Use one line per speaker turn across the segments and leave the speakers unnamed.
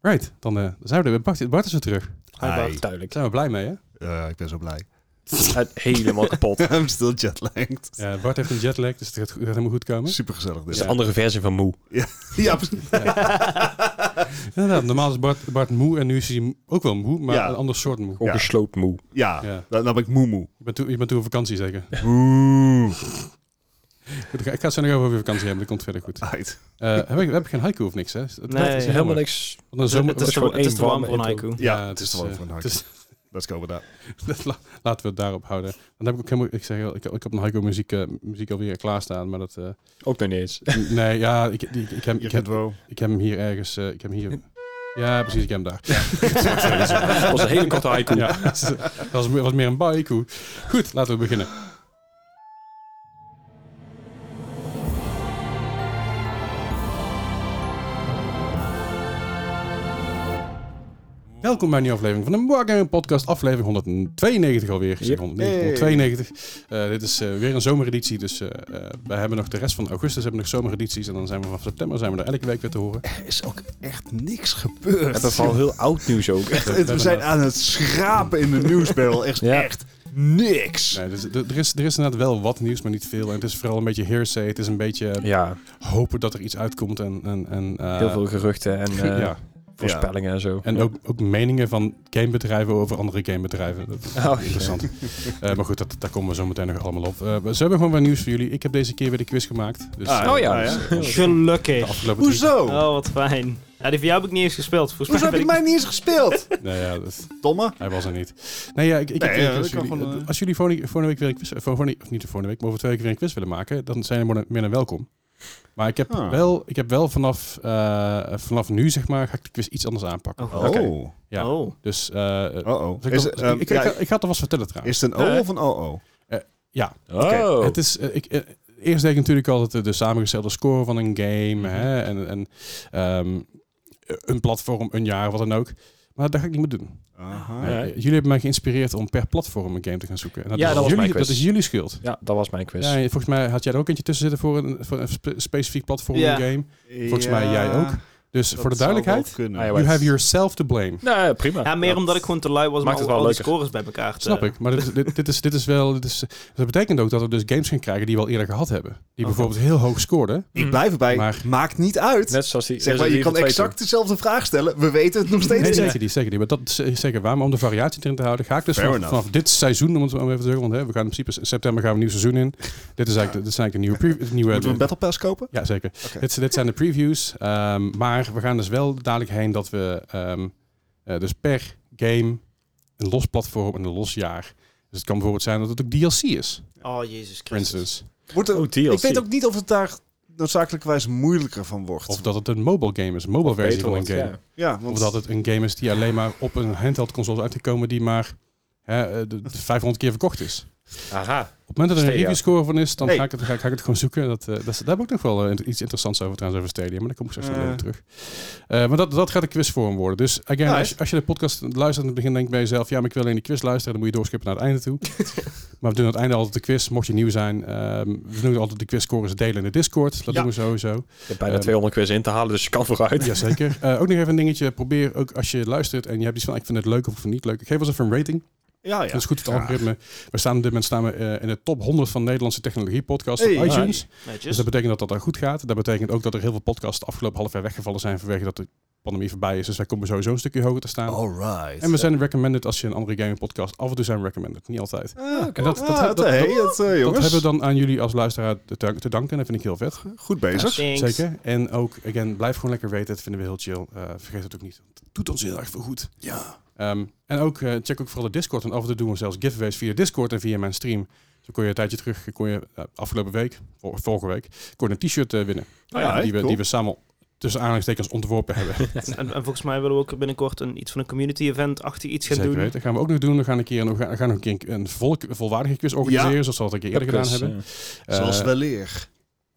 Right, dan eh, zijn we er weer. Bart, Bart is weer terug. Daar
Hij
Hi.
was duidelijk.
zijn we blij mee, hè?
Ja, Eh, ik ben zo blij.
Hij is helemaal kapot. Het
I'm still jetlagged.
Ja, Bart heeft een jetlag, dus het gaat, gaat helemaal goed komen.
Super gezellig dit.
is
Ja,
de andere versie van moe.
precies.
Inderdaad, normaal is Bart, Bart moe en nu is hij ook wel moe, maar
Ja.
een ander soort moe.
Ongesloopt moe.
Ja,
Ja.
Dan, dan ben ik moemoe.
Je bent, toe, je bent toe op vakantie zeker.
Moe.
Goed, ik ga ik ga het zo nog even over je vakantie hebben, dat komt verder goed.
Uit.
Eh, heb, ik, heb ik geen haiku of niks, hè? Het
Nee,
is
helemaal
jammer.
Helemaal niks.
Want een zomer-
het is,
is
gewoon,
gewoon
het is de
één
one
warme
voor een
intro.
haiku.
Ja, het is de one
eh,
voor een
het
haiku.
is-
Let's go with that.
dat la- Laten we het daarop houden. Dan heb ik ook helemaal, ik zeg al, ik, ik heb een haiku muziek, eh, muziek alweer klaarstaan, maar dat... eh,
Ook nog niet eens.
nee, ja, ik, ik, ik, heb,
Je
ik,
kunt
heb,
wel.
ik heb hem hier ergens, eh, ik heb hem hier... Ja, precies, ik heb hem daar.
Dat was een hele korte haiku.
Ja, dat was, meer- was meer een baiku. Goed, laten we beginnen. Welkom bij een nieuwe aflevering van de Wargaming Podcast, aflevering 192 alweer. Ik zeg
Yep.
190, 192. Eh, dit is eh, weer een zomereditie, dus eh eh, we hebben nog de rest van augustus hebben we nog zomeredities. En dan zijn we vanaf september zijn we er elke week weer te horen.
Er is ook echt niks gebeurd.
Het is vooral heel oud nieuws ook.
Het- we zijn aan het schrapen in de nieuwsbarrel. Echt,
Ja.
echt niks.
Nee, dus, er, er is, er is inderdaad wel wat nieuws, maar niet veel. En het is vooral een beetje hearsay. Het is een beetje
Ja,
hopen dat er iets uitkomt. En, en, en, eh,
heel veel geruchten en eh,
ja.
voorspellingen en zo.
en ook, ook meningen van gamebedrijven over andere gamebedrijven. Dat is
Oh,
interessant. Eh, maar goed, dat, daar komen we zo meteen nog allemaal op. Eh, we- ze hebben gewoon weer nieuws voor jullie. Ik heb deze keer weer de quiz gemaakt. Dus,
Ah,
eh,
Oh ja.
ah, ja.
de
Gelukkig.
afgelopen drie-
Hoezo?
Oh, wat fijn. Ja, die van jou heb ik niet eens gespeeld. Volgens
Hoezo heb
mij
je
ben
mij niet eens gespeeld?
Nou ja, dat-
Domme.
hij was er niet. Nee, ja, ik, ik
Nee,
heb,
ja,
als,
dat kan
jullie,
gewoon, eh.
als jullie volgende, volgende week weer een quiz... eh, Volgende, of niet de volgende week, maar over twee weken weer een quiz willen maken... dan zijn jullie meer dan welkom. Maar ik heb,
Ah.
wel, ik heb wel vanaf, eh, vanaf nu, zeg maar, ga ik de quiz iets anders aanpakken.
Oh,
Oh.
god.
Oké. Ja.
Oh.
Dus eh,
Oh-oh.
Dus ik,
Is,
kan-
het, ehm,
ik, ik,
ja,
ik, ik ga het alvast vertellen trouwens.
is het een O of een OO?
ja,
Oh.
het is, eh, ik, eh, eerst deed ik natuurlijk altijd de, de samengestelde score van een game.
Mhm.
hè, en en ehm, een platform, een jaar, wat dan ook. Maar dat ga ik niet meer doen.
Aha.
Nee,
Ja.
Eh, jullie hebben mij geïnspireerd om per platform een game te gaan zoeken. En
Ja,
is
dat was
jullie,
mijn quiz.
Dat is jullie schuld.
Ja, dat was mijn quiz.
Ja, en volgens mij had jij er ook eentje tussen zitten voor een, voor een spe- specifiek platform
Ja.
een game. Volgens mij jij ook. Dus
Dat
voor de
zou wel
duidelijkheid,
kunnen.
Ah, ja,
you have yourself to blame.
Nou, prima.
Ja, meer omdat ik gewoon te lui was om
Maakt
al,
het wel
al die
leuker.
scores bij elkaar te...
Snap ik, maar dit, is- dit, dit is, dit is wel. Dit is, dat betekent ook dat we dus games gaan krijgen die we al eerder gehad hebben. Die
Oh,
bijvoorbeeld heel hoog scoorden.
Ik blijf erbij.
Mm. Maar-
Maakt niet uit.
Net zoals die...
zeg maar, je kan exact dezelfde vraag stellen. We weten het nog steeds
Nee,
niet.
zeker die, zeker die. Maar dat is eh, zeker waar. Maar om de variatie erin te houden, ga ik dus
Fair
vanaf,
enough.
vanaf dit seizoen, om het zo maar even te zeggen, want hè, we gaan in principe in september gaan we een nieuw seizoen in. dit is eigenlijk, de- dit zijn eigenlijk de nieuwe, preview- het nieuwe
Moeten we een Battle Pass kopen?
Ja, zeker.
Oké.
Dit, dit zijn de previews. ehm, maar we gaan dus wel dadelijk heen dat we ehm, eh, dus per game een los platform en een los jaar. Dus het kan bijvoorbeeld zijn dat het ook DLC is,
Oh, jezus
for
Christus.
instance.
Wordt er-
Oh, DLC.
ik weet ook niet of het daar noodzakelijkerwijs moeilijker van wordt.
Of dat het een mobile game is, een mobile versie van een game.
ja, want
Of dat het een game is die alleen maar op een handheld console is uitgekomen die maar hè, eh, de, de 500 keer verkocht is.
Aha.
Op het moment dat er een
Stadia.
review score van is, dan
Hey.
ga, ik het, ga, ik- ga ik het gewoon zoeken. Dat, eh, dat, is- daar heb ik nog wel eh, iets interessants over trouwens over Stadia, maar daar kom ik straks nog
Eh.
wel over terug. Eh, maar dat, dat gaat een quizvorm worden. Dus again,
Nice.
als, je- als je de podcast luistert in het begin, denk je bij jezelf, ja, maar ik wil alleen de quiz luisteren, dan moet je doorskippen naar het einde toe. maar we doen aan het einde altijd de quiz, mocht je nieuw zijn. ehm, we doen altijd de quizscores delen in de Discord, dat
Ja.
doen we sowieso.
Je hebt bijna
Ehm,
200 quiz in te halen, dus je kan vooruit.
Jazeker. Eh, ook nog even een dingetje. Probeer ook als je luistert en je hebt iets van ik vind het leuk of ik vind het niet leuk. Geef ons even een rating.
ja, ja.
Dat is goed voor het
Graag.
algoritme. We staan op dit moment staan we, eh, in de top 100 van Nederlandse technologie podcasts
Hey.
op iTunes. Dus
Netjes.
dat betekent dat dat daar goed gaat. Dat betekent ook dat er heel veel podcasts de afgelopen half jaar weggevallen zijn vanwege dat de pandemie voorbij is. Dus wij komen sowieso een stukje hoger te
Oh,
staan.
Alright.
En we zijn recommended als je een andere gaming podcast. Af en toe zijn we recommended, niet altijd.
Ah, oké.
En dat- dat-
Ah,
dat- dat-
hey, dat, eh,
Dat
jongens.
hebben we dan aan jullie als luisteraar te, te danken. Dat vind ik heel vet.
Goed bezig.
Thanks.
Zeker. En ook, again, blijf gewoon lekker weten. Dat vinden we heel chill. Eh, vergeet het ook niet. Het doet ons heel erg veel goed.
Ja.
Ehm, en ook eh, check ook vooral de Discord. En af en toe doen we zelfs giveaways via Discord en via mijn stream. Zo kon je een tijdje terug, kon je eh, afgelopen week, vor- vorige week, kon je een t-shirt eh, winnen.
Oh ja,
die, we,
cool.
die we samen tussen aanhalingstekens ontworpen hebben.
En, en volgens mij willen we ook binnenkort een, iets van een community event achter iets gaan
Zeker
doen.
weten. Gaan we ook nog doen. We gaan een keer, we gaan, we gaan nog een, keer een volk, volwaardige quiz organiseren, zoals we dat een keer eerder
Dus,
gedaan hebben. Eh,
Zoals wel leer.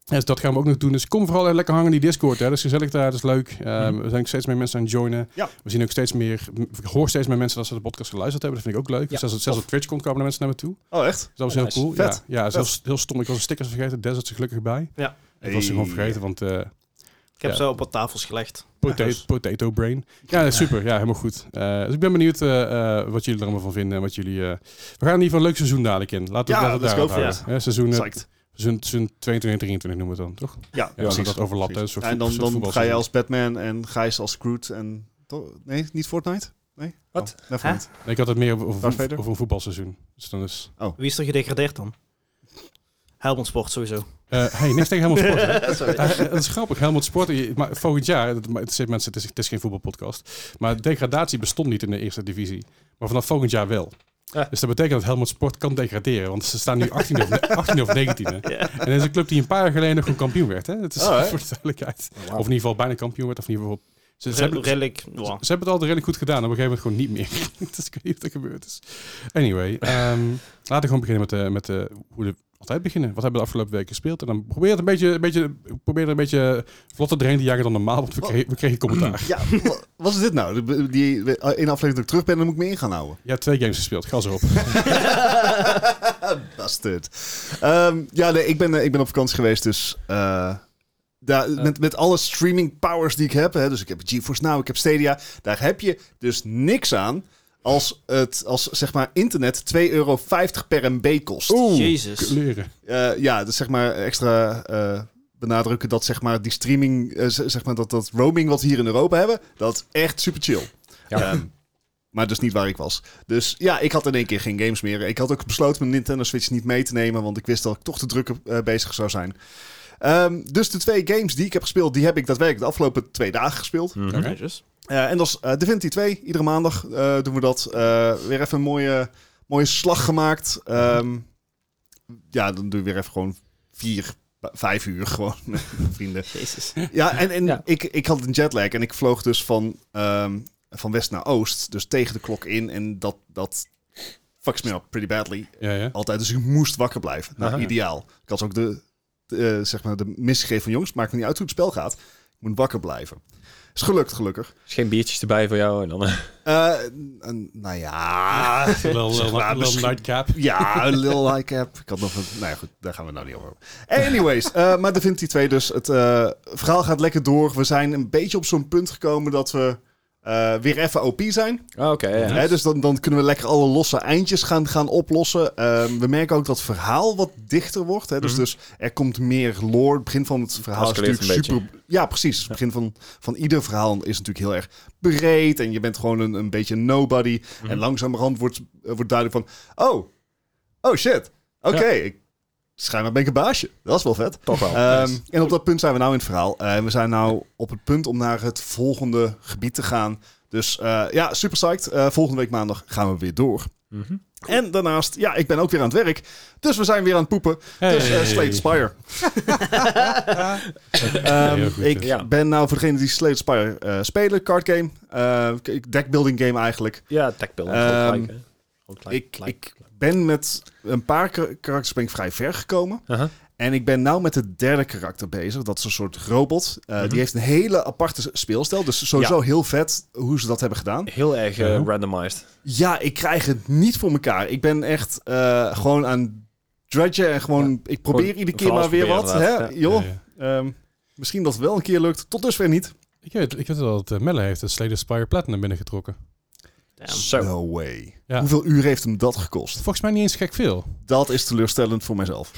Ja, Dus dat gaan we ook nog doen. Dus kom vooral eh, lekker hangen in die Discord. Hè. Dat is gezellig daar, dat is leuk. Ehm,
Mhm.
We zijn ook steeds meer mensen aan het joinen.
Ja.
We zien ook steeds meer, ik hoor steeds meer mensen dat ze de podcast geluisterd hebben. Dat vind ik ook leuk.
Ja,
Zelfs, zelfs op Twitch komt kwamen de mensen naar me toe.
Oh, echt?
Dus dat was
Ja,
heel
nice.
cool.
Vet.
Ja, ja het is heel, heel stom. Ik was de stickers vergeten. Des had ze gelukkig bij.
Ja.
Ik was ze
Hey.
gewoon vergeten, want eh,
Ik heb
Ja.
ze op wat tafels gelegd.
Potato,
Dus-
potato brain. Ja, dat is super. Ja, helemaal goed. Eh, dus ik ben benieuwd eh, eh, wat jullie er allemaal van vinden. En wat jullie, eh, we gaan in ieder geval een leuk seizoen dadelijk in. Laten we
Ja,
laten we
let's
daarop
go for
houden. Eh, seizoen, eh,
Exact.
seizoen, seizoen 22 en 23 noemen we het dan, toch?
Ja,
Ja, dat
precies.
dat overlapt. hè, een soort
Ja, en
voet-
dan,
soort
dan ga
voetbalseizoen.
je als Batman en Gijs als Groot en... to- Nee, niet Fortnite? Nee?
Wat?
Oh, never mind.
Nee, ik had het meer over,
Darth
over,
Vader?
over een voetbalseizoen. Dus dan is...
Wie is er gedegradeerd dan? Helmond Sport sowieso.
Eh, hey, niks tegen Helmond Sport. hè?
Sorry.
Eh, dat is grappig. Helmond Sport, eh, je- maar volgend jaar, dat- maar het, zit mensen, het, is, het is geen voetbalpodcast, maar degradatie bestond niet in de eerste divisie. Maar vanaf volgend jaar wel.
Ja.
Dus dat betekent dat Helmond Sport kan degraderen, want ze staan nu 18 of, 18 of 19. hè. En dat is een club die een paar jaar geleden nog een kampioen werd. Hè? Het is
Oh, hè?
voor de duidelijkheid. Of
Ah.
in
Of
ieder geval bijna kampioen werd. Of in ieder geval, ze, ze hebben,
Re- redelijk. wow.
ze hebben het altijd redelijk goed gedaan. Op een gegeven moment gewoon niet meer. dus ik weet niet wat er gebeurd is. Anyway, ehm, laten we gewoon beginnen met, eh, met eh, hoe we altijd beginnen. Wat hebben we de afgelopen week gespeeld? En dan probeer het een beetje, een beetje, probeer er een beetje vlotter doorheen te jagen dan normaal. Want we
Oh.
kregen, we kregen commentaar.
Ja, wa- wat is dit nou? Die, die, die ene aflevering dat ik terug ben, dan moet ik me in gaan houden.
Ja, twee games gespeeld. Gas erop.
Bastard. Ehm, ja, nee, ik ben, eh, ik ben op vakantie geweest, dus... eh, daar, met, met alle streaming powers die ik heb, hè, dus ik heb GeForce Now, ik heb Stadia, daar heb je dus niks aan als, het, als zeg maar, internet 2,50 euro per MB kost.
Jezus.
Kleuren.
Eh, ja, dus zeg maar extra eh, benadrukken dat zeg maar die streaming, eh, z- zeg maar dat, dat roaming wat we hier in Europa hebben, dat is echt super chill.
Ja.
Ehm, maar dus niet waar ik was. Dus ja, ik had in één keer geen games meer. Ik had ook besloten mijn Nintendo Switch niet mee te nemen, want ik wist dat ik toch te druk eh, bezig zou zijn. Ehm, dus de twee games die ik heb gespeeld, die heb ik daadwerkelijk de afgelopen twee dagen gespeeld.
Mhm.
Oké.
Jezus.
Eh, en dat is eh, Divinity 2. Iedere maandag eh, doen we dat. Eh, weer even een mooie, mooie slag gemaakt. Ehm, ja, dan doe je weer even gewoon vier, b- vijf uur gewoon met vrienden.
Jezus.
Ja, en, en
Ja.
Ik, ik had een jetlag en ik vloog dus van, ehm, van west naar oost. Dus tegen de klok in. En dat, dat fucks me up pretty badly.
Ja, ja.
Altijd. Dus ik moest wakker blijven. Nou,
Aha.
ideaal. Ik had ook de, de, eh, zeg maar de misgegeven van jongens. Maakt me niet uit hoe het spel gaat. Ik moet wakker blijven. Is gelukt, gelukkig.
Dus geen biertjes erbij voor jou en dan...
Eh, n- n- nou ja.
Lil,
Zeg maar,
lil, lil
misschien- Dus,
nightcap.
ja, een Lil Like App. Ik had nog een. Nou ja, goed, daar gaan we het nou niet over hebben. Anyways, eh maar Divinity 2 dus. Het eh, verhaal gaat lekker door. We zijn een beetje op zo'n punt gekomen dat we. eh, weer even OP zijn.
Oh, oké, ja.
Hè, dus dan, dan kunnen we lekker alle losse eindjes gaan, gaan oplossen. Ehm, we merken ook dat het verhaal wat dichter wordt. Hè? Dus,
Mhm.
dus er komt meer lore. Het begin van het verhaal is
Escaleert
natuurlijk
een
super... Ja, precies. Dus Het begin van, van ieder verhaal is natuurlijk heel erg breed. En je bent gewoon een, een beetje nobody.
Mhm.
En langzamerhand wordt, eh, wordt duidelijk van... Oh, oh shit. Oké, ik, schijnbaar ben ik een baasje. Dat is wel vet.
Toch wel.
Ehm,
Nice.
En op dat punt zijn we nou in het verhaal. En we zijn nou op het punt om naar het volgende gebied te gaan. Dus eh, ja, super psyched. Eh, volgende week maandag gaan we weer door.
Mhm.
En daarnaast, ja, ik ben ook weer aan het werk. Dus we zijn weer aan het poepen. Dus eh,
Hey.
Slate Spire. Ehm,
heel goed,
ik
ja.
ben nou voor degene die Slate Spire eh, spelen, card game. eh, deckbuilding game eigenlijk.
Ja, techbill.
Ehm, ik-
Ik...
ik- Ben met een paar kar- karakters ben ik vrij ver gekomen.
Aha.
En ik ben nou met het derde karakter bezig. Dat is een soort robot. Eh,
Mhm.
Die heeft een hele aparte speelstijl. Dus sowieso heel vet hoe ze dat hebben gedaan.
Heel erg eh,
Ja.
randomized.
Ja, ik krijg het niet voor elkaar. Ik ben echt eh, gewoon aan drudgen en gewoon... Ik probeer
Gewoon
iedere keer
van
maar
alles
weer wat.
proberen,
Hè?
inderdaad.
Joh,
Ja, ja.
ehm, misschien dat het wel een keer lukt. Tot dusver niet.
Ik weet, ik weet wel dat eh, Melle heeft een Slade Spire Platinum binnengetrokken.
Damn.
Zo.
No way.
Ja.
Hoeveel uur heeft hem dat gekost?
Volgens mij niet eens gek veel.
Dat is teleurstellend voor mijzelf.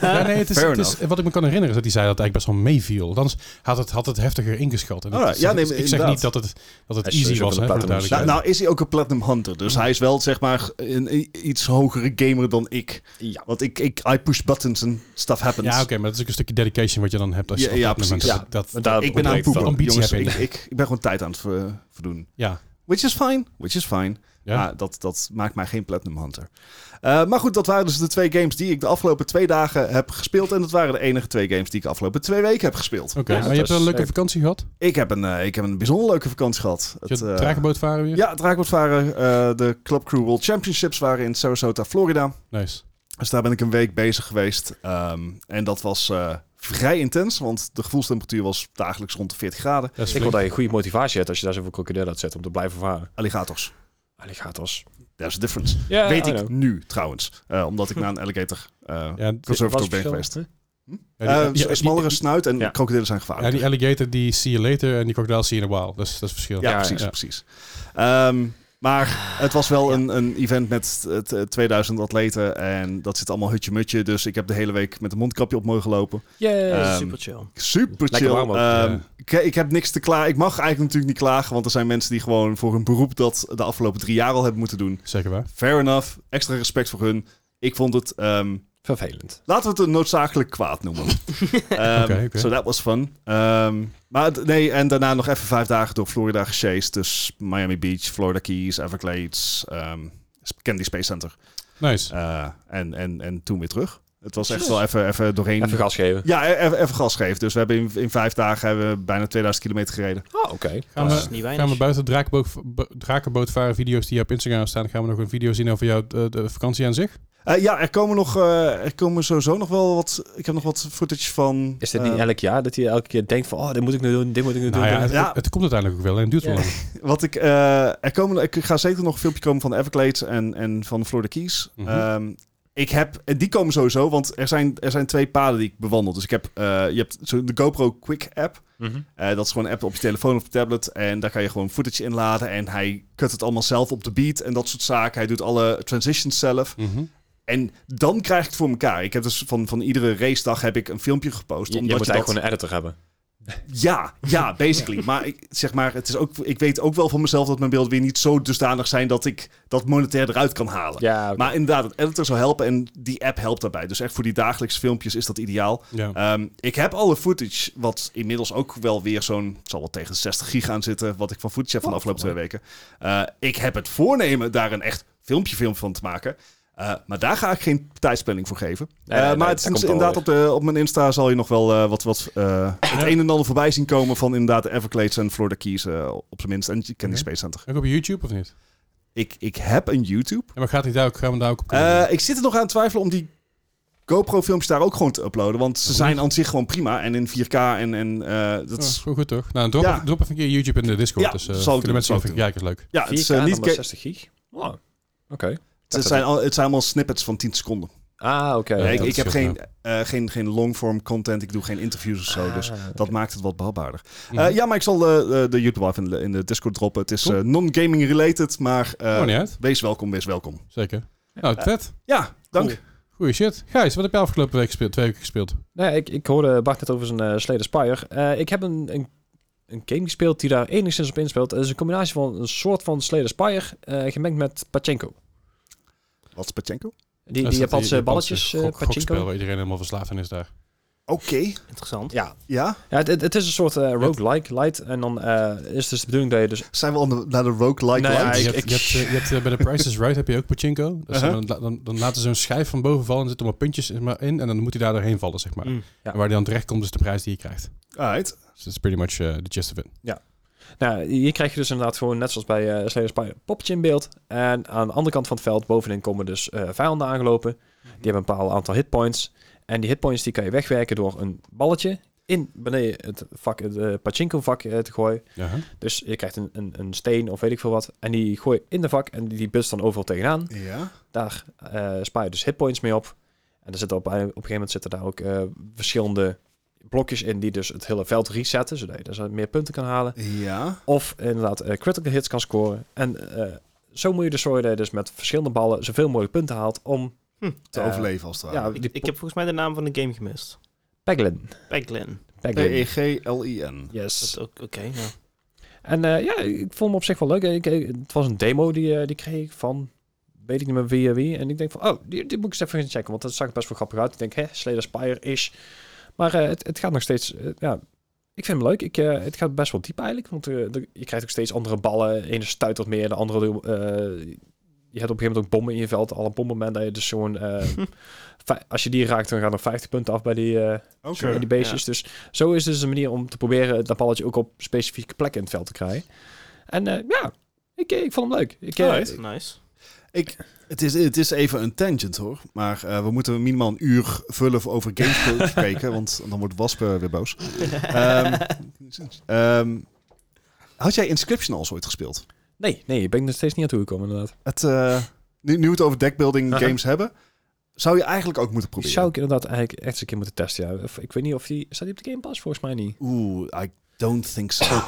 Ja, nee, het is,
Fair
het is- wat ik me kan herinneren is dat hij zei dat het eigenlijk best wel meeviel. Dan had het, had het heftiger ingeschat. En dat
Alright,
zeg-
ja, nee,
ik zeg
inderdaad.
niet dat het, dat het
Hij is
easy
sowieso
was, hè,
van
voor
de
de
platinum.
nou,
duidelijkheid.
nou is hij ook een Platinum Hunter. Dus hij is wel zeg maar een i- iets hogere gamer dan ik.
Ja.
Want ik, ik I push buttons en stuff happens.
ja, oké, maar dat is ook een stukje dedication wat je dan hebt als je
nou, Ja,
op
ja,
dat moment-
precies.
dat- dat,
Want daar
Ik ben aan het
ontbreekt
poepen.
dan.
ambitie
Jongens,
heb
ik,
ik.
ik, ik ben gewoon tijd aan het ver- verdoen.
ja,
Which is fine. Which is fine.
ja.
Maar dat, dat maakt mij geen Platinum Hunter. Eh, maar goed, dat waren dus de twee games die ik de afgelopen twee dagen heb gespeeld. En dat waren de enige twee games die ik de afgelopen twee weken heb gespeeld.
Oké,
Ja,
maar
dat
je hebt wel een
is-
leuke vakantie gehad.
Ik heb een, eh, ik heb een bijzonder leuke vakantie gehad.
Je
eh,
hebt drakenboot varen weer.
ja, het draakboot varen. eh, de Club Crew World Championships waren in Sarasota, Florida.
Nice.
Dus daar ben ik een week bezig geweest. Ehm, en dat was eh, vrij intens, want de gevoelstemperatuur was dagelijks rond de 40 graden.
Dat is
Ik wil
flink.
dat je goede motivatie hebt als je daar zoveel krokodil uit zet om te blijven varen.
Alligators,
Alligators.
there's a difference.
Ja,
Weet
I
ik
know.
nu trouwens, eh, omdat ik naar een alligator eh
Ja, d-
conservator
Wat is
ben
het
geweest.
verschil?
Ja,
Eh,
die-
een smallere snuit en
Ja.
krokodillen zijn
ja,
gevaarlijk.
die alligator die see you later en die crocodile see you in a while. Dat is, dat is het verschil.
Ja,
Ja,
precies,
ja.
precies. Ehm, maar het was wel een, een event met eh, t- eh, 2000 atleten en dat zit allemaal hutje-mutje. Dus ik heb de hele week met een mondkapje op mogen lopen. Ehm,
Super chill.
super
Lekker
chill.
warm ook,
Ehm,
ja.
ik, ik heb niks te klaar. Ik mag eigenlijk natuurlijk niet klagen, want er zijn mensen die gewoon voor hun beroep dat de afgelopen drie jaar al hebben moeten doen.
Zeker waar.
Fair enough. Extra respect voor hun. Ik vond het, ehm,
Vervelend.
laten we het een noodzakelijk kwaad noemen. Ehm,
Oké, oké.
So that was fun. Ehm, maar het- nee, en daarna nog even vijf dagen door Florida gechased. Dus Miami Beach, Florida Keys, Everglades, ehm, Kennedy Space Center.
Nice.
Eh, en, en, en toen weer terug. Het was echt
Yes.
wel even, even doorheen.
Even gas geven.
Ja, e- even, even gas geven. Dus we hebben in, in vijf dagen hebben we bijna 2000 kilometer gereden.
Oh, oké.
Gaan
Dat is
we,
niet
gaan we
weinig.
buiten drakenboot, drakenbootvaren video's die op Instagram staan, gaan we nog een video zien over jouw eh, de vakantie aan zich?
Eh, ja, er komen nog, eh, er komen sowieso nog wel wat. Ik heb nog wat footage van.
Is dit
eh,
niet elk jaar dat hij elke keer denkt van, oh, dit moet ik nu doen, dit moet ik nu
Nou
doen.
ja,
dit
het,
moet ik-
Ja.
het- het komt uiteindelijk ook wel en het duurt wel
Ja.
lang.
Wat ik, eh, er komen, ik ga zeker nog een filmpje komen van de Everglades en, en van de Florida Keys.
Mhm.
Ehm, ik heb, en die komen sowieso, want er zijn, er zijn twee paden die ik bewandel. Dus ik heb, eh, je hebt zo de GoPro Quick app.
Mhm.
Eh, dat is gewoon een app op je telefoon of je tablet. En daar kan je gewoon footage inladen. En hij cut het allemaal zelf op de beat en dat soort zaken. Hij doet alle transitions zelf.
Mhm.
En dan krijg ik het voor elkaar. Ik heb dus van, van iedere racedag heb ik een filmpje gepost.
Je, je moet
omdat je
eigenlijk
dat...
gewoon een editor hebben.
Ja, ja, basically. Maar ik, zeg maar, het is ook, ik weet ook wel van mezelf dat mijn beelden weer niet zo dusdanig zijn dat ik dat monetair eruit kan halen.
Ja, oké.
Maar inderdaad, een editor zou helpen en die app helpt daarbij. Dus echt voor die dagelijkse filmpjes is dat ideaal.
Ja.
Ehm, ik heb alle footage, wat inmiddels ook wel weer zo'n... het zal wel tegen de 60 gig aan zitten, wat ik van footage heb van de
Oh,
afgelopen twee weken. Eh, ik heb het voornemen daar een echt filmpje film van te maken. Eh, maar daar ga ik geen tijdsplanning voor geven.
Nee, nee,
Eh,
nee,
maar
daar
het
komt
is
wel
inderdaad
weer.
op, de, op mijn Insta zal je nog wel eh, wat, wat eh, het een en ander voorbij zien komen van inderdaad de Everglades en Florida Keys eh, op zijn minst. En Kennedy
Mhm.
Oké.
Space Center.
Ook op YouTube of niet?
Ik, ik heb een YouTube.
Ja, maar gaat hij daar ook, gaan we daar ook op
Eh,
komen?
ik zit er nog aan het twijfelen om die GoPro-filmpjes daar ook gewoon te uploaden. Want ze zijn aan zich gewoon prima. En in 4K en, en eh, dat
Oh,
is...
goed, goed toch? Nou, drop,
Ja.
drop even een keer YouTube in de Discord.
Ja,
dus, eh,
zal ik
kunnen
doen,
mensen
zal ik
even kijken, is leuk.
Ja, het, is, eh,
4K
niet
dan maar
ke-
60 gig. Oh, oké.
het, zijn al, het zijn allemaal snippets van 10 seconden.
Ah, oké.
Ja,
Nee, ik,
dat
ik heb
scheelt,
geen, eh, geen, geen longform content. Ik doe geen interviews of zo. Dus
Ah,
dat maakt het wat behapbaarder.
Mhm.
Eh, ja, maar ik zal eh, eh, de YouTube live in de, in de Discord droppen. Het is
Cool.
eh, non-gaming related, maar eh,
Oh, niet uit.
wees welkom, wees welkom.
Zeker. Nou, vet.
Ja, dank.
Cool. Goeie shit. Gijs, wat heb je afgelopen week gespeeld? Twee weken gespeeld.
Nee, ik, ik hoorde Bart net over zijn eh Slade Spire. Eh, ik heb een, een, een game gespeeld die daar enigszins op inspeelt. Het is een combinatie van een soort van Slade Spire eh, gemengd met Pachinko.
Wat is Pachenko?
Die,
Dat
die
is dat
Japanse balletjes, eh,
gok- gokspel
Pachinko.
waar iedereen helemaal verslaafd aan is daar.
Oké,
Interessant.
Ja,
ja.
ja het, het- het is een soort eh, roguelike light. En dan eh, is dus de bedoeling dat je dus...
Zijn we al de- naar de roguelike
Nee,
light?
Ja,
je,
ik-
hebt,
ik-
je hebt, eh, je hebt, eh, bij de Price is Right heb je ook pachinko. Dus
Uh-huh.
dan, dan, dan laten ze een schijf van boven vallen en zitten allemaal puntjes in maar in en dan moet hij daar doorheen vallen, zeg maar.
Mm.
Ja.
En waar hij dan terecht komt is de prijs die je krijgt.
Alright.
Dus dat is pretty much eh, the gist of it.
Nou, hier krijg je dus inderdaad gewoon net zoals bij eh Slade Spire poppetje in beeld. En aan de andere kant van het veld bovenin komen dus eh, vijanden aangelopen. Die hebben een bepaald aantal hitpoints. En die hitpoints die kan je wegwerken door een balletje in beneden het vak, het eh, pachinko vak eh, te gooien.
Ja.
Dus je krijgt een, een, een steen of weet ik veel wat. En die gooi je in de vak en die, die bust dan overal tegenaan.
Ja.
Daar eh, spaar je dus hitpoints mee op. En er zitten op, op een gegeven moment zitten daar ook eh, verschillende blokjes in die dus het hele veld resetten. Zodat je dus meer punten kan halen.
Ja.
Of inderdaad eh, critical hits kan scoren. En eh, zo moet je dus zorgen dat je dus met verschillende ballen zoveel mogelijk punten haalt om...
Hm.
Oh,
Te
eh,
overleven als het ware.
Ja,
Ik,
die
ik heb volgens mij de naam van de game gemist.
Peglin.
Paglin.
Peglin.
P-E-G-L-I-N.
Yes.
Dat ook, oké. ja.
En eh, ja, ik vond hem op zich wel leuk. Ik, ik- het was een demo die, eh, die kreeg ik van, weet ik niet meer wie en wie. En ik denk van, oh, die, die moet ik eens even gaan checken. Want dat zag er best wel grappig uit. Ik denk, hè, Slayer Spire is. Maar eh, het, het gaat nog steeds, eh, ja, ik vind hem leuk. Ik, eh, het gaat best wel diep eigenlijk. Want eh, de- je krijgt ook steeds andere ballen. De ene stuit wat meer, de andere... eh, je hebt op een gegeven moment ook bommen in je veld. Al een bommenman dat je dus zo'n... eh, fi- als je die raakt, dan gaan er 50 punten af bij die... eh,
Oké.
Sure.
in die beestjes. Dus zo is dus een manier om te proberen dat balletje ook op specifieke plekken in het veld te krijgen. En eh, ja, ik, ik vond hem leuk. Ik, eh,
Alright.
Nice.
Het is, het is even een tangent hoor. Maar eh, we moeten minimaal een uur vullen voor over games spreken. Want dan wordt Wasp eh, weer boos. Ehm, ehm, had jij Inscription al ooit gespeeld?
nee, nee, ik ben er steeds niet aan toegekomen inderdaad.
Het, eh, nu, nu we het over deckbuilding
Aha.
games hebben. Zou je eigenlijk ook moeten
Die
proberen.
zou ik inderdaad eigenlijk echt eens een keer moeten testen. Ja. Of, ik weet niet of die... Staat die op de Game Pass? Volgens mij niet.
Oeh, I don't think so.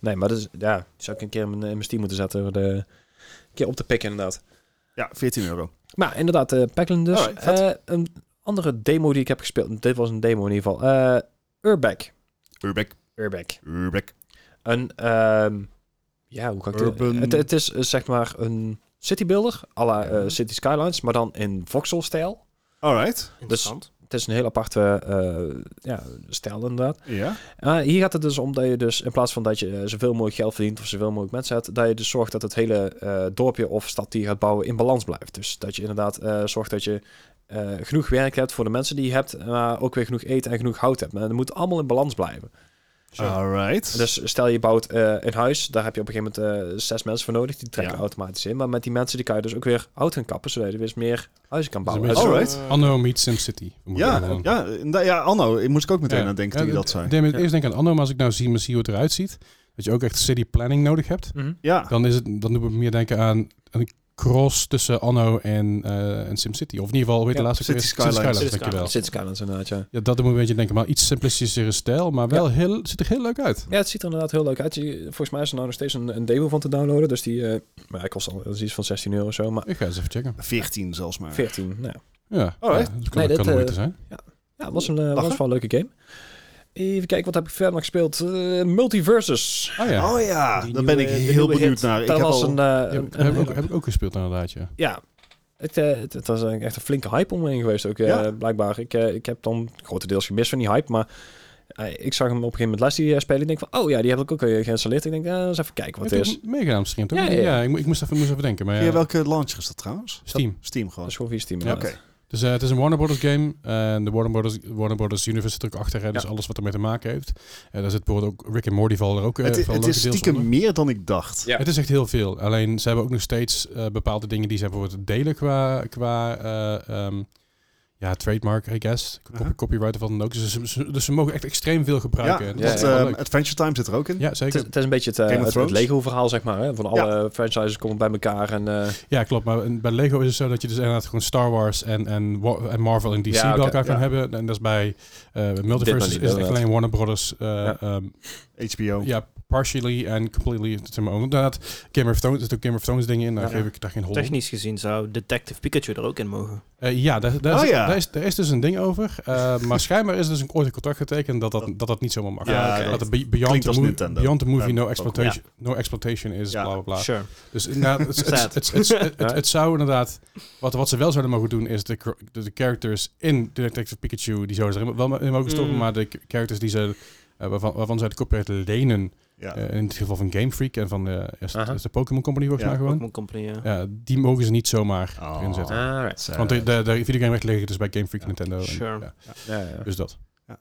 Nee, maar dat is, ja, die zou ik een keer in mijn, in mijn Steam moeten zetten. om De, een keer op te pikken, inderdaad.
ja, 14 euro.
Maar inderdaad, eh Packland dus.
Alright, vet.
Eh, een andere demo die ik heb gespeeld. Dit was een demo in ieder geval. eh Urbeck.
Urbeck,
Urbeck.
Urbeck.
Een, ehm, ja, hoe kan ik dit-
Urban-
Het, het is eh, zeg maar een citybuilder, à la eh, City Skylines, maar dan in voxel-stijl.
Alright.
Interessant.
Het is een heel aparte eh, ja, stijl inderdaad.
Ja.
Eh, hier gaat het dus om dat je dus, in plaats van dat je eh, zoveel mogelijk geld verdient of zoveel mogelijk mensen hebt, dat je dus zorgt dat het hele eh, dorpje of stad die je gaat bouwen in balans blijft. Dus dat je inderdaad eh, zorgt dat je eh, genoeg werk hebt voor de mensen die je hebt, maar ook weer genoeg eten en genoeg hout hebt. Maar dat moet allemaal in balans blijven.
Sure.
Alright.
Dus stel je bouwt eh, een huis, daar heb je op een gegeven moment eh, zes mensen voor nodig. Die trekken
Ja.
automatisch in. Maar met die mensen die kan je dus ook weer hout gaan kappen, zodat je dus meer huizen kan
Dat is een
bouwen.
beetje-
Alright.
Eh,
Anno meets SimCity.
ja, ja, inderdaad, ja, Anno, moest ik ook meteen
Ja.
aan denken
Ja,
toen je
dat-
dat zei.
Ik deed me
Ja.
eerst denken aan Anno, maar als ik nou zie, maar zie hoe het eruit ziet, dat je ook echt city planning nodig hebt,
Mhm.
Ja,
dan, is het, dan doe ik meer denken aan een cross tussen Anno en, eh en SimCity. Of in ieder geval, weet je
Ja,
de laatste
City
keer?
Skylines.
City
dankjewel.
City Skylines inderdaad, ja.
Ja, dat moet een beetje denken, maar iets simplistischere stijl, maar wel heel, ziet er heel leuk uit.
Ja, het ziet er inderdaad heel leuk uit. Je- Volgens mij is er nou nog steeds een, een demo van te downloaden. Dus die, eh maar hij kost al dat is iets van 16 euro of zo, maar
Ik ga eens even checken. Oh,
14 zelfs maar.
14. Nou, ja.
Ja,
Alright.
ja dat kan,
Nee,
dat
dit,
kan de moeite
eh,
zijn.
ja, het was, een, eh,
Lachen.
was wel een leuke game. Even kijken, wat heb ik verder nog gespeeld? Eh, Multiversus.
Ah ja,
Oh ja,
Die
daar
nieuwe-
ben ik
de
heel
nieuwe hit.
benieuwd naar. Ik
dat
heb
was
al-
een... eh,
Ja,
een-
heb, ik
een-
ook, heb ik ook gespeeld inderdaad, ja.
Ja. Het, eh, het, het was een- echt een flinke hype omheen geweest ook, eh,
Ja.
blijkbaar. Ik, eh, ik heb dan grotendeels gemist van die hype, maar eh, ik zag hem op een gegeven moment Leslie eh, spelen. Ik denk van, oh ja, die heb ik ook eh, geïnstalleerd. Ik denk, eh, eens even kijken wat
Heb
het
je
is.
meegedaan misschien, toch?
Ja,
Ja,
ja, ja.
ik, mo- ik moest even, moest even denken, maar
Via
ja.
welke launch is dat trouwens?
Steam.
Steam
Dat
gewoon.
is gewoon via Steam.
Ja,
inderdaad.
Oké.
Dus eh, het is een Warner Brothers game. En de Warner Brothers, Warner Brothers Universe zit er ook achter. Hè, Dus alles wat ermee te maken heeft. En daar zit bijvoorbeeld ook Rick en Morty vallen er ook eh,
Het,
vallen
het
ook
is
deels
stiekem
onder.
meer dan ik dacht.
Ja.
Het is echt heel veel. Alleen ze hebben ook nog steeds eh, bepaalde dingen die ze bijvoorbeeld delen qua, qua eh, ehm, ja, trademark, I guess. Copy-
Aha.
Copyright of wat dan ook. Dus ze, ze- dus ze mogen echt extreem veel
Ja,
gebruiken. En dat
want,
is wel
eh,
leuk.
Adventure Time zit er ook in.
ja,
Het,
zeker.
is- het is een beetje het, eh,
Game of
het- het,
Thrones.
Lego-verhaal, zeg maar. Hè? Van alle franchises komen bij elkaar en... eh,
Ja, klopt. Maar in- bij Lego is het zo dat je dus inderdaad gewoon Star Wars en, en, Wa- en Marvel en DC
Ja, oké,
bij elkaar
ja.
kan hebben. En dat is bij eh
Dit maar
Multiverse
niet,
is het echt
inderdaad.
alleen Warner Brothers. eh,
Ja.
ehm,
HBO.
ja, partially and completely. zeg maar, Inderdaad, Game of Thrones, er zitten ook Game of Thrones dingen in. Daar
Ja.
geef ik daar geen hol op.
Technisch gezien zou Detective Pikachu er ook in mogen.
Eh, ja, daar, daar,
Oh
is,
ja.
Daar, is, daar is dus een ding over. Eh, maar schijnbaar is er dus een, ooit een contract getekend dat dat, dat, dat niet zomaar mag.
Ja,
Eh,
oké.
Dat het be- beyond,
Klinkt
the
als
movie,
Nintendo.
beyond the movie
Ja,
no,
ook.
exploitation, no exploitation is
Ja.
bla bla bla.
Sure.
Dus inderdaad, het, het,
Sad.
het, het, het- het- het zou inderdaad... Wat, wat ze wel zouden mogen doen, is de, char- de, de characters in Detective Pikachu... die zouden ze er wel in mogen stoppen,
Mm.
maar de characters die ze, eh, waarvan, waarvan zij de copyright lenen...
Ja.
eh, in het geval van Game Freak en van de, eh, is het-
Aha.
is de Pokémon Company volgens
Ja,
mij gewoon...
Pokémon Company, ja.
Ja, die mogen ze niet zomaar
Oh.
erin zetten.
Ah,
alright.
Sad.
Want de, de, de videogame rechten liggen dus bij Game Freak,
Ja.
Nintendo. en-
Sure.
ja,
Ja, ja.
dus dat.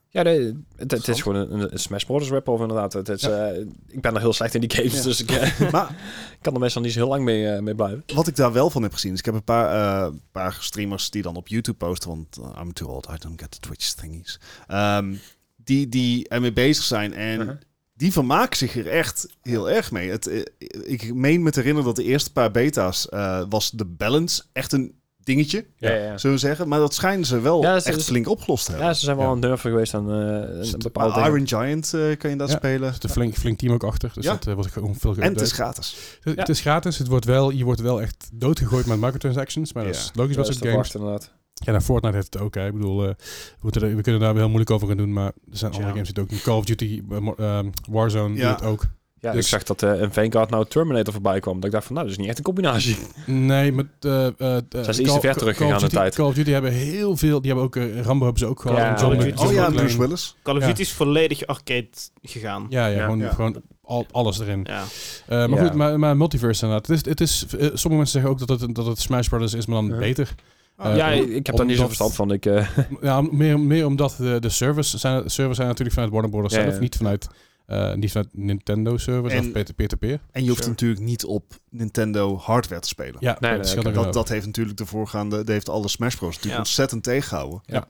Ja, nee, het, het is gewoon een, een Smash Brothers rap-off inderdaad. Het is, eh, ik ben er heel slecht in die games,
Ja.
dus ik eh,
maar
kan er meestal niet zo heel lang mee, eh, mee blijven.
wat ik daar wel van heb gezien, is ik heb een paar, eh, paar streamers die dan op YouTube posten, want eh, I'm too old, I don't get the Twitch thingies. Ehm, die, die ermee bezig zijn en
Uh-huh.
die vermaken zich er echt heel erg mee. Het, eh, ik meen me te herinneren dat de eerste paar beta's eh, was de balance echt een dingetje,
Ja.
ja.
zullen we zeggen. Maar dat schijnen ze wel
Ja, ze-
echt
ze-
flink opgelost te hebben.
Ja, ze zijn wel
Ja.
een durver geweest aan eh,
Dus
een
het-
bepaalde
Maar
dingen.
Iron Giant eh, kan je daar
Ja.
spelen.
Er zit een flink, flink team ook achter, dus
Ja.
dat eh, wordt gewoon veel
En het is
geüpdate.
gratis.
Het, het
ja.
is gratis, het wordt wel, je wordt wel echt doodgegooid met microtransactions, maar dat
Ja.
is logisch
Ja,
wat
is
soort
te
games.
verwachten, inderdaad.
Ja, nou, Fortnite heeft het ook. Hè. Ik bedoel, eh, we, moeten er- we kunnen daar wel heel moeilijk over gaan doen, maar er zijn andere
Ja.
games die het ook doen. Call of Duty, eh, mo- ehm, Warzone
Ja.
doet het ook.
Ja,
Dus-
ik zag dat eh een Vanguard nou Terminator voorbij kwam. Dat ik dacht van, nou, dat is niet echt een combinatie.
Nee, maar... eh, eh, eh,
iets te
Call-
ver
Call-
teruggegaan
Call of
in de
Duty-
tijd.
Call of Duty hebben heel veel... Die hebben ook... eh, Rambo hebben ze ook gehad.
Ja,
en
Call of
John-
Duty.
John
Oh ja, en
McClane.
Bruce Willis.
Call of
Ja.
Duty is volledig arcade gegaan.
Ja, ja,
Ja.
gewoon,
Ja.
gewoon al, alles erin.
Ja.
Eh, maar
Ja.
goed, maar, maar multiverse inderdaad. Het is, het is, eh, sommige mensen zeggen ook dat het, dat het Smash Brothers is, maar dan
Ja.
beter.
Ah,
ja,
Eh,
ik, ik heb daar niet zo'n
omdat-
verstand van. Ik, eh,
Ja, meer, meer omdat de, de servers zijn, servers zijn natuurlijk vanuit Warner Brothers
Ja,
zelf,
ja.
niet vanuit, eh, niet vanuit Nintendo servers
En-
of peer- peer-to-peer.
En je hoeft
Sure.
natuurlijk niet op Nintendo hardware te spelen.
Ja,
nee,
dat scheelt
oké.
ook
Dat,
wel.
dat heeft natuurlijk de voorgaande, dat heeft alle Smash Bros. natuurlijk
Ja.
ontzettend tegengehouden.
Ja.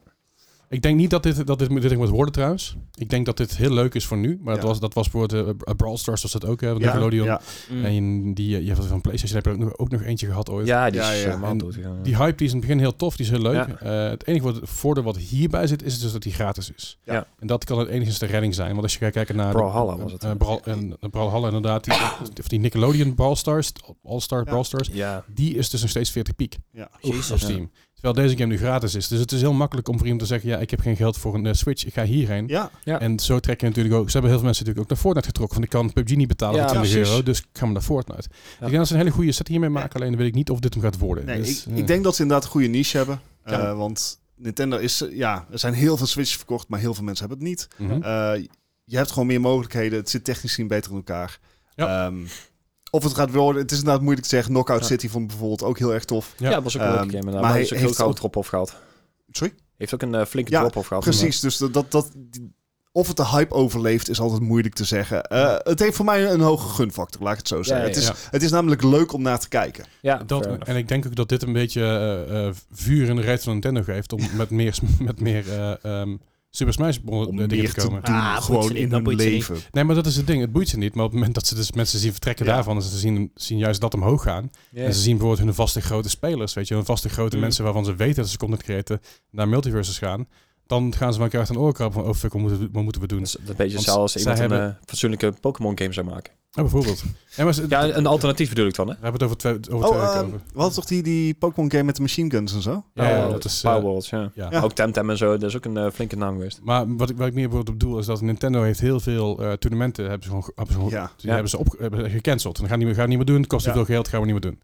Ik denk niet dat dit, dat dit, dit ding moet worden trouwens. Ik denk dat dit heel leuk is voor nu. Maar dat,
Ja.
was, dat was bijvoorbeeld eh, Brawl Stars, was dat ook, hè, van
Ja,
Nickelodeon.
ja.
Mm.
En die, eh, je hebt van PlayStation heb je er ook nog, ook nog eentje gehad ooit.
Ja, die
Ja,
is eh,
ja.
helemaal
En
doodgegaan.
Die hype die is in het begin heel tof, die is heel leuk.
Ja.
Eh, het enige wat, voordeel wat hierbij zit, is dus dat die gratis is.
Ja.
En dat kan het enigszins de redding zijn. Want als je gaat kijken naar... de-
Brawlhalla was het.
eh, Brawl, en, en Brawlhalla inderdaad. Die, of die Nickelodeon Brawl Stars, All-Star
Ja.
Brawl Stars.
Ja.
Die is dus nog steeds 40 piek.
Ja.
Jezus,
ja.
Steam. Terwijl deze game nu gratis is. Dus het is heel makkelijk om voor iemand te zeggen... ja, ik heb geen geld voor een eh, Switch, ik ga hierheen.
Ja.
Ja.
En zo trek je natuurlijk ook... Ze hebben heel veel mensen natuurlijk ook naar Fortnite getrokken. Van ik kan PUBG niet betalen
Ja,
voor 20
precies.
euro, dus ik ga maar naar Fortnite. Ik denk dat ze een hele goede set hiermee maken. Alleen weet ik niet of dit hem gaat worden.
Nee,
Dus,
ik,
eh.
ik denk dat ze inderdaad een goede niche hebben.
Ja.
Eh, want Nintendo is... eh, Ja, er zijn heel veel Switches verkocht, maar heel veel mensen hebben het niet.
Mhm.
Eh, je hebt gewoon meer mogelijkheden. Het zit technisch gezien beter in elkaar.
Ja.
Ehm, of het gaat worden... Het is inderdaad moeilijk te zeggen. Knockout
Ja.
City vond ik bijvoorbeeld ook heel erg tof.
Ja.
Ja, dat was ook een leuke
Ehm,
game.
maar
Maar, maar hij
hij
heeft ook heel
heeft
gauw
ook-
drop-off gehad.
Sorry?
Heeft ook een eh, flinke
Ja,
drop-off gehad.
Precies, dus dat, dat, dat, die- of het de hype overleeft is altijd moeilijk te zeggen. Eh, het heeft voor mij een hoge gunfactor, laat ik het zo zeggen.
ja,
het, is,
ja.
het is namelijk leuk om naar te kijken.
Ja,
Dat,
Ah, fair enough.
en ik denk ook dat dit een beetje eh, eh, vuur in de reet van Nintendo geeft om met meer, met meer eh, ehm, Super Smash Bros.
Om
dingen
meer
te
te doen,
komen.
Ah, boeit ze
gewoon
niet,
in
dat
hun
boeit ze niet.
leven.
Nee, maar dat is het ding. Het boeit ze niet. Maar op het moment dat ze dus mensen zien vertrekken
Ja.
daarvan, en ze zien, zien juist dat omhoog gaan.
Ja.
En ze zien bijvoorbeeld hun vaste grote spelers, weet je, hun vaste grote
Mm.
mensen waarvan ze weten dat ze content creëren naar multiverses gaan. Dan gaan ze elkaar uit een oor krabben van, oh fuck, wat moeten we, wat moeten we doen?
Dat is een beetje
Want
hetzelfde als
zij
iemand een
hebben-
eh, fatsoenlijke Pokémon game zou maken.
Ja, Oh, bijvoorbeeld. Ja, maar ze-
Ja, een alternatief bedoel ik dan, hè?
we hebben het over twee, over
Oh,
twee weken
ehm,
over.
we hadden toch die, die Pokémon game met de machine guns en zo?
Ja,
Oh,
ja, dat is... eh,
Power Worlds, ja.
ja.
Ja.
Ook Temtem en zo, dat is ook een eh, flinke naam geweest.
Maar wat ik, wat ik meer bijvoorbeeld op bedoel is dat Nintendo heeft heel veel eh, toernooien hebben ze gewoon, ge- hebben ze gewoon
Ja.
Die
Ja.
hebben ze op, hebben ze gecanceld. En dan gaan we niet meer, gaan we niet meer doen. Het kost te
Ja.
veel geld, gaan we niet meer doen.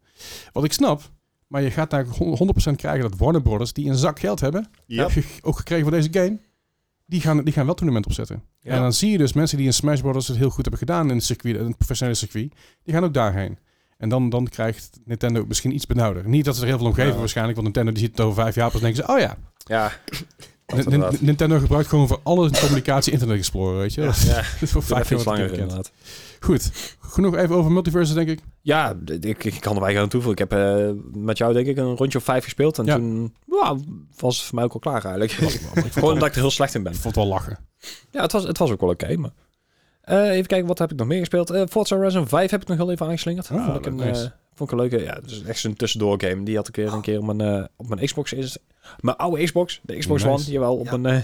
Wat ik snap, maar je gaat daar hon- 100% krijgen dat Warner Brothers, die een zak geld hebben,
Ja.
heb je ook gekregen voor deze game, die gaan, die gaan wel toernooi opzetten.
Ja.
En dan zie je dus mensen die in Smash Brothers het heel goed hebben gedaan in het, circuit, in het professionele circuit, die gaan ook daarheen. En dan, dan krijgt Nintendo het misschien iets benauwder. Niet dat ze er heel veel om geven
Ja.
waarschijnlijk, want Nintendo die ziet het over vijf jaar pas en denken ze, oh ja,
Ja,
Nin- Nin-
inderdaad.
Nintendo gebruikt gewoon voor alle communicatie Internet Explorer, weet je.
Ja.
Dat is
Ja,
voor vijf
Doe even
jaar
iets
wat ik
langer
heb gekend.
inderdaad.
Goed, genoeg even over multiverses denk ik.
Ja, d- ik, ik kan er weinig aan toevoegen. Ik heb eh, met jou denk ik een rondje of vijf gespeeld. En
Ja.
toen ja, was het voor mij ook al klaar eigenlijk.
ik
Gewoon omdat ik er heel slecht in ben.
Ik vond het wel lachen.
Ja, het was, het was ook wel oké, maar... Eh, even kijken, wat heb ik nog meer gespeeld? Eh, Forza Horizon 5 heb ik nog heel even aangeslingerd.
Ah,
vond, ik een,
nice.
eh, vond ik een leuke... Ja, het is echt zo'n tussendoor game. Die had ik weer een keer op mijn, eh, op mijn Xbox... Is, mijn oude Xbox, de Xbox
Nice.
One, jawel, op
Ja.
een... eh,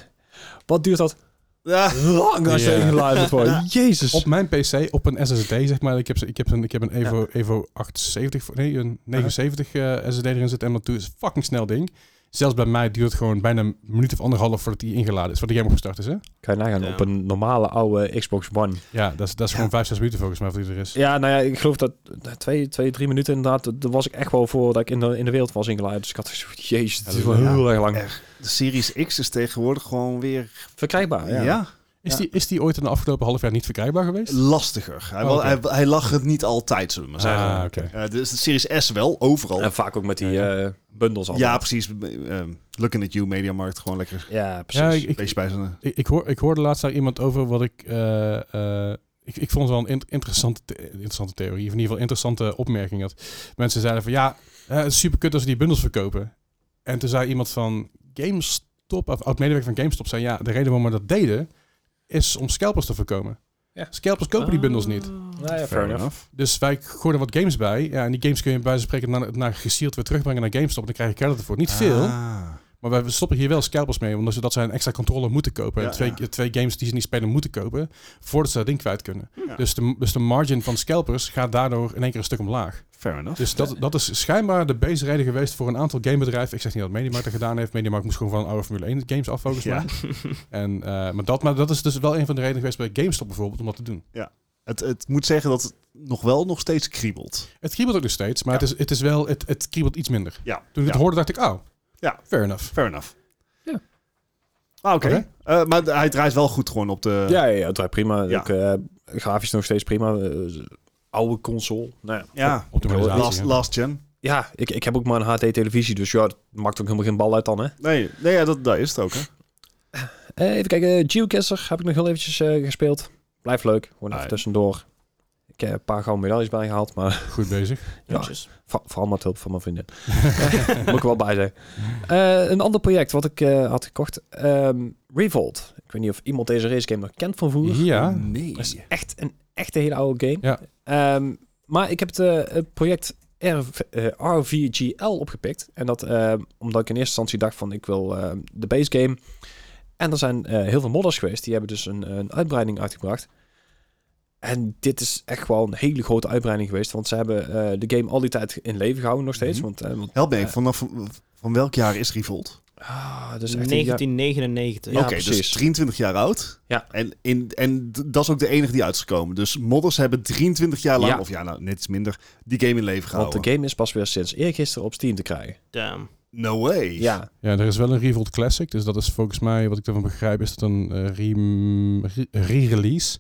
wat duurt dat
Ja.
lang als je
Ja.
ingeladen moet worden. Jezus.
Op mijn PC, op een SSD zeg maar. Ik heb, ik heb een, ik heb een Evo, Evo 78, voor- nee, een 79 eh, SSD erin zitten. En dat is een fucking snel ding. Zelfs bij mij duurt het gewoon bijna een minuut of anderhalf voordat die ingeladen is. Voordat de game opgestart is, hè?
Kan je nagaan,
Ja.
op een normale oude Xbox One.
Ja, dat is, dat is gewoon 5, 6 minuten volgens mij voordat die er is.
Ja, nou ja, ik geloof dat eh, twee, twee drie minuten inderdaad... dat- Daar was ik echt wel voor dat ik in de, in de wereld was ingeladen. Dus ik had zoiets van, jezus,
Ja,
het is wel
dat-
heel erg lang.
Echt. De Series X is tegenwoordig gewoon weer
Verkrijgbaar,
ja.
ja.
Is, die, is die ooit in de afgelopen half jaar niet verkrijgbaar geweest?
lastiger. Hij,
Oh,
wel-
oké.
hij, hij lag het niet altijd, zullen we maar zeggen.
Ah, oké.
Eh, dus de Series S wel, overal.
En vaak ook met die
Ja,
eh, bundels al.
ja, precies. Ehm, looking at you, Mediamarkt. Gewoon lekker
Ja, precies.
Ja, ik, ik,
beestje bij zijn... eh.
Ik, ik, hoor, ik hoorde laatst daar iemand over wat ik. eh, eh, ik, ik vond het wel een in- interessante, the- interessante theorie. Of in ieder geval interessante opmerking. Dat mensen zeiden van ja, eh, het is super kut als ze die bundels verkopen. En toen zei iemand van GameStop, of oud medewerker van GameStop, zei ja, de reden waarom we dat deden is om scalpers te voorkomen.
Ja.
Scalpers kopen die bundels
Ah.
niet.
Nou ja, fair enough.
Dus wij gooiden wat games bij. Ja, en die games kun je bij wijze van spreken naar, naar gesield weer terugbrengen naar GameStop. Dan krijg je credit ervoor. Niet
Ah.
veel. Maar wij- we stoppen hier wel scalpers mee, omdat ze dat zij een extra controller moeten kopen.
Ja,
en twee,
ja.
twee games die ze niet spelen moeten kopen, voordat ze dat ding kwijt kunnen.
Ja.
Dus, de, dus de margin van scalpers gaat daardoor in één keer een stuk omlaag.
Fair enough.
Dus dat, dat is schijnbaar de base reden geweest voor een aantal gamebedrijven. Ik zeg niet dat Mediamarkt dat gedaan heeft. Mediamarkt moest gewoon van oude Formule 1 games af, volgens
Ja.
mij. En, eh, maar, dat, maar dat is dus wel een van de redenen geweest bij GameStop bijvoorbeeld, om dat te doen.
Het, het moet zeggen dat het nog wel nog steeds kriebelt.
Het kriebelt ook nog steeds, maar
Ja.
het, is, het is wel, het, het kriebelt iets minder.
Ja.
Toen ik
Ja.
het hoorde, dacht ik, oh,
Ja.
fair enough.
Fair enough.
Ja.
Ah, oké.
Oké.
Eh, maar hij draait wel goed gewoon op de...
Ja, ja, ja, het draait prima.
Ja.
Ook, eh, grafisch nog steeds prima. Eh, oude console. Nou, ja.
ja.
Optimalisatie.
Last,
hè.
last gen.
ja, ik, ik heb ook maar een HD-televisie, dus ja, dat maakt ook helemaal geen bal uit dan, hè.
Nee, nee ja, dat, dat is het ook. Hè?
Eh, even kijken, eh, Geocaster heb ik nog heel eventjes eh, gespeeld. Blijft leuk, gewoon even
Ah, ja.
tussendoor. Ik Ik heb een paar gouden medailles bijgehaald, maar
Goed bezig.
Ja.
Netjes.
va- vooral met hulp van mijn vriendin. Moet ik er wel bij zijn. Eh, een ander project wat ik eh, had gekocht. ehm, Revolt. Ik weet niet of iemand deze race game nog kent van vroeger.
Ja.
Nee.
Dat is echt een echte hele oude game.
Ja.
Ehm, maar ik heb het, eh, het project RV, eh, RVGL opgepikt. En dat ehm, omdat ik in eerste instantie dacht van ik wil ehm, de base game. En er zijn eh, heel veel modders geweest. Die hebben dus een, een uitbreiding uitgebracht. En dit is echt wel een hele grote uitbreiding geweest. Want ze hebben eh, de game al die tijd in leven gehouden nog steeds.
Mhm.
Want, eh, want
Help me even, vanaf van welk jaar is Revolt?
ah, dat is echt een jaar-
1999.
Ja,
Oké, dus
precies.
23 jaar oud.
Ja.
En, in, en d- dat is ook de enige die uit is gekomen. Dus modders hebben 23 jaar lang,
Ja.
of ja, nou, net iets minder, die game in leven
want
gehouden.
de game is pas weer sinds eergisteren op Steam te krijgen.
Damn.
No way.
Ja,
ja, er is wel een Revolt Classic. Dus dat is volgens mij, wat ik ervan begrijp, is dat een eh, rem- re- re-release.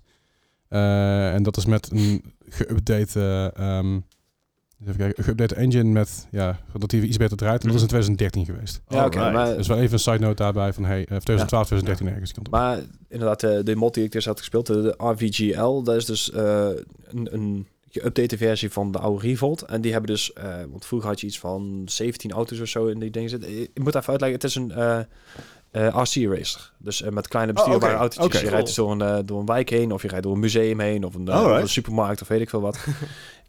Eh, en dat is met een geüpdate eh, ehm, even kijken, een geüpdate engine met, ja, dat die iets beter draait. En dat is in 2013 geweest.
ja oké.
Alright.
maar-
Dus wel even een side note daarbij van, hey, eh, 2012, 2013 ergens die kant op.
Maar inderdaad, de, de mod die ik dus had gespeeld, de, de RVGL, dat is dus eh, een, een geüpdate versie van de oude Revolt. En die hebben dus, eh, want vroeger had je iets van 17 auto's of zo in die dingen zitten. Ik moet even uitleggen, het is een eh, eh, RC racer. Dus eh, met kleine
Oh,
bestuurbare
oké,
autootjes.
oké.
je rijdt dus door een, eh, door een wijk heen, of je rijdt door een museum heen, of een, eh,
Alright.
een supermarkt, of weet ik veel wat. Je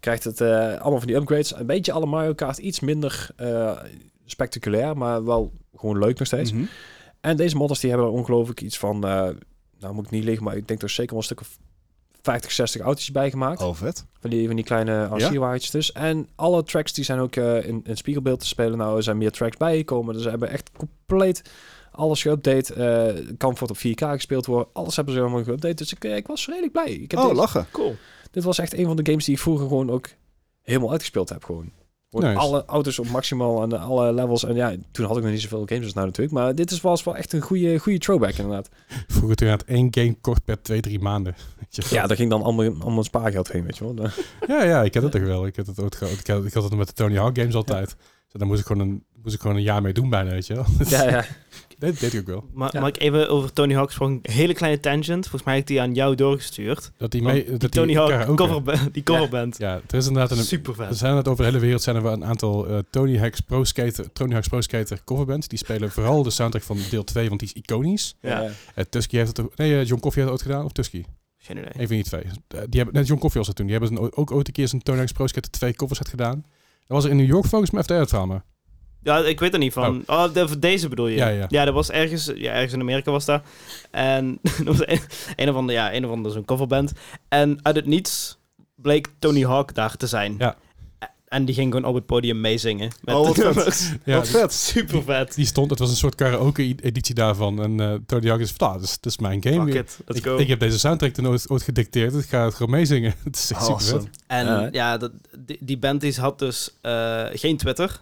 krijgt het eh, allemaal van die upgrades. Een beetje alle Mario Kart, iets minder eh, spectaculair, maar wel gewoon leuk nog steeds.
Mhm.
En deze modders die hebben er ongelooflijk iets van, eh, nou moet ik niet liggen, maar ik denk er zeker wel een stuk of 50, 60 auto's bij gemaakt.
Oh, vet.
Van, die, van die kleine
Ja?
RC-wagentjes dus. En alle tracks die zijn ook eh, in, in spiegelbeeld te spelen. Nou, er zijn meer tracks bijgekomen. Dus ze hebben echt compleet alles geüpdate. Eh Comfort op 4K gespeeld worden. Alles hebben ze helemaal geüpdate. Dus ik, eh, ik was redelijk blij. Ik heb
Oh,
deze-
lachen.
Cool.
dit was echt een van de games die ik vroeger gewoon ook helemaal uitgespeeld heb. Gewoon. Gewoon
Nice.
Alle auto's op maximaal en alle levels. En ja, toen had ik nog niet zoveel games als nou natuurlijk. Maar dit is, was wel echt een goede, goede throwback inderdaad.
Vroeger toen had één game kort per twee, drie maanden. Weet je wel.
Ja, daar ging dan allemaal, allemaal spaargeld heen, weet je wel.
Ja, ja, ik heb dat toch wel. Ik, heb dat ooit gehad. ik, had, ik had het met de Tony Hawk games altijd. Dus daar moest ik, gewoon een, moest ik gewoon een jaar mee doen bijna, weet je wel.
ja, ja.
dat deed ik ook wel.
Maar
Ja.
mag ik even over Tony Hawk gesproken? Een hele kleine tangent. Volgens mij heb ik die aan jou doorgestuurd.
Dat die,
Want
mee, dat
Oh, Tony
die
Hawk
karaoke-
coverband. Die coverband.
Ja, er is inderdaad een...
Super
Er
vet.
zijn het over de hele wereld zijn er wel een aantal eh, Tony Hawk's Pro Skater, Tony Hawk's Pro Skater coverbands. Die spelen vooral de soundtrack van deel 2, want die is iconisch.
Ja.
Ja.
Eh, Tusky heeft het ook... Nee, eh, John Coffey heeft het ooit gedaan, of Tusky?
Geen idee.
Een van die twee. Eh, die hebben, net John Coffey was dat toen. Die hebben een- ook ooit een keer zijn Tony Hawk's Pro Skater 2 covers gedaan. Dat was er in New York volgens mij, of daar het verhaal maar.
Ja, ik weet er niet van. Oh, de- deze bedoel je?
Ja, ja.
dat was ergens... Ja, ergens in Amerika was dat. En er was een, een of andere... Ja, een of andere zo'n coverband. En uit het niets bleek Tony Hawk daar te zijn.
Ja.
En die ging gewoon op het podium meezingen. Met
Oh, wat
de
vet.
nummers.
Ja,
Wat vet.
Super vet.
Die stond, het was een soort karaoke-editie daarvan. En eh, Tony Hawk is van, ah, dat is, dat is mijn game
Fuck
weer.
it. Let's
Ik,
go.
ik heb deze soundtrack toen ooit, ooit gedicteerd. Ik ga het gewoon meezingen. het is echt super
Awesome.
En
Ja, hè?
ja, dat, die, die band die had dus eh, geen Twitter.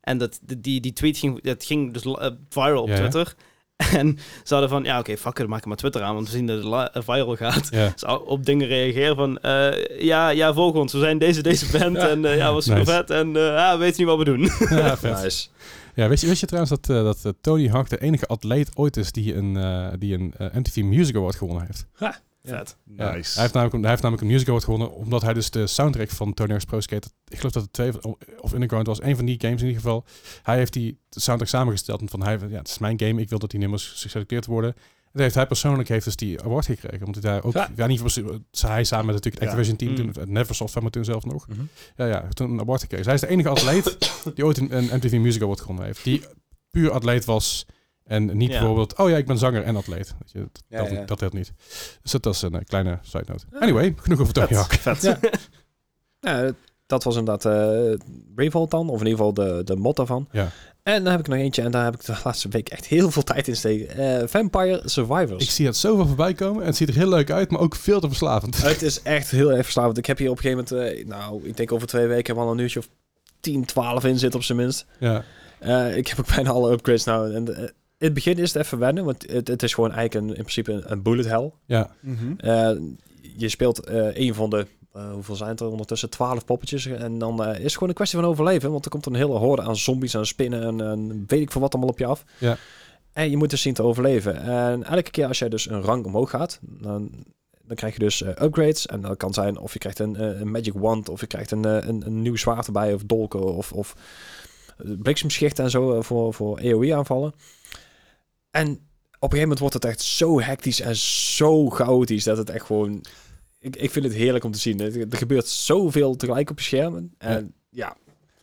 En dat, die, die tweet ging, dat ging dus eh, viral op
Ja, ja.
Twitter. En ze hadden van, ja oké, fuck it, maak er maar Twitter aan, want we zien dat het li- eh, viral gaat.
Ja.
Dus al- op dingen reageren van, eh, ja, ja, volg ons, we zijn deze, deze band. En eh, ja, was super
Nice.
vet. En eh, ja, we weten niet wat we doen.
ja, vet.
Nice.
Ja, wist, je, wist je trouwens dat, eh, dat eh, Tony Hawk de enige atleet ooit is die een, eh, die een eh, MTV Music Award gewonnen heeft?
Ja.
Vet.
Ja.
Nice.
Hij, heeft namelijk, een- hij heeft namelijk een Music Award gewonnen omdat hij dus de soundtrack van Tony Hawk's Pro Skater, ik geloof dat het twee of- of Underground was, een van die games in ieder geval. Hij heeft die soundtrack samengesteld en van hij, van, ja, het is mijn game, ik wil dat die nummers geselecteerd worden. En heeft hij persoonlijk heeft dus die award gekregen, omdat hij daar ook, ja,
Ja.
niet persoon- hij samen met natuurlijk het
Ja.
Activision team, toen,
Mm.
het Neversoft maar toen zelf nog,
Mhm.
ja, ja, heeft toen een award gekregen. Dus hij is de enige atleet die ooit een, een MTV Music Award gewonnen heeft, die puur atleet was. En niet
Ja.
bijvoorbeeld, oh ja, ik ben zanger en atleet. Weet je, dat,
Ja,
dat,
ja.
dat helpt niet. Dus dat was een eh, kleine side note. Anyway, genoeg over Tony Hawk.
Vet.
Ja. Ja, dat was inderdaad eh Revolt dan, of in ieder geval de, de mod daarvan.
Ja.
En dan heb ik nog eentje, en daar heb ik de laatste week echt heel veel tijd in steken. Eh, Vampire Survivors.
Ik zie het zoveel voorbij komen en het ziet er heel leuk uit, maar ook veel te verslavend.
Het is echt heel erg verslavend. Ik heb hier op een gegeven moment, eh, nou, ik denk over twee weken hebben we al een uurtje of 10, 12 in zitten op zijn minst.
Ja,
Eh, ik heb ook bijna alle upgrades nou. En, eh, in het begin is het even wennen, want het, het is gewoon eigenlijk een, in principe een, een bullet hell.
ja,
Mhm.
Eh, je speelt eh, een van de, eh, hoeveel zijn het er ondertussen, 12 poppetjes. En dan eh, is het gewoon een kwestie van overleven, want er komt een hele horde aan zombies en spinnen en, en weet ik veel wat allemaal op je af.
Ja.
En je moet dus zien te overleven. En elke keer als jij dus een rang omhoog gaat, dan dan krijg je dus eh, upgrades. En dat kan zijn of je krijgt een, eh, een magic wand, of je krijgt een, eh, een, een nieuw zwaard erbij, of dolken, of, of eh, bliksemschichten en zo eh, voor, voor AOE-aanvallen. En op een gegeven moment wordt het echt zo hectisch en zo chaotisch dat het echt gewoon... Ik, ik vind het heerlijk om te zien. Er er gebeurt zoveel tegelijk op je schermen. En ja,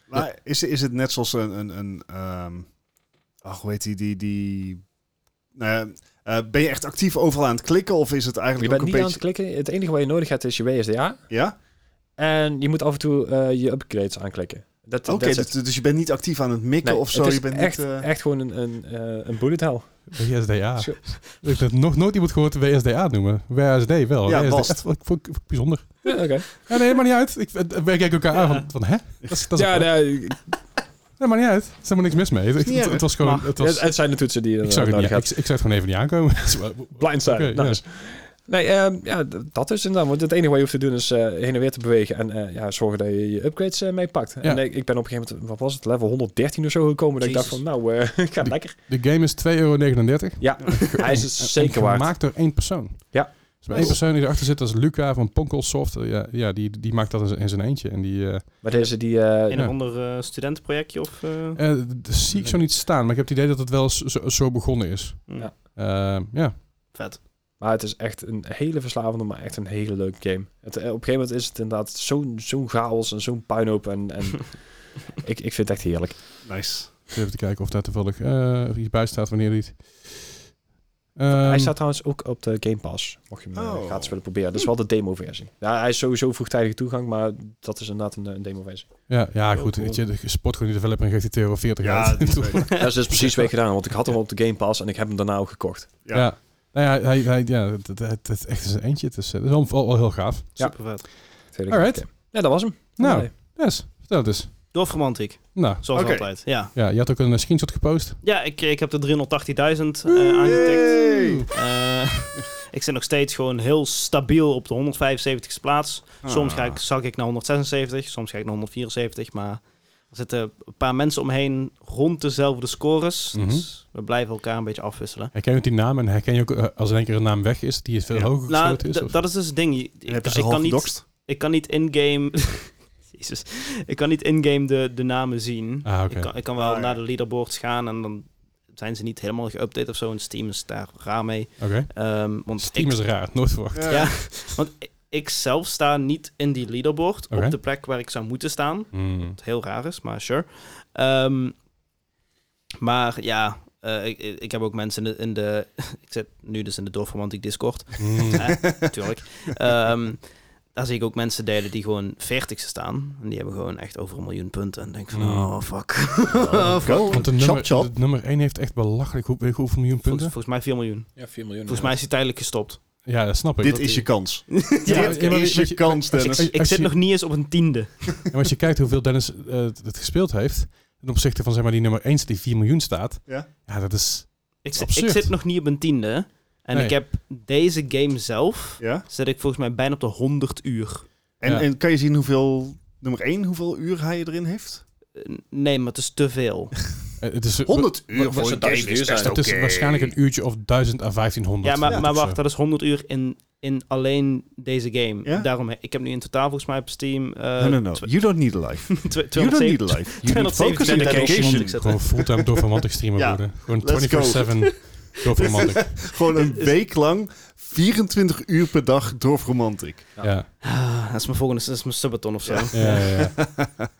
Maar is, is het net zoals een... een, een ehm, ach, hoe heet die? die, die nou ja, eh, ben je echt actief overal aan het klikken? Of is het
je
eigenlijk
bent
ook
niet
een
aan het
beetje...
klikken. Het enige wat je nodig hebt is je WSDA.
Ja?
En je moet af en toe eh, je upgrades aanklikken. Dat,
Oké,
that's it.
dus, dus je bent niet actief aan het mikken
Nee,
of zo?
het is
Je bent
echt,
niet, eh,
echt gewoon een, een, eh, een bullet hell.
WSDA.
Zo.
Ik heb dat nog nooit iemand gehoord WSDA noemen. WSD wel.
Ja,
WSDA.
Bast.
Vond ik, vond ik bijzonder.
Ja, oké.
Ja, nee, maar niet uit. Ik, eh, wij kijken elkaar aan van, van hè? Dat is, dat is
ja,
nee.
nee,
maar niet uit. Er is helemaal niks mis mee. Het,
niet
het-
erg.
het was gewoon...
Maar-
Het was,
het, het zijn de toetsen die je
ik,
dan
zag het
nodig
niet, ik, ik
hebt.
zag het gewoon even niet aankomen.
Blindside,
Oké, ja.
nice. Nee, ehm, ja, d- dat is inderdaad. Want het enige wat je hoeft te doen is eh, heen en weer te bewegen. En eh, ja, zorgen dat je je upgrades eh, meepakt. En ik, ik ben op een gegeven moment, wat was het, level 113 of zo gekomen. Dat
Jezus.
ik dacht van, nou, eh gaat lekker.
De game is 2,39 euro.
Ja, hij is het zeker waard.
Gemaakt door één persoon.
Ja.
Dus bij één persoon die erachter zit, dat is Luca van Ponkelsoft. Eh, Ja, ja die, die maakt dat in zijn- in zijn eentje. En die... eh,
Maar deze, die... eh,
Een of ander eh, studentenprojectje of... eh,
Eh, d- dat zie ik zo niet staan, maar ik heb het idee dat het wel eens zo, zo begonnen is.
Ja.
Eh, ja.
hm. Vet.
Maar het is echt een hele verslavende, maar echt een hele leuke game. Het, eh, op een gegeven moment is het inderdaad zo'n zo'n chaos en zo'n puinhoop. En, en ik, ik vind het echt heerlijk.
Nice.
Even te kijken of daar toevallig eh, iets bij staat wanneer Ehm, niet.
hij staat trouwens ook op de Game Pass, mocht je hem eh,
Oh.
gratis willen proberen. Dat is wel de demo-versie. Ja, hij is sowieso vroegtijdige toegang, maar dat is inderdaad een, eh, een demo-versie.
Ja, ja
Heel
goed.
cool.
weet Je, de sport gewoon die developer en geeft die 2,40 euro
Ja,
uit.
dat
ja.
is leuk.
Dat is dus precies wat ik gedaan, want ik had hem op de Game Pass en ik heb hem daarna ook gekocht.
Ja.
Nou ja, hij, hij, ja het, het, het is echt zijn eentje. Het is, eh, dat is wel, wel- wel heel gaaf.
Ja.
Super vet.
Alright.
Ja, dat was hem.
Nou.
Nee.
Yes, vertel het eens.
Doofromantiek,
Nou,
zoals
Oké.
altijd. Ja,
ja, je had ook een eh, screenshot gepost.
ja ik, ik heb de 380.000 eh aangetikt.
Hey.
Eh, ik zit nog steeds gewoon heel stabiel op de 175ste plaats. Soms
Ah.
Ah.
ga ik, zak ik naar 176, soms ga ik naar 174. Maar er zitten een paar mensen omheen rond dezelfde scores. Dus
Mhm.
we blijven elkaar een beetje afwisselen.
Herken je ook die naam en herken je ook eh, als in één keer een naam weg is, die is veel
Ja.
hoger
Nou,
gesloten is?
d-
of-
dat is dus het ding. Je-
En heb
Ik,
je ze
ik
half
kan niet,
gedoxt?
ik kan niet in-game... Jezus. Ik kan niet in-game de, de namen zien.
Ah, oké.
Ik, kan, ik kan wel
Ah, ja.
naar de leaderboards gaan en dan zijn ze niet helemaal geüpdate of zo. En Steam is daar raar mee.
Oké.
Ehm, want
Steam
ik,
is raar, nooit verwacht.
Ja.
Ja, want ik- ik zelf sta niet in die leaderboard
Oké.
op de plek waar ik zou moeten staan.
Hmm.
Wat heel raar is, maar sure. Ehm, maar ja, eh, ik, ik ik heb ook mensen in de... In de ik zit nu dus in de Dorfromantiek Discord,
Hmm.
natuurlijk. Ehm, daar zie ik ook mensen delen die gewoon 40 staan. En die hebben gewoon echt over een miljoen punten. En denk van,
Mm.
oh fuck.
Oh, Want de
Chop,
nummer,
chop.
de nummer 1 heeft echt belachelijk hoe, hoe- hoeveel miljoen
Volgens,
punten.
volgens mij 4 miljoen.
Ja, 4 miljoen.
Volgens mij is hij tijdelijk gestopt.
Ja, dat snap ik.
Dit
Dat-
is je kans.
Ja,
Dit
ja, maar
is
weet
je
je-
kans,
Ik,
Dennis.
als-
ik
als
zit
je-
nog niet eens op een tiende.
En als je kijkt hoeveel Dennis eh, het gespeeld heeft, ten opzichte van zeg maar die nummer 1 die 4 miljoen staat.
Ja.
Ja, dat is...
Ik, zit- ik
Absurd.
zit nog niet op een tiende. En
Nee.
ik heb deze game zelf...
Ja?
Zit ik volgens mij bijna op de 100 uur.
En,
Ja.
en kan je zien hoeveel, nummer 1, hoeveel uur hij erin heeft?
Eh, Nee, maar het is te veel.
eh, het is
100
wat
uur
zou
voor een game
duizend
is
uur
best
zijn?
Het is
oké.
waarschijnlijk een uurtje of 1000 à 1500.
Ja, maar,
Ja.
maar
Of zo.
wacht, dat is 100 uur in, in alleen deze game.
Ja?
Daarom, ik heb nu in totaal volgens mij op Steam... eh
No, no, no.
tw-
You don't need a life.
tw-
You don't
270
need a life. You need
270
focus and
level
dedication.
ik zet-
Gewoon fulltime door romantic streamer
Ja.
worden. Gewoon
Let's
24-7 door romantic.
Gewoon een week lang, 24 uur per dag dorfromantiek.
Ja.
Ja.
Ja.
Ah, dat is mijn volgende, dat is mijn subathon of zo.
Ja.
Ja, ja, ja.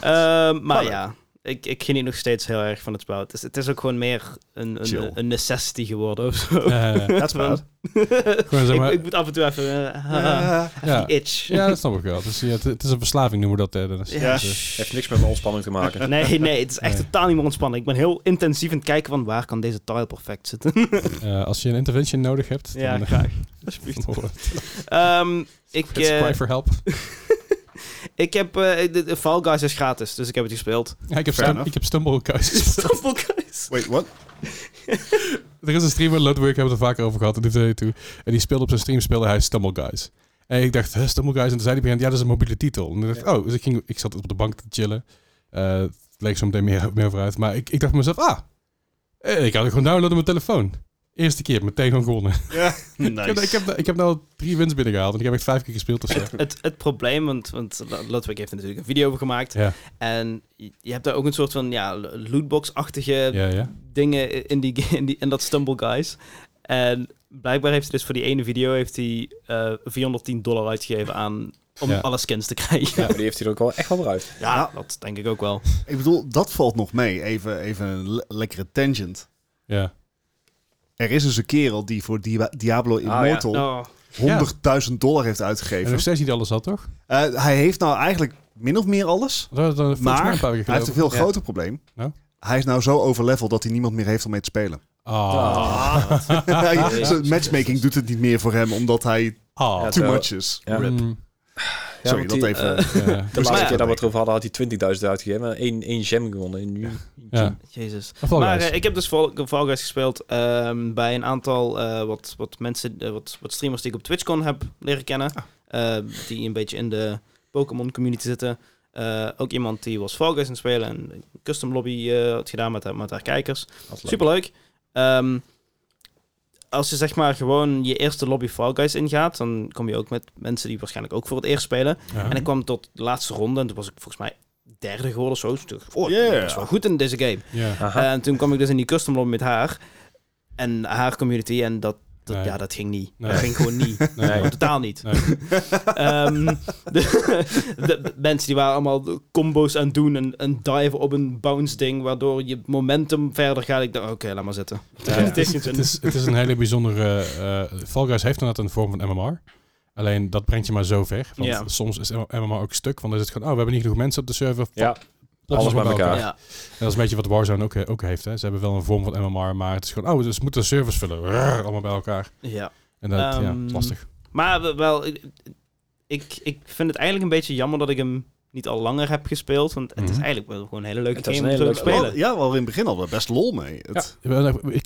Ehm, maar
Voilà.
ja, ik, ik geniet nog steeds heel erg van het spel. Het is, het is ook gewoon meer een,
Chill.
een, een necessity geworden of zo.
Ja, ja, ja.
Dat is waar.
Gewoon zeg
ik,
maar...
ik moet af en toe even... eh, haha,
Ja.
even
ja.
die itch.
ja, dat snap ik wel. Dus, ja, het, het is een verslaving noemen we dat, eh, Dennis.
Ja.
Ja.
Dus, eh,
Heeft niks met mijn ontspanning te maken.
Nee, nee, het is echt
Nee.
totaal niet meer ontspannen. Ik ben heel intensief aan het kijken van waar kan deze tile perfect zitten.
eh, als je een intervention nodig hebt,
ja,
dan... Oh,
graag. Alsjeblieft. Ehm, ik,
It's
eh,
cry for help.
ik heb... eh, de- de Fall Guys is gratis, dus ik heb het gespeeld.
Ja, ik, heb
Fair
stum-
enough.
ik heb Stumble Guys gespeeld.
Fall Guys.
Wait, what?
Er is een streamer, Ludwig, hebben we het er vaker over gehad, die deed toe. En die speelde op zijn stream, speelde hij Stumble Guys. En ik dacht, hè, Stumble Guys. En toen zei hij, op een gegeven moment, ja, dat is een mobiele titel. En toen dacht ik, oh, dus ik, ging, ik zat op de bank te chillen. Eh, het leek zo meteen meer, meer over uit. Maar ik, ik dacht bij mezelf, ah, eh, ik had het gewoon downloaden op mijn telefoon. Eerste keer meteen gewoon gewonnen. Ik, heb,
Nice.
ik, heb, ik heb nou drie wins binnengehaald en ik heb echt vijf keer gespeeld of zo.
het, het probleem, want, want Ludwig heeft er natuurlijk een video over gemaakt.
Ja,
En je- je hebt daar ook een soort van ja, lootbox-achtige
ja, ja.
dingen in, die, in, die, in dat Stumble Guys. En blijkbaar heeft hij dus voor die ene video heeft hij, eh 410 dollar uitgegeven aan om
Ja.
alle skins te krijgen.
Ja, maar die heeft hij er ook wel echt wel weer uit.
Ja, dat denk ik ook wel.
Ik bedoel, dat valt nog mee. Even, even een le- lekkere tangent.
ja.
Er is dus een kerel die voor Dia- Diablo Immortal
Oh.
100.000 dollar heeft uitgegeven.
En nog steeds niet alles had, toch?
Eh, hij heeft nou eigenlijk min of meer alles.
Dat was dan volgens mij
Maar
een paar
hij
weken
heeft een
geleden.
veel groter probleem.
Nou?
Hij is nou zo overleveld dat hij niemand meer heeft om mee te spelen.
Ah.
Oh,
Hij- Zijn matchmaking doet het niet meer voor hem, omdat hij
Ah.
Ja,
too
zo.
much is.
Ja.
Mm,
Sorry, dat even.
ja.
eh, De laatste
Maar-
keer dat we het erover hadden, had hij 20.000 uitgegeven. En één, één gem gewonnen. En nu...
Ja.
Jezus.
Fall
maar
Guys.
eh, ik heb dus Fall, Fall Guys gespeeld ehm, bij een aantal eh, wat, wat mensen, eh, wat, wat streamers die ik op TwitchCon heb leren kennen. eh, die een beetje in de Pokémon community zitten. Eh, ook iemand die was Fall Guys aan het spelen en een custom lobby eh, had gedaan met, haar- met haar kijkers. Superleuk. Ehm, als je zeg maar gewoon je eerste lobby Fall Guys ingaat, dan kom je ook met mensen die waarschijnlijk ook voor het eerst spelen.
Ja.
En ik kwam tot de laatste ronde en toen was ik volgens mij derde geworden of zo. Dus toen dacht ik, oh, ik
Yeah.
ben best wel goed in deze game.
Ja.
Aha.
En toen kwam ik dus in die custom lobby met haar. En haar community. En dat, dat-
Nee.
ja, dat ging niet.
Nee.
Dat ging gewoon niet.
Nee.
Gewoon Totaal niet.
Nee.
Ehm, de, de mensen die waren allemaal de combo's aan het doen. En een dive op een bounce ding. Waardoor je momentum verder gaat. Ik dacht, oké, laat maar zitten.
Ja, het, is, het, is, het is een hele bijzondere... eh Fall Guys heeft inderdaad een vorm van MMR. Alleen dat brengt je maar zo ver. Want
Ja.
soms is MMR ook stuk. Want dan is het gewoon, oh, we hebben niet genoeg mensen op de server.
Ja,
Plop
alles
ze maar
bij elkaar.
Ja.
En dat is een beetje wat Warzone ook, eh, ook heeft. Hè. Ze hebben wel een vorm van MMR, maar het is gewoon, oh, dus we moeten de servers vullen. Rrr, allemaal bij elkaar.
ja.
En dat ja,
Ehm,
is lastig.
Maar we- wel, ik, ik, ik vind het eigenlijk een beetje jammer dat ik hem niet al langer heb gespeeld. Want het is
Mhm.
eigenlijk wel gewoon een hele leuke
Het was
game om
een
zo
hele
te
leuke-
spelen.
Wel, ja, wel in het begin hadden we best lol mee. Het,
Ik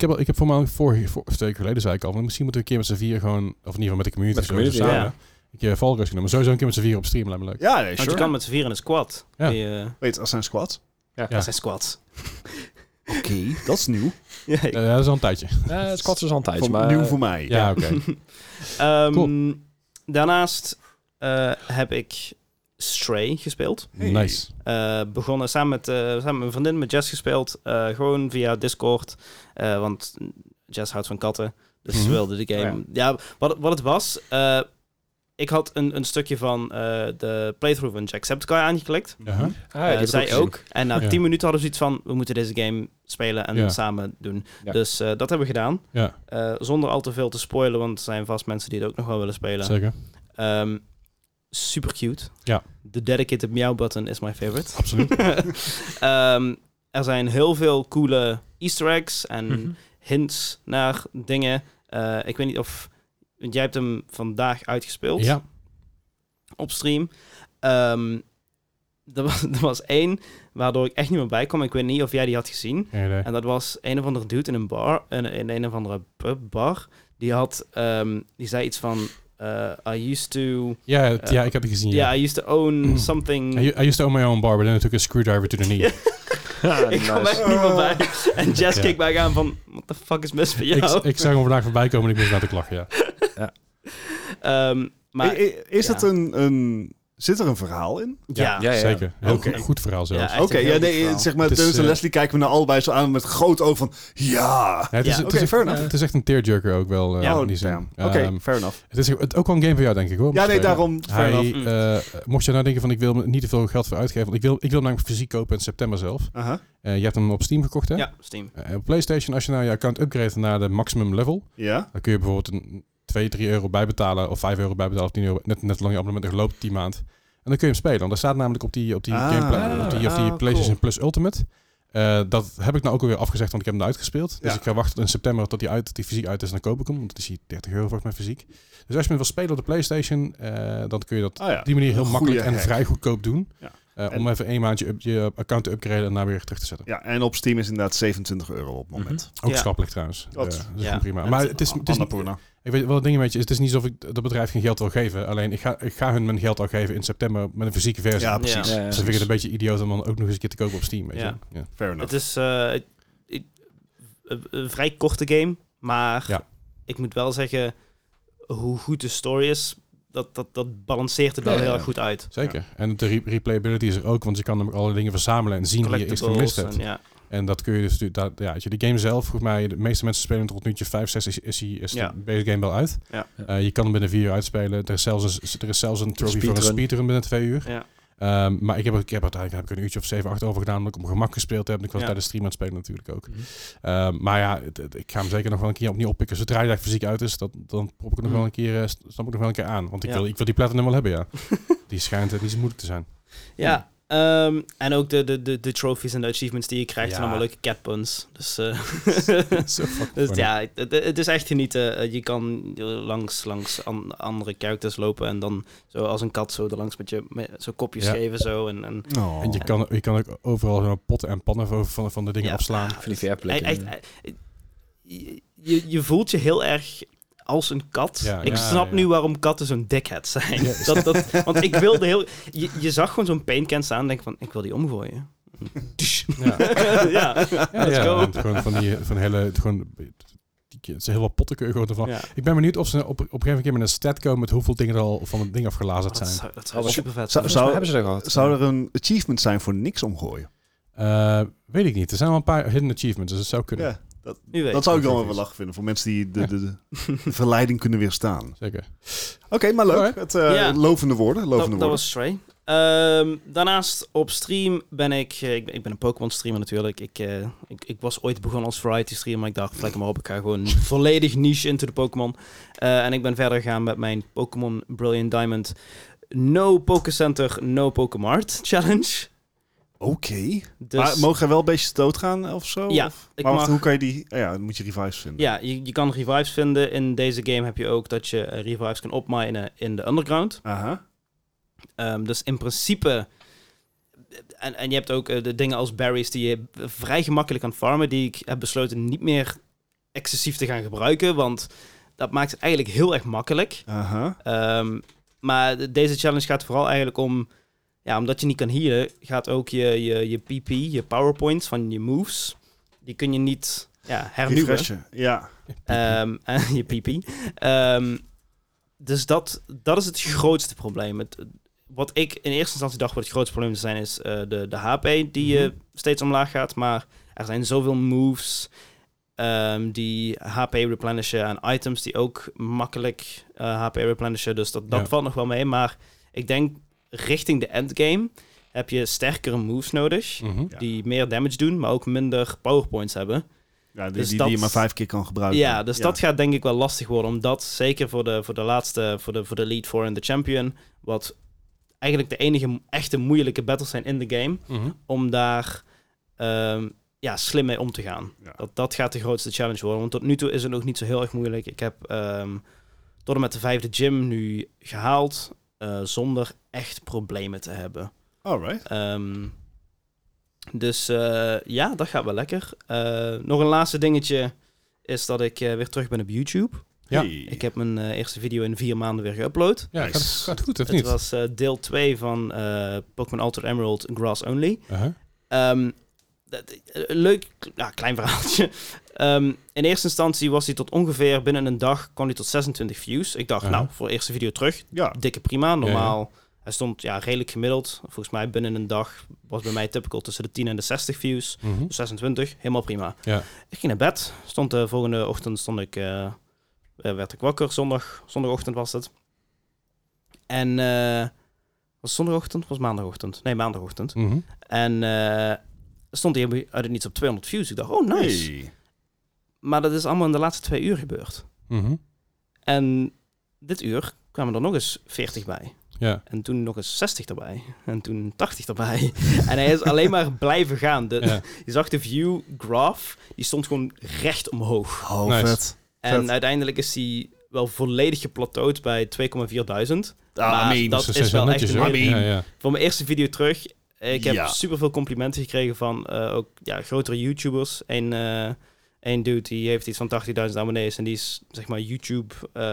heb, al- ik heb voor mij vorige, vor- of twee keer geleden zei ik al, maar misschien moeten we een keer met z'n vier gewoon, of in ieder geval met de community,
Met de
sowieso
community,
samen, een keer Fall Guys kunnen. Maar sowieso een keer met z'n vier op stream, lijkt me leuk.
ja, nee,
Want
sure.
je kan met z'n vier in een squad.
Ja.
Die, eh,
Weet, dat zijn squats.
Dat zijn squads.
Oké, dat is nieuw.
Ja, ik-
Eh, dat is al een tijdje.
Eh, het kwats is al een tijdje,
Van-
maar...
Nieuw voor mij.
Ja, oké.
Ehm,
Cool.
Daarnaast eh, heb ik Stray gespeeld.
Hey.
Nice.
Eh, begonnen samen met, eh, samen met mijn vriendin, met Jess gespeeld. Eh, gewoon via Discord. Eh, want Jess houdt van katten. Dus ze
Mhm.
wilde de
Oh
game. Ja, wat, wat het was. eh, ik had een, een stukje van eh, de playthrough van Jacksepticeye aangeklikt.
Ja.
Mhm.
Ah, die
Eh,
heb ik
zij
gezien.
ook. En na
Ja.
10 minuten hadden ze iets van: we moeten deze game spelen en
Ja.
samen doen.
Ja.
Dus eh, dat hebben we gedaan.
Ja,
Eh, zonder al te veel te spoilen, want er zijn vast mensen die het ook nog wel willen spelen.
zeker.
Ehm, super cute.
Ja.
De dedicated meow button is my favorite.
Absoluut.
Ehm, er zijn heel veel coole easter eggs en
Mhm.
hints naar dingen. Eh, ik weet niet of... want Jij hebt hem vandaag uitgespeeld
Ja,
op stream. Ehm, er, was, er was één waardoor ik echt niet meer bij kwam. Ik weet niet of jij die had gezien.
geen idee.
En dat was een of andere dude in een bar, in, in een of andere pubbar. Die had, ehm, die zei iets van, eh, I used to,
Ja, het- ja, ik heb het gezien.
yeah.
Ja.
I used to own
I,
something.
I used to own my own bar, but then I took a screwdriver to the knee.
Ja.
Ah,
ik kwam
nice.
echt niet meer bij. En Jess
Ja.
keek mij aan van, what the fuck is mis met jou?
Ik, ik zag hem vandaag voorbij komen en ik moest naar de klachten, ja.
Ehm, maar
I- I- is
ja.
het een, een... Zit er een verhaal in?
ja, ja,
Ja, ja.
Zeker. Heel
Oké.
goed, goed verhaal zelfs.
echt
Oké,
een heel
ja,
goed
nee,
verhaal.
zeg maar,
Het is,
Dennis en
eh,
Leslie kijken me nou allebei zo aan met groot oog van... Ja!
Ja, het, is,
Ja.
het,
Oké,
is
fair
echt,
enough.
het is echt een tearjerker ook wel. eh
Ja.
ja,
oh,
die zin.
damn. Oké,
Ehm,
fair enough.
het is ook- ook wel een game voor jou, denk ik hoor. om
Ja,
te
nee,
spelen.
daarom... Fair
Hij,
enough.
eh, mocht je nou denken van ik wil er niet te veel geld voor uitgeven, want ik wil, ik wil hem namelijk fysiek kopen in september zelf.
Aha.
Eh, je hebt hem op Steam gekocht, hè?
Ja, Steam.
Eh, op PlayStation, als je nou je account upgrade naar de maximum level,
Ja?
Dan kun je bijvoorbeeld een 2, 3 euro bijbetalen of 5 euro bijbetalen of 10 euro. Net, net lang je abonnement nog loopt die maand. En dan kun je hem spelen. Want daar staat namelijk op die, op die
Ah.
gameplay, op die, op die
Ah,
PlayStation
cool.
Plus Ultimate. Eh, dat heb ik nou ook alweer afgezegd, want ik heb hem nou uitgespeeld. Dus
Ja.
ik ga wachten in september tot die, uit, die fysiek uit is en dan koop ik hem. Want het is hier 30 euro volgens mij fysiek. Dus als je hem wil spelen op de PlayStation, eh, dan kun je dat
Ah ja.
op die manier heel
Een
makkelijk
goeie
en
hack.
vrij goedkoop doen.
Ja.
Eh, om
En-
even een maandje up- je account te upgraden en daar weer terug te zetten.
Ja, en op Steam is inderdaad 27 euro op het moment.
Ook
Ja.
schappelijk trouwens.
Dat-
Dat, dat is
ja.
gewoon prima.
Het-
Mhm. Maar het is, het is,
Annapurna.
Ik weet wel, het ding een beetje is, het is niet alsof ik dat bedrijf geen geld wil geven. Alleen ik ga, ik ga hun mijn geld al geven in september met een fysieke versie.
Ja,
Ja,
precies.
Ja, ja.
dus dan vind ik het een beetje idioot om dan ook nog eens een keer te kopen op Steam. Weet je?
Ja.
Ja.
Fair
Het
enough.
is eh, ik- ik- een een vrij korte game. Maar
Ja.
ik moet wel zeggen, hoe goed de story is, dat, dat, dat balanceert het wel
Ja, ja,
heel
ja.
erg goed uit.
Zeker. En de re- replayability is er ook, want je kan namelijk alle dingen verzamelen en zien die je eerst gemist
Collectibles
hebt.
en ja.
En dat kun je dus, dat, ja, weet je, de game zelf, volgens mij, de meeste mensen spelen hem tot nu 5, 6 is, is, die- is
Ja.
de base game wel uit.
Ja.
Eh, je kan hem binnen 4 uur uitspelen. Er is zelfs een, er is zelfs een trophy voor een
Speedrun.
speedrun binnen 2 uur.
Ja.
Ehm, maar ik heb, ik heb uiteindelijk heb ik een uurtje of 7, 8 over gedaan, omdat ik om gemak gespeeld heb. En ik was
Ja.
bij de stream aan het spelen natuurlijk ook.
Mhm.
Ehm, maar ja, het- het- ik ga hem zeker nog wel een keer opnieuw oppikken. Zodra hij daar fysiek uit is, dat, dan prop ik hem nog
Mhm.
wel een keer, eh, st- stamp ik nog wel een keer aan. Want ik,
Ja.
wil, ik wil die platinum wel hebben, ja. die schijnt eh, niet zo moeilijk te zijn.
Ja, ehm, en ook de, de, de, de trophies en de achievements die je krijgt zijn
Ja.
allemaal leuke catpuns. Dus, eh,
Zo fucking
dus
funny.
ja, het, het- het is echt genieten. Eh, Je kan langs, langs an- andere characters lopen en dan zo als een kat zo er langs met je met, zo kopjes
Ja.
geven. Zo, en, en,
En je kan, je kan ook overal zo'n potten en pannen van, van, van de dingen
Ja.
afslaan.
Van die VR-plekken.
Echt, echt, je- je, je voelt je heel erg als een kat.
Ja,
ik
ja,
snap
ja.
nu waarom katten zo'n dickhead zijn.
Ja.
Dat, dat, want ik wilde heel... Je, je zag gewoon zo'n paintcan staan en denk van, ik wil die omgooien.
Ja.
ja.
Ja,
Let's
ja,
go.
want Gewoon van die van hele, gewoon, die, het zijn heel wat potten kun je gewoon ervan.
ja.
Ik ben benieuwd of ze op, op een gegeven moment met een stat komen met hoeveel dingen er al van het ding afgelazerd
Dat
zijn.
zou, dat zou
Oh, wat-
super vet
zou-
Volgens
zijn.
mij hebben ze dat gehad.
Zou er een achievement zijn voor niks omgooien?
Eh, weet ik niet. Er zijn wel een paar hidden achievements, dus het zou kunnen.
Ja, dat,
Wie weet.
dat zou ik dan wel
Precies.
wel lachen vinden. Voor mensen die de, de, de verleiding kunnen weerstaan.
Zeker.
Oké, maar leuk.
Alright.
Het, eh,
Ja.
Lovende woorden. Lovende
dat,
woorden.
dat was Stray. Ehm, daarnaast op stream ben ik... eh, Ik ben, ik ben een Pokémon-streamer natuurlijk. Ik, eh, ik, ik was ooit begonnen als variety-streamer, maar ik dacht, lekker maar op, ik ga gewoon volledig niche into de Pokémon. Eh, en ik ben verder gegaan met mijn Pokémon Brilliant Diamond No Pokécenter, No Pokémart Challenge.
Oké.
Dus
Maar mogen er wel beestjes doodgaan of zo?
Ja,
Of-
ik
maar wacht,
mag-
hoe kan je die... ah Ja, dan moet je revives vinden.
ja, je, je kan revives vinden. In deze game heb je ook dat je eh, revives kan opminen in de underground.
Aha.
Ehm, dus in principe. En, en je hebt ook eh, de dingen als berries die je vrij gemakkelijk kan farmen, die ik heb besloten niet meer excessief te gaan gebruiken, want dat maakt het eigenlijk heel erg makkelijk.
Aha.
Ehm, maar de- deze challenge gaat vooral eigenlijk om, ja, omdat je niet kan healen, gaat ook je, je, je PP, je powerpoints van je moves, die kun je niet ja, hernieuwen.
Refreshen. Ja.
Ehm, en je pipi. Ehm, dus dat, dat is het grootste probleem. Het, wat ik in eerste instantie dacht wat het grootste probleem te zijn is eh, de, de HP die je steeds omlaag gaat. Maar er zijn zoveel moves ehm, die HP replenishen en items die ook makkelijk eh, HP replenishen. Dus dat, dat
Ja.
valt nog wel mee. Maar ik denk richting de endgame heb je sterkere moves nodig.
Mhm.
Ja.
Die meer damage doen, maar ook minder powerpoints hebben.
ja die,
Dus
die,
dat-
die je maar vijf keer kan gebruiken.
Ja, dus dat gaat denk ik wel lastig worden. Omdat zeker voor de, voor de laatste, voor de, voor de lead four en de champion, wat eigenlijk de enige echte moeilijke battles zijn in de game,
Mhm.
om daar ehm, ja, slim mee om te gaan.
Ja.
Dat, dat gaat de grootste challenge worden. Want tot nu toe is het nog niet zo heel erg moeilijk. Ik heb ehm, tot en met de vijfde gym nu gehaald, eh, zonder echt problemen te hebben.
Alright.
Ehm, dus eh, ja, dat gaat wel lekker. Eh, nog een laatste dingetje is dat ik eh, weer terug ben op YouTube.
Ja.
Hey.
Ik heb mijn eh, eerste video in vier maanden weer geüpload.
Ja,
Nice.
gaat, gaat goed, of
Het
niet?
was eh, deel 2 van eh Pokémon Altered Emerald Grass Only.
Uh-huh.
Ehm, dat- eh, leuk, ja, klein verhaaltje. Ehm, in eerste instantie was hij tot ongeveer binnen een dag kwam hij tot 26 views. Ik dacht,
Ja.
nou, voor eerste video terug,
Ja.
dikke prima. Normaal, hij stond ja, redelijk gemiddeld. Volgens mij binnen een dag was bij mij typical tussen de 10 en de 60 views.
Mhm.
26, helemaal prima.
Ja.
Ik ging naar bed. Stond de volgende ochtend stond ik, eh, eh, werd ik wakker. Zondag, zondagochtend was het. En eh, was het zondagochtend? Of was het maandagochtend? Nee, maandagochtend.
Mhm.
En eh, stond hij uit het niets op 200 views. Ik dacht, oh nice.
Hey.
Maar dat is allemaal in de laatste twee uur gebeurd.
Mhm.
En dit uur kwamen er nog eens 40 bij.
Ja.
En toen nog eens 60 erbij. En toen 80 erbij. en hij is alleen maar blijven gaan. De,
Ja.
Je zag de view graph, die stond gewoon recht omhoog.
Oh,
Nice.
vet.
En
Vet.
uiteindelijk is die wel volledig geplateauwd bij 2,4000.
Ah,
Maar
I mean.
dat
Dus
is wel echt een
hè?
hele-
Ja, ja.
Voor mijn eerste video terug. Ik heb
Ja.
superveel complimenten gekregen van eh, ook ja, grotere YouTubers. Eén eh één dude die heeft iets van 80.000 abonnees. En die is zeg maar YouTube. eh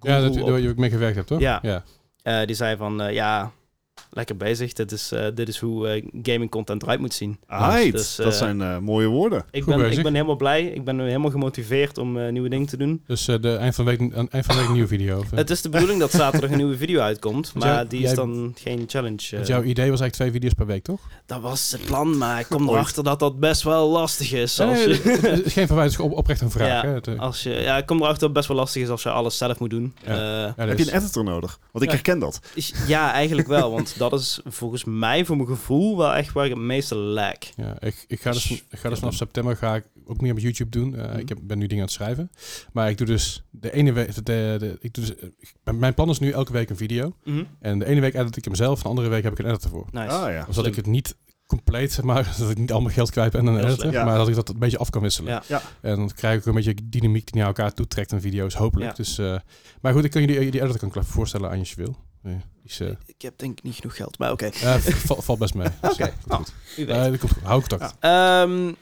ja, dat
guru op
waar je ook mee gewerkt hebt, toch?
Ja.
ja.
eh, die zei van, eh, ja, Lekker bezig. Dit is, eh, dit is hoe eh, gaming content eruit moet zien.
Aight,
Dus, eh,
dat zijn eh, mooie woorden.
Ik
Goed
ben,
bezig.
ik ben helemaal blij. Ik ben helemaal gemotiveerd om eh, nieuwe dingen te doen.
Dus eh, de eind van de week, aan het eind van de week een nieuwe video. of, eh?
Het is de bedoeling dat zaterdag een nieuwe video uitkomt,
Want
maar
jij-
die is
jij-
dan geen challenge. eh.
Want jouw idee was eigenlijk twee video's per week, toch?
Dat was het plan, maar ik kom erachter dat dat best wel lastig is. Als
Nee, nee,
je,
het is- het is geen verwijzing, op, oprecht een vraag.
Ja,
hè? Het, eh,
als je, ja, ik kom erachter dat het best wel lastig is als je alles zelf moet doen. Eh,
ja,
Heb
dus-
je een editor nodig? Want ik
Ja.
herken dat.
is- ja, eigenlijk wel, want dat is volgens mij, voor mijn gevoel, wel echt waar ik het meeste lijk.
Ja, ik, ik ga dus,
Dus-
ik ga dus vanaf september ga ik ook meer met YouTube doen. Eh,
Mhm.
Ik heb, ben nu dingen aan het schrijven. Maar ik doe dus de ene week. De, de, ik doe dus, eh, ik- mijn- mijn plan is nu elke week een video.
Mhm.
En de ene week edit ik hem zelf, de andere week heb ik een editor voor.
Nice.
Ah ja.
Zodat ik
slim.
het niet compleet, zeg maar dat ik niet al mijn geld kwijt ben aan een
Heel
editor.
slim.
Ja.
Maar dat ik dat een beetje af kan wisselen.
Ja.
Ja.
En dan krijg ik ook een beetje dynamiek die naar elkaar toe trekt in video's, hopelijk.
Ja.
Dus, eh, maar goed, ik kan jullie die editor kan ik voorstellen aan je wil. Eh, die is, eh,
Ik heb denk ik niet genoeg geld, maar oké.
eh, val- valt best mee. Dus, eh, komt goed.
U weet.
Eh, dat komt goed. Hou contact.
Ja.
Ehm,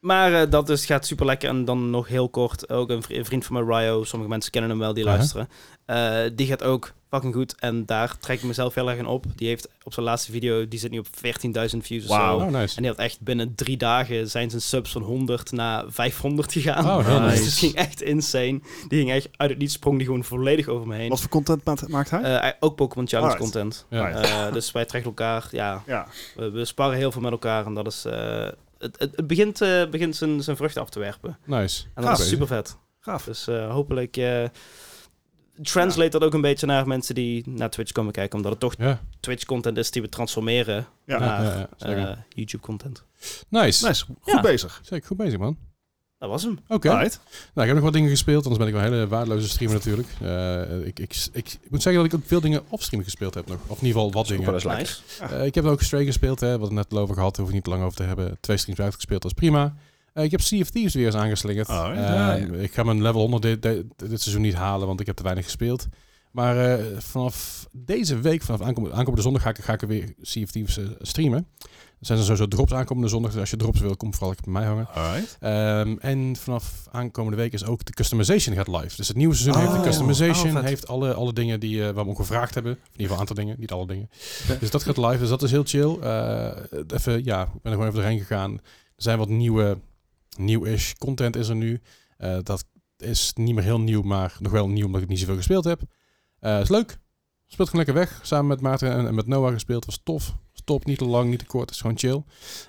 maar eh, dat dus gaat super lekker. En dan nog heel kort, ook een, vri- een vriend van mij, Ryo, sommige mensen kennen hem wel, die
Aha.
luisteren. Eh, die gaat ook fucking goed. En daar trek ik mezelf heel erg in op. Die heeft op zijn laatste video, die zit nu op 14.000 views of
Wauw.
zo.
Oh, nice.
En die had echt binnen drie dagen zijn zijn subs van 100 naar 500 gegaan.
Oh, heel
Dus
nice.
het ging echt insane. Die ging echt uit het niets, sprong die gewoon volledig over me heen.
Wat voor content maakt- maakt hij?
Eh, ook Pokémon Challenge
Alright.
content.
Ja.
Ah,
Eh, dus wij trekken elkaar, ja,
ja.
we, we sparren heel veel met elkaar en dat is. eh, het, het, het begint, eh, begint zijn, zijn vruchten af te werpen.
Nice.
En dat
Gaaf.
is super vet.
Gaaf.
Dus eh, hopelijk. eh, translate dat ook een beetje naar mensen die naar Twitch komen kijken. Omdat het toch
Ja,
Twitch-content is die we transformeren
ja,
Ja.
naar
ja, ja, zeker.
eh, YouTube-content.
nice.
Nice, goed
dus- Ja.
bezig.
Zeker, goed bezig, man.
Dat was hem.
Oké.
Alright.
Nou, ik heb nog wat dingen gespeeld, anders ben ik wel een hele waardeloze streamer natuurlijk. Eh, ik, ik, ik, ik moet zeggen dat ik ook veel dingen off-stream gespeeld heb nog. Of in ieder geval wat dingen.
wel eens lekker.
Nice.
Eh, ik heb ook Stray gespeeld, hè, wat we net al over gehad, daar hoef ik niet lang over te hebben. Twee streams uitgespeeld, dat is prima. Eh, ik heb Sea of Thieves weer eens aangeslingerd.
Oh, ja.
Eh,
Ja, ja.
Ik ga mijn level 100 dit, dit, dit seizoen niet halen, want ik heb te weinig gespeeld. Maar eh, vanaf deze week, vanaf aankomende, aankomende zondag, ga ik, ga ik er weer Sea of Thieves eh, streamen. Er zijn sowieso drops aankomende zondag, dus als je drops wil, kom vooral lekker bij mij hangen.
Alright.
Ehm, en vanaf aankomende week is ook de customization gaat live. Dus het nieuwe seizoen heeft
Oh.
de customization,
Oh, vet.
heeft alle, alle dingen die eh, waar we om gevraagd hebben. Of in ieder geval een aantal dingen, niet alle dingen. Dus dat gaat live, dus dat is heel chill. Eh, even, ja, ik ben er gewoon even doorheen gegaan. Er zijn wat nieuwe, nieuw-ish content is er nu. Eh, dat is niet meer heel nieuw, maar nog wel nieuw omdat ik niet zoveel gespeeld heb. Eh is leuk. Speelt gewoon lekker weg. Samen met Maarten en, en met Noah gespeeld. Was tof. Was top. Niet te lang, niet te kort. Is gewoon chill.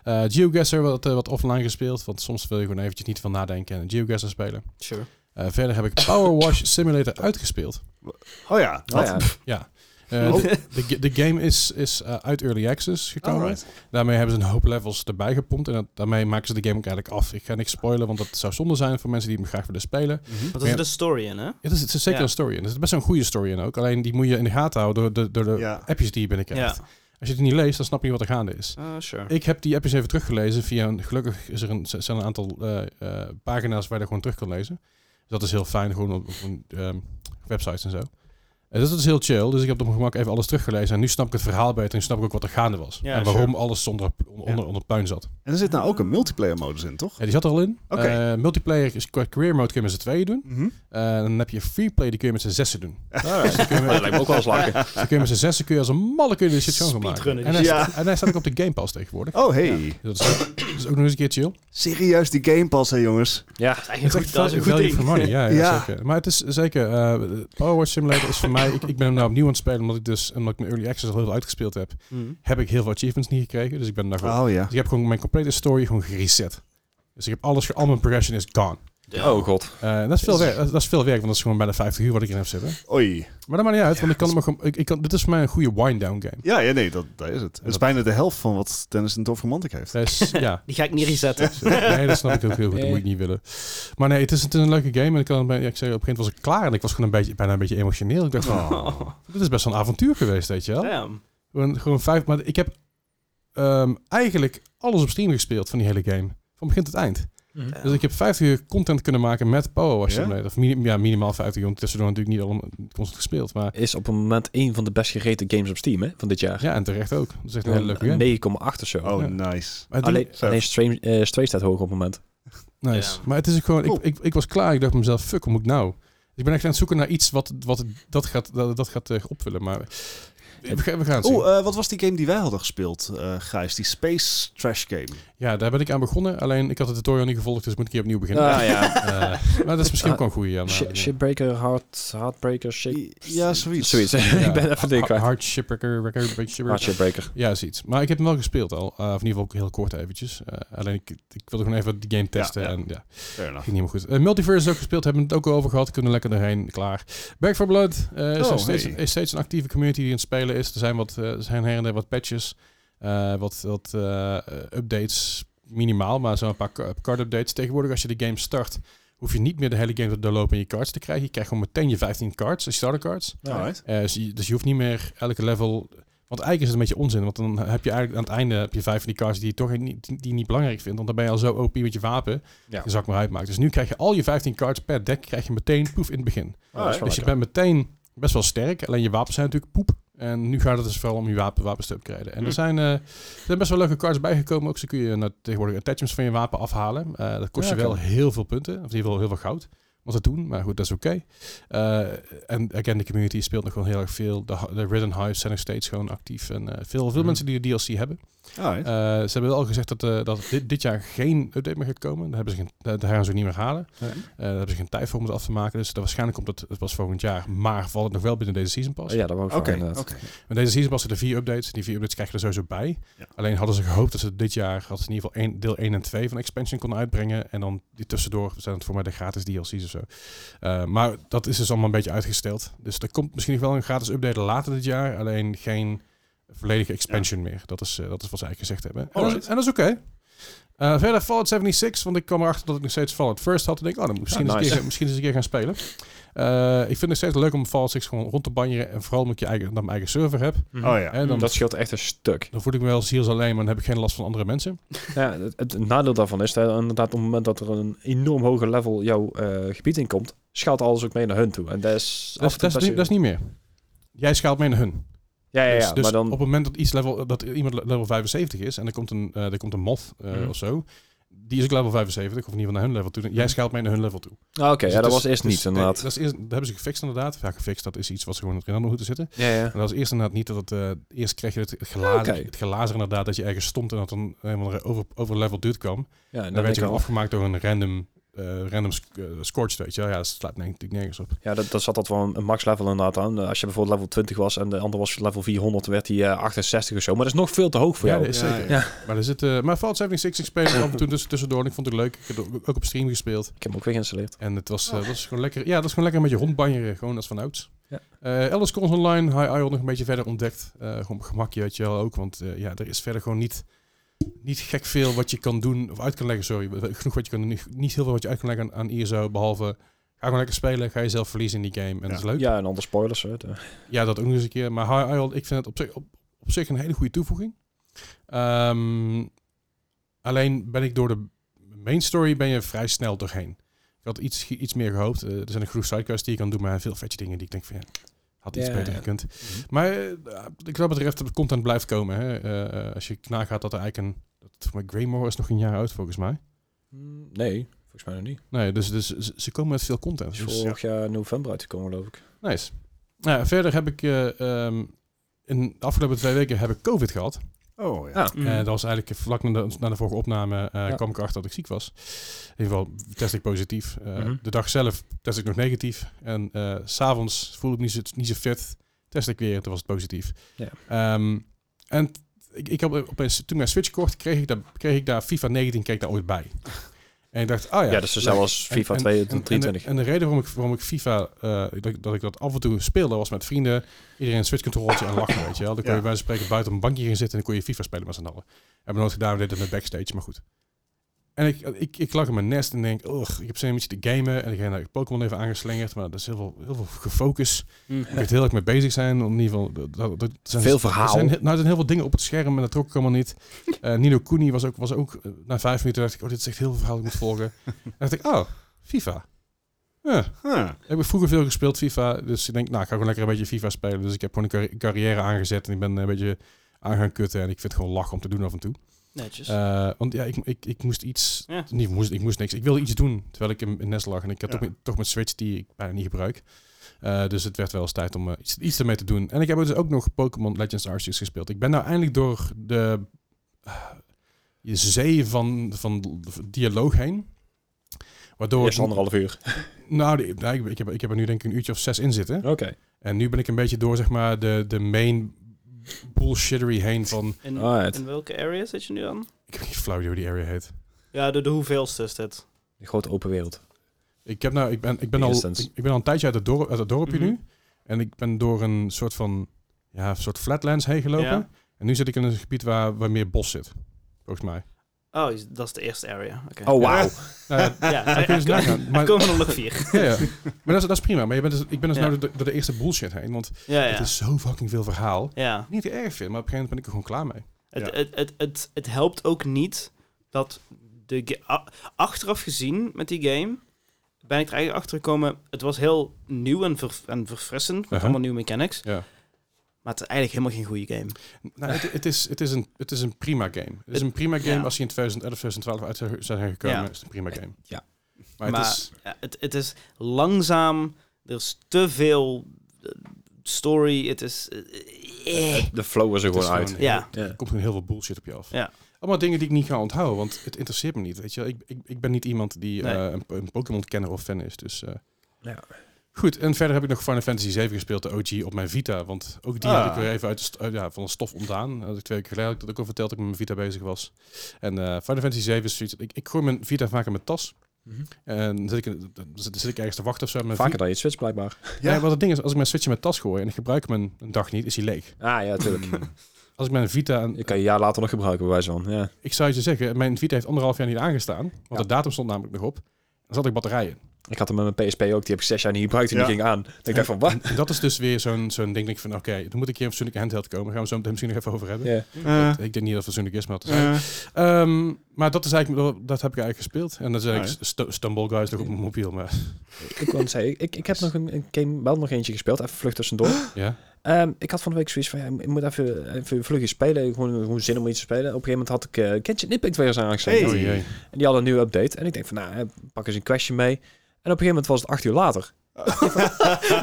Eh, Geoguessr wat, eh, wat offline gespeeld. Want soms wil je gewoon eventjes niet van nadenken en Geoguessr spelen.
Sure.
Eh, verder heb ik Power Wash Simulator uitgespeeld.
Oh ja,
Nou
wat?
ja,
Eh,
Oh.
de, de ga- de game is, is eh, uit Early Access gekomen.
Alright.
Daarmee hebben ze een hoop levels erbij gepompt. En dat- daarmee maken ze de game ook eigenlijk af. Ik ga niks spoilen, want dat zou zonde zijn voor mensen die hem graag willen spelen.
Want er
Ja.
zit een story in, hè?
Ja, er zit er zit zeker
Ja.
een story in. Er zit best wel een goede story in ook. Alleen die moet je in de gaten houden door de, door de
Ja.
appjes die je binnenkrijgt. Als je het niet leest, dan snap je niet wat er gaande is.
Ah, sure.
Ik heb die appjes even teruggelezen via een... Gelukkig is er een, zijn er een aantal eh, eh, pagina's waar je dat gewoon terug kan lezen. Dus dat is heel fijn, gewoon op, op een, ehm, websites en zo. En dus dat is heel chill. Dus ik heb op mijn gemak even alles teruggelezen. En nu snap ik het verhaal beter en snap ik ook wat er gaande was.
Ja,
en waarom
sure.
alles zonder, onder, onder, onder puin zat.
En er zit nou ook een multiplayer modus in, toch?
Ja, die zat er al in.
Oké.
Eh, multiplayer is qua career mode kun je met z'n tweeën doen.
Mhm.
Eh, dan heb je freeplay, die kun je met z'n zessen doen. Dus
Alright.
Kun je met-
Ah, dat lijkt me ook wel eens lekker.
Dan kun je met z'n zessen kun je als een malle kun je de shit schoon gaan maken.
Speedrunnen.
En hij,
Ja.
staat, en hij staat ook op de Game Pass tegenwoordig.
Oh hey,
Dus dat is, ook- dat is ook nog eens een keer chill.
serieus die Game Pass hè jongens?
Ja,
Dat is eigenlijk goed, dat is een goed
value
ding.
for money. Ja, ja,
Ja.
zeker. Maar het is zeker... eh Power Watch Simulator is voor mij... Ik, ik ben hem nou opnieuw aan het spelen, omdat ik dus... Omdat ik mijn Early Access al heel veel uitgespeeld heb...
Mhm.
heb ik heel veel achievements niet gekregen. Dus ik ben daar gewoon...
Oh ja.
Dus ik heb gewoon mijn complete story gewoon gereset. Dus ik heb alles... ge- Al mijn progression is gone.
Ja.
Oh god.
Eh, en dat is, veel werk, dat is- dat is veel werk, want dat is gewoon bijna 50 uur wat ik in heb zitten.
Oei.
Maar dat maakt niet uit, want ik kan hem gewoon... Ik, ik kan, dit is voor mij een goede wind-down game.
Ja, ja nee, dat, dat is het. Het is
Dat-
bijna de helft van wat Dennis in Tof Romantic heeft.
Dat is, Dus, ja,
Die ga ik niet resetten.
Nee, dat snap ik ook heel goed. Dat
Nee.
moet ik niet willen. Maar nee, het is, het is een leuke game. En ik, kan, bij- ja, ik zei, op een gegeven moment was ik klaar. En ik was gewoon een beetje, bijna een beetje emotioneel. Ik dacht van,
Oh.
dit is best wel een avontuur geweest, weet je wel.
Damn.
Gewoon, gewoon vijf... Maar ik heb ehm, eigenlijk alles op stream gespeeld van die hele game. Van begin tot eind.
Mhm.
Dus ik heb 50 uur content kunnen maken met Power Wash
Ja?
Simulator. Of mini- ja, minimaal 50 uur. Want tussendoor natuurlijk niet allemaal constant gespeeld. Maar
Eh, Is op een moment een van de best gereten games op Steam hè, van dit jaar.
ja, en terecht ook. Dat is echt een hele
Een
leuke game.
9,8 of zo.
Oh,
Ja.
nice.
Maar het
Alleen,
doet-
Zo.
alleen Stray, eh, Stray staat hoog op het moment.
Nice.
Ja.
Maar het is ook gewoon,
Cool.
ik, ik, ik was klaar. Ik dacht bij mezelf, fuck, hoe moet ik nou? Ik ben echt aan het zoeken naar iets wat, wat dat gaat, dat, dat gaat eh, opvullen. Maar We gaan, we gaan het zien.
Oeh, eh, wat was die game die wij hadden gespeeld, eh Gijs? Die Space Trash Game.
Ja, daar ben ik aan begonnen. Alleen ik had de tutorial niet gevolgd, dus moet ik hier opnieuw beginnen.
Ah, ja.
Eh, maar dat is
Ah,
misschien ook wel een goede. Ja, maar- eh,
Sh- Shipbreaker, heart, Heartbreaker, Shake...
Ja, zoiets.
Zoiets, ik ben even dingen
Ha-
kwijt.
Hardshipper, record, shipper.
Ah, Shipbreaker.
Ja, is iets. Maar ik heb hem wel gespeeld al. Eh, of in ieder geval ook heel kort eventjes. Eh, alleen ik, ik wilde gewoon even die game testen.
ja.
En ja,
Fair enough.
ging niet meer goed. Eh, Multiverse is ook gespeeld. Hebben we het ook al over gehad. Kunnen lekker erheen. Klaar. Back for Blood eh, is,
Oh,
nog steeds,
hey.
is steeds een actieve community die aan het spelen is. Er zijn, wat, eh, er zijn her en der wat patches. eh, wat wat eh, eh, updates. Minimaal, maar zo'n paar ca- card updates. Tegenwoordig als je de game start, hoef je niet meer de hele game te doorlopen en je cards te krijgen. Je krijgt gewoon meteen je 15 cards, de starter cards.
Alright.
Eh, dus, je, dus je hoeft niet meer elke level. Want eigenlijk is het een beetje onzin. Want dan heb je eigenlijk aan het einde heb je vijf van die cards die je toch niet, die je niet belangrijk vindt. Want dan ben je al zo OP met je wapen.
Ja.
Je zak maar uitmaakt. Dus nu krijg je al je 15 cards per deck krijg je meteen poef in het begin.
Oh, dat is wel
dus je
lekker.
bent meteen best wel sterk. Alleen je wapens zijn natuurlijk poep. En nu gaat het dus vooral om je wapen, wapens te upgraden. En er,
Hm.
zijn, eh, er zijn best wel leuke cards bijgekomen. Ook zo kun je nou, tegenwoordig attachments van je wapen afhalen. Eh, dat kost
Ja,
je wel
oké.
heel veel punten. Of in ieder geval heel veel goud. Wat het doen. Maar goed, dat is oké. Eh, en again, de community speelt nog wel heel erg veel. De, de Ridden Hives zijn nog steeds gewoon actief. En eh, veel, veel
Mhm.
mensen die de DLC hebben.
Alright.
Eh, ze hebben wel al gezegd dat, eh, dat dit, dit jaar geen update meer gaat komen. Daar, hebben ze geen, daar daar gaan ze ook niet meer halen.
Nee.
Eh, daar hebben ze geen tijd voor om het af te maken. Dus dat waarschijnlijk komt het, het pas volgend jaar. Maar valt het nog wel binnen deze season pas.
Oh, Ja, dat wou ik
Oké,
okay,
oké.
Met deze season was er vier updates. Die vier updates krijg je er sowieso bij.
Ja.
Alleen hadden ze gehoopt dat ze dit jaar hadden ze in ieder geval één- deel 1 en 2 van expansion konden uitbrengen. En dan die tussendoor zijn het voor mij de gratis DLC's of zo. Eh, maar dat is dus allemaal een beetje uitgesteld. Dus er komt misschien nog wel een gratis update later dit jaar. Alleen geen volledige expansion meer. Dat is, eh, dat is wat ze eigenlijk gezegd hebben.
Oh,
En, dat,
Alright.
is- en dat is oké. Eh, verder Fallout 76, want ik kwam erachter dat ik nog steeds Fallout First had. En ik denk, oh, dan misschien,
Ja,
eens een
nice.
keer, misschien eens een keer gaan spelen. Eh, ik vind het nog steeds leuk om Fallout 6 gewoon rond te banjeren. En vooral omdat ik je eigen, dan mijn eigen server heb.
Oh ja.
En dan,
Dat scheelt echt een stuk.
dan voel ik me wel ziels alleen, maar dan heb ik geen last van andere mensen.
Ja, het, het nadeel daarvan is dat inderdaad op het moment dat er een enorm hoge level jouw eh, gebied in komt, schaalt alles ook mee naar hun toe. En dat is
Dat, is- dat, is, niet- dat is niet meer. Jij schaalt mee naar hun.
Ja, ja, ja.
dus dus
maar
op
dan...
het moment dat, iets level, dat iemand le- level 75 is en er komt een, eh, er komt een moth eh,
Mhm.
of zo, die is ook level 75, of in ieder geval naar hun level toe. Jij schaalt mee naar hun level toe.
Ah, Mhm. Oké, ja,
Dus
dat
het
was
is-
eerst
dus-
niet,
nee,
inderdaad.
dat, is eerst, dat hebben ze gefixt inderdaad. Ja, gefixt, dat is iets wat ze gewoon erin hadden moeten zitten.
Ja, ja.
En dat was eerst inderdaad niet dat het... eh, eerst kreeg je het gelazer,
Oké.
het gelazer inderdaad, dat je ergens stond en dat een, een over, overlevel dude kwam.
ja
En
dan
dan
denk
werd
ik
je gewoon
wel.
afgemaakt door een random, eh random sc- eh, scorched, weet je wel. Ja, dat slaat nee, natuurlijk nergens op.
Ja, dat, dat zat dat wel een, een max level inderdaad aan. Eh, Als je bijvoorbeeld level 20 was en de ander was level 400, werd hij eh, 68 of zo. Maar dat is nog veel te hoog voor
ja,
jou.
dat is
Ja,
zeker.
ja.
Maar, er zit, eh, maar Fallout 76, ik speel er af en toe tussen- tussendoor en ik vond het leuk. Ik heb het ook- ook op stream gespeeld.
Ik heb hem ook weer geïnstalleerd.
En het was, eh, dat is gewoon lekker. Ja, dat is gewoon lekker met je rondbanjeren. Gewoon als vanouds.
Ja.
Eh, Elder Scrolls Online, High Isle nog een beetje verder ontdekt. Eh, gewoon op gemakje weet je wel ook. Want eh, ja, er is verder gewoon niet, niet gek veel wat je kan doen. Of uit kan leggen, sorry. Genoeg wat je kan doen. Niet, niet heel veel wat je uit kan leggen aan, aan ISO. Behalve, ga gewoon lekker spelen. Ga jezelf verliezen in die game. En dat is leuk.
Ja, en andere spoilers. Hè. De-
Ja, dat ook nog eens een keer. Maar High Isle, ik vind het op zich, op, op zich een hele goede toevoeging. Ehm, alleen ben ik door de main story ben je vrij snel doorheen. Ik had iets, iets meer gehoopt. Eh, er zijn een groep sidequests die je kan doen, maar veel vetje dingen die ik denk van ja, had iets
Ja,
beter
ja. Mhm.
gekund. Maar eh, ik wat betreft, de content blijft komen. Hè. Eh, eh, als je nagaat dat er eigenlijk een... Dat, maar Greymore is nog een jaar oud volgens mij.
Mm, Nee, volgens mij nog niet.
Nee, dus, dus ze- ze komen met veel
Het
content.
is
Dus- Oh
vorig jaar november uitgekomen, geloof ik.
Nice. Nou, ja, verder heb ik eh, ehm, in de afgelopen twee weken heb ik COVID gehad.
Oh ja.
Ah.
Mm.
Eh, dat was eigenlijk vlak na de, na de vorige opname eh,
Ja.
kwam ik erachter dat ik ziek was. In ieder geval test ik positief. Eh,
Mhm.
De dag zelf test ik nog negatief. En eh, s s'avonds voelde ik niet zo, niet zo fit. Test ik weer, toen was het positief.
Ja.
Ehm, en t- ik, ik had opeens, toen ik mijn Switch kocht, kreeg ik, daar, kreeg ik daar FIFA 19 kreeg ik daar ooit bij. En ik dacht, ah ja,
Ja, dus zelfs als
en-
FIFA
en-
2
en- en de-
23.
En, de reden waarom ik, waarom ik FIFA, eh, dat, dat ik dat af en toe speelde, was met vrienden. Iedereen een switchcontroltje en lachen, weet je wel. Dan kon je
Ja.
bij wijze van spreken buiten op een bankje gaan zitten en dan kon je FIFA spelen met z'n allen. Hebben we nooit gedaan, we deden het met backstage, maar goed. En ik, ik, ik lag in mijn nest en denk, oh, ik heb zin om iets te gamen. En ik heb nou, Pokémon even aangeslingerd, maar dat is heel veel, heel veel gefocus. Ik weet heel erg mee bezig zijn. om In ieder geval, dat, dat, dat zijn
Veel verhaal.
er zijn, he- nou, er zijn heel veel dingen op het scherm en dat trok ik allemaal niet. Eh, Nino Kuni was ook, was ook eh, na vijf minuten dacht ik, oh, dit is echt heel veel verhaal, ik moet volgen. en dacht ik, oh, FIFA. Ja,
Huh.
heb ik vroeger veel gespeeld FIFA, dus ik denk, nou, ik ga gewoon lekker een beetje FIFA spelen. Dus ik heb gewoon een carri- carrière aangezet en ik ben een beetje aan gaan kutten en ik vind het gewoon lach om te doen af en toe.
Dus-
Netjes.
Eh, want ja, ik, ik, ik moest iets,
Ja.
niet moest, ik moest niks, ik wilde iets doen terwijl ik in, in nest lag en ik had
Ja.
toch, met, toch met Switch die ik bijna niet gebruik. Eh, dus het werd wel eens tijd om eh, iets, iets ermee te doen. En ik heb dus ook nog Pokémon Legends Arceus gespeeld. Ik ben nou eindelijk door de eh, je zee van, van dialoog heen. Waardoor
Eerst anderhalf uur.
nou, die- nou, ik, ik, heb, ik heb er nu denk ik een uurtje of zes in zitten.
Oké.
En nu ben ik een beetje door zeg maar de, de main bullshittery heen van...
In,
Alright.
in welke area zit je nu aan?
Ik heb geen flauw idee hoe die area heet.
Ja, de, de hoeveelste is dit.
Die grote open wereld.
Ik, heb nou, ik, ben, ik, ben,
In
al, ik,
essence.
ik ben al een tijdje uit het, dorp, uit het dorpje
Mhm.
nu. En ik ben door een soort van ja, een soort flatlands heen gelopen.
Ja.
En nu zit ik in een gebied waar, waar meer bos zit. Volgens mij.
Oh, is- dat is de eerste area. Oké.
Oh, wauw.
Nou ja,
Ja,
kun
daar
je eens nagaan, nou, maar-
komen er nog vier.
ja, ja. Maar dat is, dat is prima. Maar je bent dus, ik ben dus
Ja.
nou door, de- door de eerste bullshit heen. Want
Ja, ja.
het is zo fucking veel verhaal.
ja.
Niet erg veel, maar op een gegeven moment ben ik er gewoon klaar mee.
Het,
Ja.
het, het, het, het helpt ook niet dat de ga- a- achteraf gezien met die game ben ik er eigenlijk achter gekomen. Het was heel nieuw en, ver- en verfrissend met
Uh-huh.
allemaal nieuwe mechanics,
Ja.
maar het is eigenlijk helemaal geen goede game.
Nou, het, het, is, het, is een, het is een prima game. Het is een prima game
ja.
als die in 2011, 2012 uit zou zijn gekomen.
Ja.
is het een prima game.
Ja.
Maar, het
Maar-
is...
Ja, het, het is langzaam, er is te veel eh, story, het is eh, eh.
De flow is er
het is
gewoon uit.
gewoon heel-
ja.
Ja.
Er komt gewoon heel veel bullshit op je af.
Ja.
Allemaal dingen die ik niet ga onthouden, want het interesseert me niet. Weet je, wel. ik, ik, ik ben niet iemand die
Nee.
eh, een, een Pokémon-kenner of fan is. Dus, eh.
Ja.
Goed, en verder heb ik nog Final Fantasy 7 gespeeld, de OG, op mijn Vita. Want ook die
Ah.
heb ik weer even uit de st- uit- ja, van de stof ontdaan. Dat had ik twee weken geleden had ik dat ook al verteld dat ik met mijn Vita bezig was. En eh, Final Fantasy 7 is zoiets... Ik, ik gooi mijn Vita vaak in mijn tas.
Mhm.
En dan zit ik, in- dan zit, dan zit ik ergens te wachten of zo. met Mijn
Vaker dan je Switch blijkbaar.
Ja. wat het ding is, als ik mijn Switch in mijn tas gooi en ik gebruik hem een, een dag niet, is hij leeg.
Ah ja, tuurlijk.
Hmm.
Als ik mijn Vita... en-
Je kan je een jaar later nog gebruiken, bij wijze van. Ja.
ik zou je zeggen, mijn Vita heeft anderhalf jaar niet aangestaan. Want
Ja.
de datum stond namelijk nog op. Er zat ik batterijen.
Ik had hem met mijn PSP ook. Die heb ik zes jaar niet gebruikt en
Ja.
die ging aan. Ik dacht van, wat?
En dat is dus weer zo'n zo'n ding. Denk ik van, oké, dan moet ik hier een fatsoenlijke handheld komen. Gaan we zo meteen misschien nog even over hebben.
Ja.
Eh,
Ik denk niet dat het fatsoenlijk is, maar dat, is
eh.
Ehm, maar dat is eigenlijk, dat heb ik eigenlijk gespeeld. En dat is eigenlijk stu- Stumble Guys nog op mijn mobiel. Maar
Ik wil zeggen, ik, ik heb nog een, een game, wel nog eentje gespeeld. Even vlug tussendoor.
ja,
Ehm, ik had van de week zoiets van, ja, ik moet even, even vlug iets spelen. Gewoon, gewoon zin om iets te spelen. Op een gegeven moment had ik eh Genshin Impact weer eens aangezet.
Hey.
oh jee.
En die hadden een nieuwe update. En ik denk van, nou, hè, pak eens een questje mee. En op een gegeven moment was het acht uur later.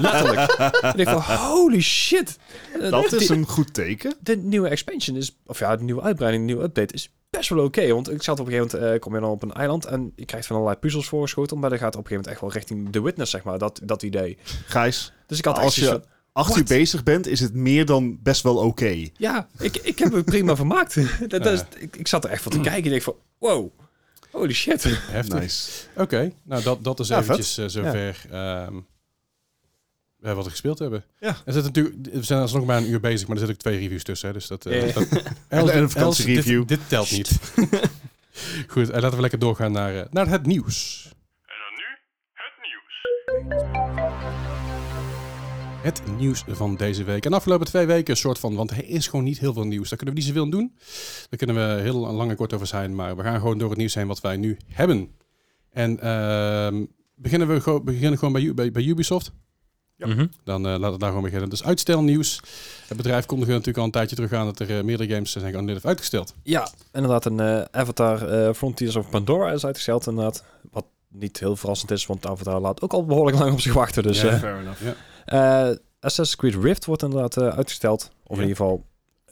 Letterlijk. ik denk van, holy shit. Eh,
dat is
die-
een goed teken.
de nieuwe expansion is, of ja, de nieuwe uitbreiding, de nieuwe update is best wel oké. want ik zat op een gegeven moment, eh, kom je dan op een eiland en je krijgt van allerlei puzzels voorgeschoten. Maar dan gaat op een gegeven moment echt wel richting The Witness, zeg maar, dat, dat idee.
Gijs,
Dus ik had
als
echt zoiets
je
van,
acht uur
What?
bezig bent, is het meer dan best wel oké.
ja, ik, ik heb het prima vermaakt. dat, dat is-
Ja.
ik, ik zat er echt van
Mm.
te kijken en ik van, wow, holy shit.
Heftig.
Nice.
Oké, nou dat, dat is
Ja, vet.
eventjes eh, zover ehm, eh, wat we gespeeld hebben.
Ja.
Er zit natuurlijk, we zijn alsnog maar een uur bezig, maar er zitten ook twee reviews tussen. Hè, dus dat, eh,
Ja.
dat-
En een
Els,
vakantiereview.
Dit, dit telt niet. Goed, eh, laten we lekker doorgaan naar, eh, naar het nieuws. En dan nu het nieuws. Het nieuws van deze week. En de afgelopen twee weken een soort van, want er is gewoon niet heel veel nieuws. Daar kunnen we niet zoveel aan doen. Daar kunnen we heel lang en kort over zijn, maar we gaan gewoon door het nieuws heen wat wij nu hebben. En ehm, beginnen we gewoon, beginnen gewoon bij, U- bij, bij Ubisoft.
Mhm.
Dan eh, laten we daar gewoon beginnen. Dus uitstelnieuws. Het bedrijf kondigde natuurlijk al een tijdje terug aan dat er eh, meerdere games zijn gewoon uitgesteld.
Ja, inderdaad, een eh, Avatar eh, Frontiers of Pandora is uitgesteld inderdaad. Wat niet heel verrassend is, want Avatar laat ook al behoorlijk lang op zich wachten. Dus, eh,
fair enough.
Eh, Assassin's Creed Rift wordt inderdaad eh, uitgesteld. Of
Ja.
in ieder geval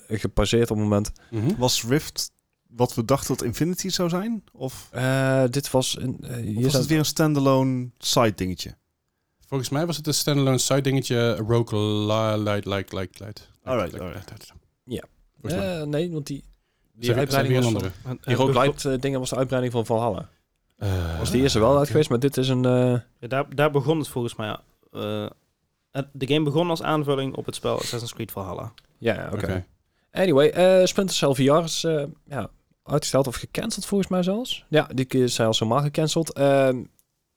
eh, gepasseerd op het moment.
Was Rift wat we dachten dat Infinity zou zijn? Of,
Eh, dit was... Een, eh,
of
hier
was
staat-
het weer een standalone side dingetje?
Volgens mij was het een standalone side dingetje. Rogue Light, Light, Light, Light.
Alright, alright.
Ja.
Volgens mij.
Eh, nee, want die, die
Zijn we- zijn we
uitbreiding
weer
was...
een
Van,
andere.
die roguelite eh, dingen was de uitbreiding van Valhalla.
Eh,
Dus die is er wel uit geweest, maar dit is een... eh,
Ja, daar, daar begon het volgens mij. eh, het- de game begon als aanvulling op het spel Assassin's Creed Valhalla.
ja, oké.
Oké.
Anyway, eh Splinter Cell VR is eh, ja, uitgesteld of gecanceld volgens mij zelfs. Ja, die is zelfs helemaal gecanceld. Ehm,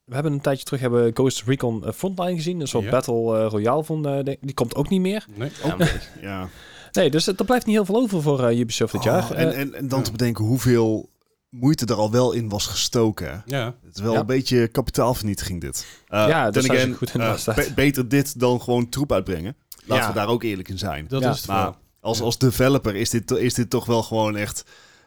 we hebben een tijdje terug hebben we Ghost Recon eh, Frontline gezien. Een soort
Ja.
Battle eh, Royale van... eh, ding. die komt ook niet meer.
Nee. Oh,
Ja,
Ja.
Nee, dus er blijft niet heel veel over voor eh, Ubisoft dit jaar.
Oh, en,
Eh,
en, en dan
ja.
te bedenken hoeveel moeite er al wel in was gestoken. hè.
Ja.
Het is wel
Ja.
een beetje kapitaalvernietiging dit. Eh,
Ja, dat
then
zou je goed in de
eh,
hand staan.
be- beter dit dan gewoon troep uitbrengen. Laten
Ja.
we daar ook eerlijk in zijn.
Dat
Ja.
is het
Maar
verhaal.
als,
Ja.
als developer is dit, is dit toch wel gewoon echt...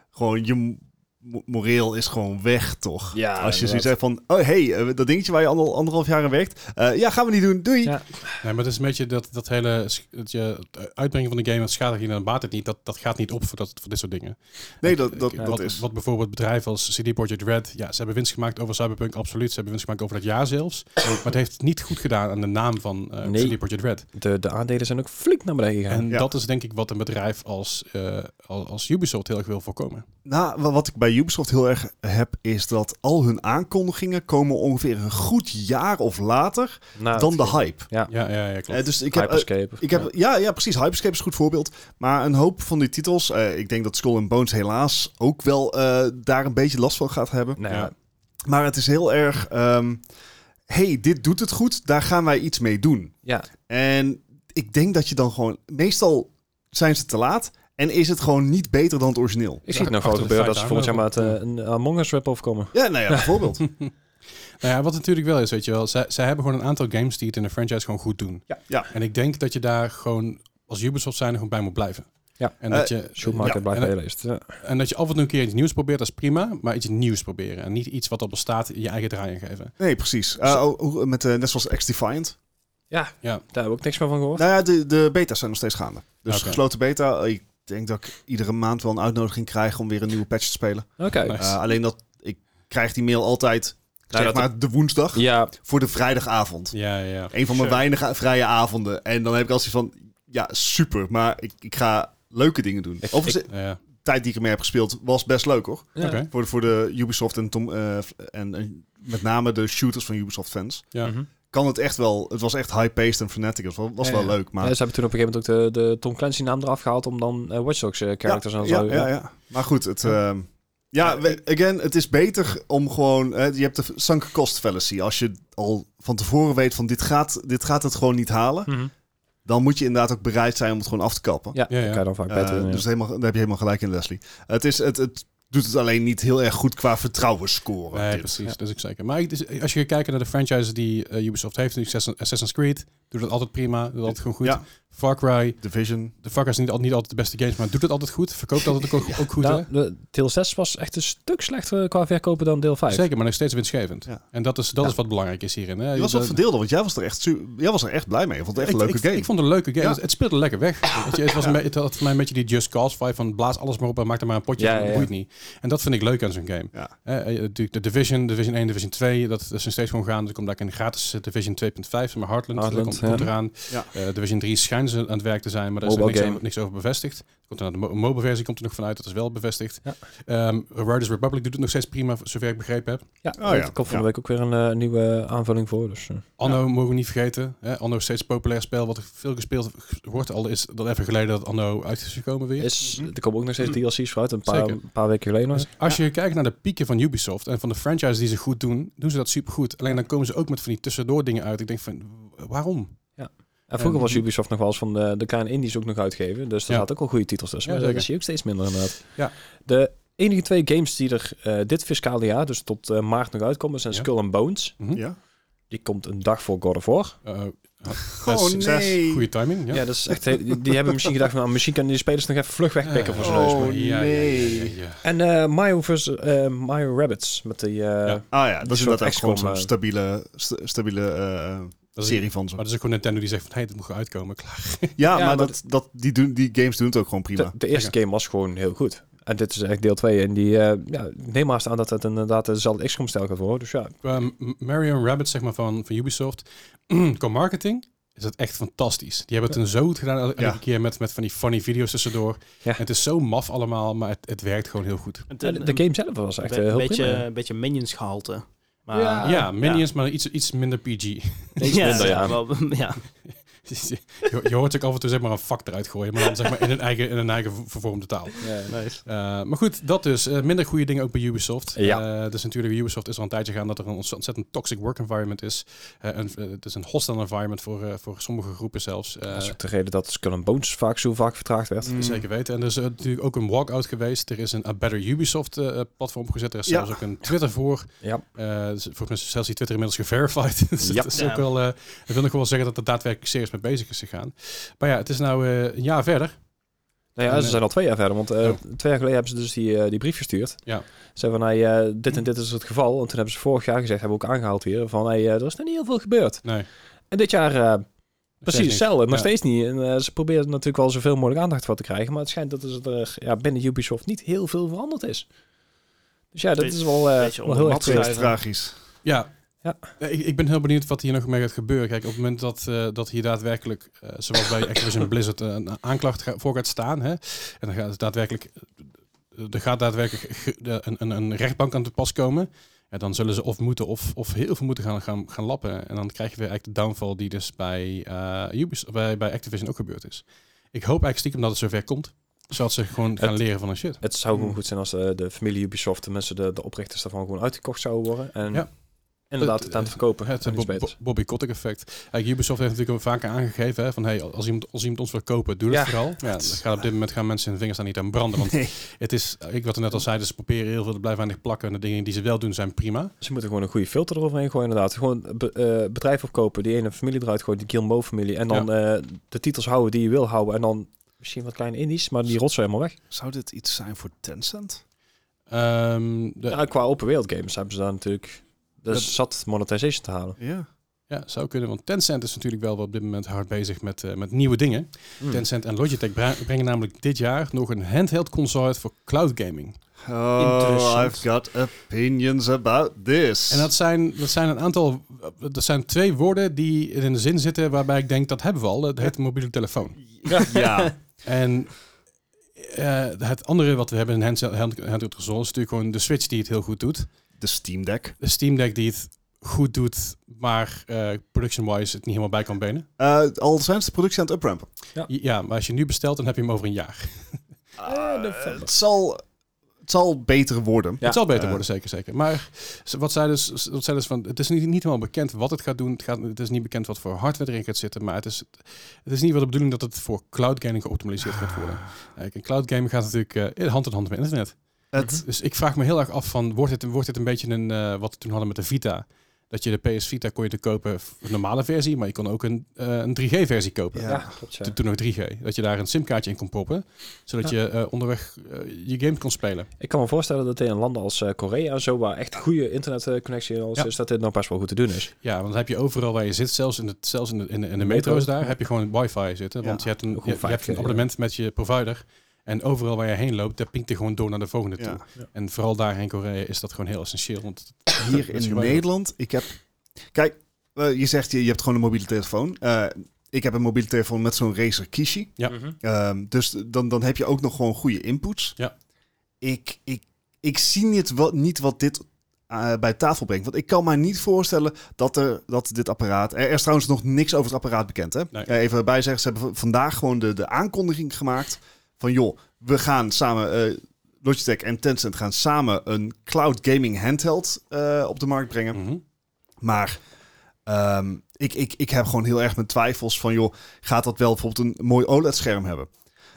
Gewoon, je m- mo- moreel is gewoon weg, toch?
Ja,
Als je
inderdaad.
zoiets zegt van, oh hey, eh, dat dingetje waar je ander, anderhalf jaar aan werkt, eh, ja, gaan we niet doen, doei.
Ja.
Nee, maar het is een beetje dat, dat hele sch- dat je, het uitbrengen van de game, het schaadt je en baat het niet. Dat, dat gaat niet op voor, dat, voor dit soort dingen.
Nee, dat, dat,
Eh,
dat
wat,
is.
wat bijvoorbeeld bedrijven als CD Projekt Red, ja, ze hebben winst gemaakt over Cyberpunk, absoluut. Ze hebben winst gemaakt over dat jaar zelfs.
Oh.
maar het heeft niet goed gedaan aan de naam van eh
Nee.
CD Projekt Red.
De, de aandelen zijn ook flink naar beneden gegaan.
En
Ja.
dat is denk ik wat een bedrijf als, eh, als, als Ubisoft heel erg wil voorkomen.
Nou, wa- wat ik bij Ubisoft heel erg heb, is dat al hun aankondigingen komen ongeveer een goed jaar of later
Nou,
dan de hype.
Ja, ja, ja klopt.
Eh, dus ik heb, eh,
Hyperscape.
ik heb, ja, ja, precies. Hyperscape is een goed voorbeeld. Maar een hoop van die titels, eh, ik denk dat Skull and Bones helaas ook wel eh, daar een beetje last van gaat hebben.
Nou,
ja.
ja.
Maar het is heel erg, ehm, hey, dit doet het goed, daar gaan wij iets mee doen.
Ja.
En ik denk dat je dan gewoon, meestal zijn ze te laat en is het gewoon niet beter dan het origineel.
Ik zie het
Ja,
nou gewoon
achter de
gebeuren dat ze
feiten
volgend jaar maar
aanlopen.
het, eh, een Among Us rap overkomen.
Ja, nou ja, bijvoorbeeld.
Nou ja, wat natuurlijk wel is, weet je wel. Zij, zij hebben gewoon een aantal games die het in de franchise gewoon goed doen.
Ja.
Ja.
En ik denk dat je daar gewoon als Ubisoft zijn er gewoon bij moet blijven.
Ja.
En
Eh,
dat, je,
Shootmarket
Ja,
blijft
en-
bij je lijst. Ja.
en dat je af en toe een keer iets nieuws probeert, dat is prima. Maar iets nieuws proberen. En niet iets wat al bestaat, je eigen draai aan geven.
Nee, precies. Eh, oh, hoe- met, eh, net zoals X-Defiant.
Daar heb ik niks meer van gehoord.
Nou ja, de, de beta's zijn nog steeds gaande. Dus
Oké.
gesloten beta, eh, ik denk dat ik iedere maand wel een uitnodiging krijg om weer een nieuwe patch te spelen.
Oké.
Nice.
Eh, alleen dat ik krijg die mail altijd,
Nou,
zeg
dat-
maar, de woensdag
Ja,
voor de vrijdagavond.
Ja, ja, ja.
Een van mijn
Sure.
weinige vrije avonden. En dan heb ik als van, ja, super, maar ik, ik ga leuke dingen doen.
Ik-
Overigens,
Ja.
de tijd die ik ermee heb gespeeld was best leuk, hoor.
ja.
Oké.
Voor, voor de Ubisoft en, Tom, eh, en, en met name de shooters van Ubisoft-fans.
Ja.
Mhm.
Kan het echt wel, het was echt high-paced en frenetic. Het was, was
Ja,
wel
ja.
leuk, maar...
Ja, ze hebben toen op een gegeven moment ook de, de Tom Clancy naam eraf gehaald om dan eh, Watch Dogs eh, characters en
ja,
zo.
ja, ja. Maar goed, het... ehm, ja, we- again, het is beter om gewoon... hè, je hebt de sunk cost fallacy. Als je al van tevoren weet van dit gaat, dit gaat het gewoon niet halen...
Mhm.
dan moet je inderdaad ook bereid zijn om het gewoon af te kappen.
Ja,
Ja, ja.
dat kan je dan vaak
Eh,
beter doen, ja.
dus helemaal, daar heb je helemaal gelijk in, Leslie. Het, is, het, het doet het alleen niet heel erg goed qua vertrouwensscore.
Nee,
dit.
precies.
Ja.
Dat is ook zeker. Maar ik- dus als je gaat kijken naar de franchises die eh, Ubisoft heeft, dus Assassin- Assassin's Creed, doet dat altijd prima, doet altijd gewoon goed.
Ja.
Far Cry,
Division.
de Far Cry is niet, al- niet altijd de beste games, maar doet het altijd goed. Verkoopt altijd ook, ook goed,
Nou,
hè?
de- deel 6 was echt een stuk slechter qua verkopen dan deel 5.
Zeker, maar nog steeds winstgevend.
Ja.
En dat is, dat
Ja.
is wat belangrijk is hierin. Hè?
Je was wat verdeeld, want jij was er echt, su- jij was er echt blij mee. Je vond het echt
ik,
een leuke
ik,
game.
Ik vond het een leuke game.
Ja.
Het, het speelde lekker weg. Weet je, het, was een be- het had voor mij een beetje die Just Cause vibe van blaas alles maar op en maak er maar een potje
Ja,
van.
ja,
Dat
ja.
boeit niet. En dat vind ik leuk aan zo'n game.
Ja.
Eh, eh, natuurlijk de Division, Division 1, Division 2, dat is nog steeds gewoon gaan. Er komt daar een gratis eh, Division 2.5, maar Heartland, dat
Heartland,
komt, komt
ja.
eraan.
Ja.
Eh, Division 3 schijnen ze aan het werk te zijn, maar daar is nog
Mobile
niks
game.
over, niks over bevestigd. Er Komt er de mo- mobile versie komt er nog vanuit, dat is wel bevestigd.
Ja.
Ehm, Riders Republic doet het nog steeds prima, zover ik begrepen heb.
Ja,
Oh,
er
ja.
komt van
Ja.
de week ook weer een eh, nieuwe aanvulling voor. Dus, eh.
Anno mogen we niet vergeten. Hè? Anno is steeds een populair spel wat veel gespeeld wordt. Al is dat even geleden dat Anno uit is gekomen weer.
is, er komen ook nog steeds DLC's voor uit, een paar,
Mhm. Zeker.
een paar weken geleden nog.
Dus als je kijkt naar de pieken van Ubisoft en van de franchise die ze goed doen, doen ze dat supergoed. Alleen dan komen ze ook met van die tussendoor dingen uit. Ik denk van, waarom?
En vroeger
En-
was Ubisoft nog wel eens van de, de kleine indies ook nog uitgeven. Dus daar
Ja.
had ook al goede titels tussen.
Ja,
maar dat
zeker.
zie je ook steeds minder inderdaad.
Ja.
De enige twee games die er eh, dit fiscale jaar, dus tot eh, maart nog uitkomen, zijn
Ja.
Skull and Bones.
Hm?
Ja?
Die komt een dag voor God of War.
Eh,
Oh,
dat is-
nee.
Goede timing, ja.
Ja, dat is echt... heel- die, die hebben misschien gedacht van, nou, misschien kunnen die spelers nog even vlug wegpikken voor zijn neus.
Oh,
maar-
ja,
nee.
Ja, ja, ja, ja.
En eh Mario vs. eh, Mario Rabbits met die... eh,
Ja.
Ah ja, dat is
soort
inderdaad echt gewoon
XCOM,
zo'n
eh.
stabiele, st- stabiele eh,
Dat is,
serie van ze.
maar dat is ook gewoon Nintendo die zegt van, hé, hey, dit moet uitkomen. Klaar.
Ja, maar,
maar
dat, dat, die, doen, die games doen het ook gewoon prima.
De, de eerste game was gewoon heel goed. En dit is echt deel 2. En die eh ja, neem maar eens aan dat het inderdaad dezelfde XCOM-stijl gaat worden. Dus ja,
Eh, M- Mario Rabbit, zeg maar, van, van Ubisoft. Qua marketing is dat echt fantastisch. Die hebben het een zo goed gedaan elke
Ja.
elke keer met, met van die funny video's tussendoor.
Ja.
En het is zo maf allemaal, maar het, het werkt gewoon heel goed.
Het-
de,
een-
de game zelf was echt
Be-
eh, heel
beetje,
prima. ja.
Een beetje Minions gehalte. Maar, eh,
Ja. Ah,
ja, Minions, maar iets, iets minder PG.
Iets minder, ja.
wel- ja.
je, je hoort ook af en toe zeg maar een vak eruit gooien, maar dan zeg maar in een eigen, in een eigen v- vervormde taal. Eh, maar goed, dat dus. Eh, minder goede dingen ook bij Ubisoft.
Ja.
Eh, dus natuurlijk, Ubisoft is al een tijdje gaan dat er een ontz- ontzettend toxic work environment is. Eh, en, eh, het is een hostile environment voor, eh, voor sommige groepen zelfs. Eh,
Dat is ook de reden dat Skull and Bones vaak zo vaak vertraagd werd.
Mm. Zeker weten. En er is eh, natuurlijk ook een walkout geweest. Er is een A Better Ubisoft eh, platform gezet. Er is
Ja.
zelfs ook een Twitter voor.
Ja.
Eh, dus volgens mij is zelfs die Twitter inmiddels geverified. dus
Ja.
dat is
Ja.
ook wel, eh, dat wil nog wel zeggen dat er daadwerkelijk serieus mee bezig is gegaan. Maar ja, het is nou eh, een jaar verder.
Nou ja,
En,
ze
eh,
zijn al twee jaar verder. Want eh,
Oh.
twee jaar geleden hebben ze dus die, eh, die brief gestuurd.
Ja.
Ze van, hey, eh, dit en dit is het geval. En toen hebben ze vorig jaar gezegd, hebben we ook aangehaald hier, van hey, eh, er is nog niet heel veel gebeurd.
Nee.
En dit jaar eh, precies
niet.
hetzelfde, nog
Ja.
steeds niet. En eh, ze proberen er natuurlijk wel zoveel mogelijk aandacht voor te krijgen. Maar het schijnt dat er eh, ja, binnen Ubisoft niet heel veel veranderd is. Dus ja, dat
Beetje-
is wel, eh,
beetje
wel
onder
heel
de
erg
mat
Dat is
triest.
schuiven.
tragisch.
Ja.
Ja.
Nee, Ik, ik ben heel benieuwd wat hier nog mee gaat gebeuren. Kijk, op het moment dat, eh, dat hier daadwerkelijk, eh, zoals bij Activision Blizzard, eh, een aanklacht ga- voor gaat staan, hè, en dan gaat het daadwerkelijk, eh, er gaat daadwerkelijk ge- de- een, een, een rechtbank aan te pas komen, ja, dan zullen ze of moeten of, of heel veel moeten gaan, gaan, gaan lappen. En dan krijg je weer eigenlijk de downfall die dus bij, eh, Ubis- bij, bij Activision ook gebeurd is. Ik hoop eigenlijk stiekem dat het zover komt, zodat ze gewoon gaan
Het-
leren van een shit.
Het zou
Hmm.
gewoon goed zijn als eh, de, de familie Ubisoft, de mensen, de, de oprichters daarvan gewoon uitgekocht zouden worden. En
Ja.
inderdaad
Het-
het aan te verkopen.
Het
en
Bo-
iets beters.
Bo- Bobby Kotick effect. Kijk, Ubisoft heeft natuurlijk al vaker aangegeven hè, van hey, als iemand, als iemand ons wil kopen, doe dat
Ja.
vooral. Ja, dat gaat op dit moment gaan mensen hun vingers daar niet aan branden. Want het is, ik wat er net al zei, dus ze proberen heel veel, er blijven weinig plakken. En de dingen die ze wel doen zijn prima.
Ze moeten gewoon een goede filter eroverheen gooien, inderdaad. Gewoon be- eh, bedrijf opkopen, die ene familie eruit gooien, die Guillemot-familie. En dan eh, de titels houden die je wil houden. En dan misschien wat kleine indies, maar die rotzooi helemaal weg.
Zou dit iets zijn voor Tencent?
Ehm, de- ja.
Ja, qua open wereld games hebben ze daar natuurlijk...
Dat-
Dus zat monetization te halen.
Ja.
zou kunnen. Want Tencent is natuurlijk wel op dit moment hard bezig met, eh, met nieuwe dingen.
Hm.
Tencent en Logitech bra- brengen namelijk dit jaar nog een handheld console uit voor cloud gaming.
Oh,
Interessant.
I've got opinions about this.
En dat zijn, dat zijn een aantal, eh, dat zijn twee woorden die in een zin zitten waarbij ik denk dat hebben we al. Het heet mobiele telefoon.
Ja.
En eh, het andere wat we hebben in handheld hand- handheld console is natuurlijk gewoon de Switch die het heel goed doet.
De Steam Deck.
De Steam Deck die het goed doet, maar eh, production-wise het niet helemaal bij kan benen.
Eh, al zijn ze de productie aan het uprampen.
Ja, maar als je nu bestelt, dan heb je hem over een jaar.
Eh, de
Eh, het, zal, het zal beter worden.
Ja.
het zal beter
Eh.
worden, zeker, zeker. Maar ze- wat zij dus, wat zij dus van, het is niet, niet helemaal bekend wat het gaat doen. Het, gaat, het is niet bekend wat voor hardware erin gaat zitten, maar het is, het is niet wel de bedoeling dat het voor cloud gaming geoptimaliseerd gaat worden. Kijk, en cloud gaming gaat natuurlijk eh, hand in hand met internet.
Het,
Dus ik vraag me heel erg af van, wordt het, wordt het een beetje een, eh, wat we toen hadden met de Vita? Dat je de PS Vita kon je te kopen, f- een normale versie, maar je kon ook een, eh, een 3G-versie kopen.
Ja.
Ja, klopt, ja.
Toen- Toen nog 3G. Dat je daar een simkaartje in kon proppen, zodat je eh, onderweg eh, je games kon spelen.
Ik kan me voorstellen dat in landen als eh, Korea en zo, waar echt goede internetconnectie en alles
Ja.
is, dat dit nou best wel goed te doen is.
Ja, want dan heb je overal waar je zit, zelfs in de, zelfs in de, in de, in de
Metro.
metro's daar, heb je gewoon wifi zitten.
Ja.
Want je hebt een,
Ook
je,
een
je hebt
5G,
een
ja.
abonnement met je provider. En overal waar je heen loopt, daar pinkt hij gewoon door naar de volgende
Ja.
toe. En vooral daar in Korea is dat gewoon heel essentieel. Want
hier
Dat is
in
geweldig.
Nederland, ik heb... Kijk, eh, je zegt je, je hebt gewoon een mobiele telefoon. Eh, ik heb een mobiele telefoon met zo'n Razer Kishi.
Ja.
Mhm.
Ehm, dus dan, dan heb je ook nog gewoon goede inputs.
Ja.
Ik, ik, ik zie niet wat, niet wat dit eh, bij tafel brengt. Want ik kan mij niet voorstellen dat, er, dat dit apparaat... Er, er is trouwens nog niks over het apparaat bekend. Hè?
Nee.
Eh, even bijzeggen, ze hebben v- vandaag gewoon de, de aankondiging gemaakt... van joh, we gaan samen... eh, Logitech en Tencent gaan samen een cloud gaming handheld eh, op de markt brengen.
Mhm.
Maar ehm, ik, ik, ik heb gewoon heel erg mijn twijfels van, joh, gaat dat wel bijvoorbeeld een mooi OLED-scherm hebben?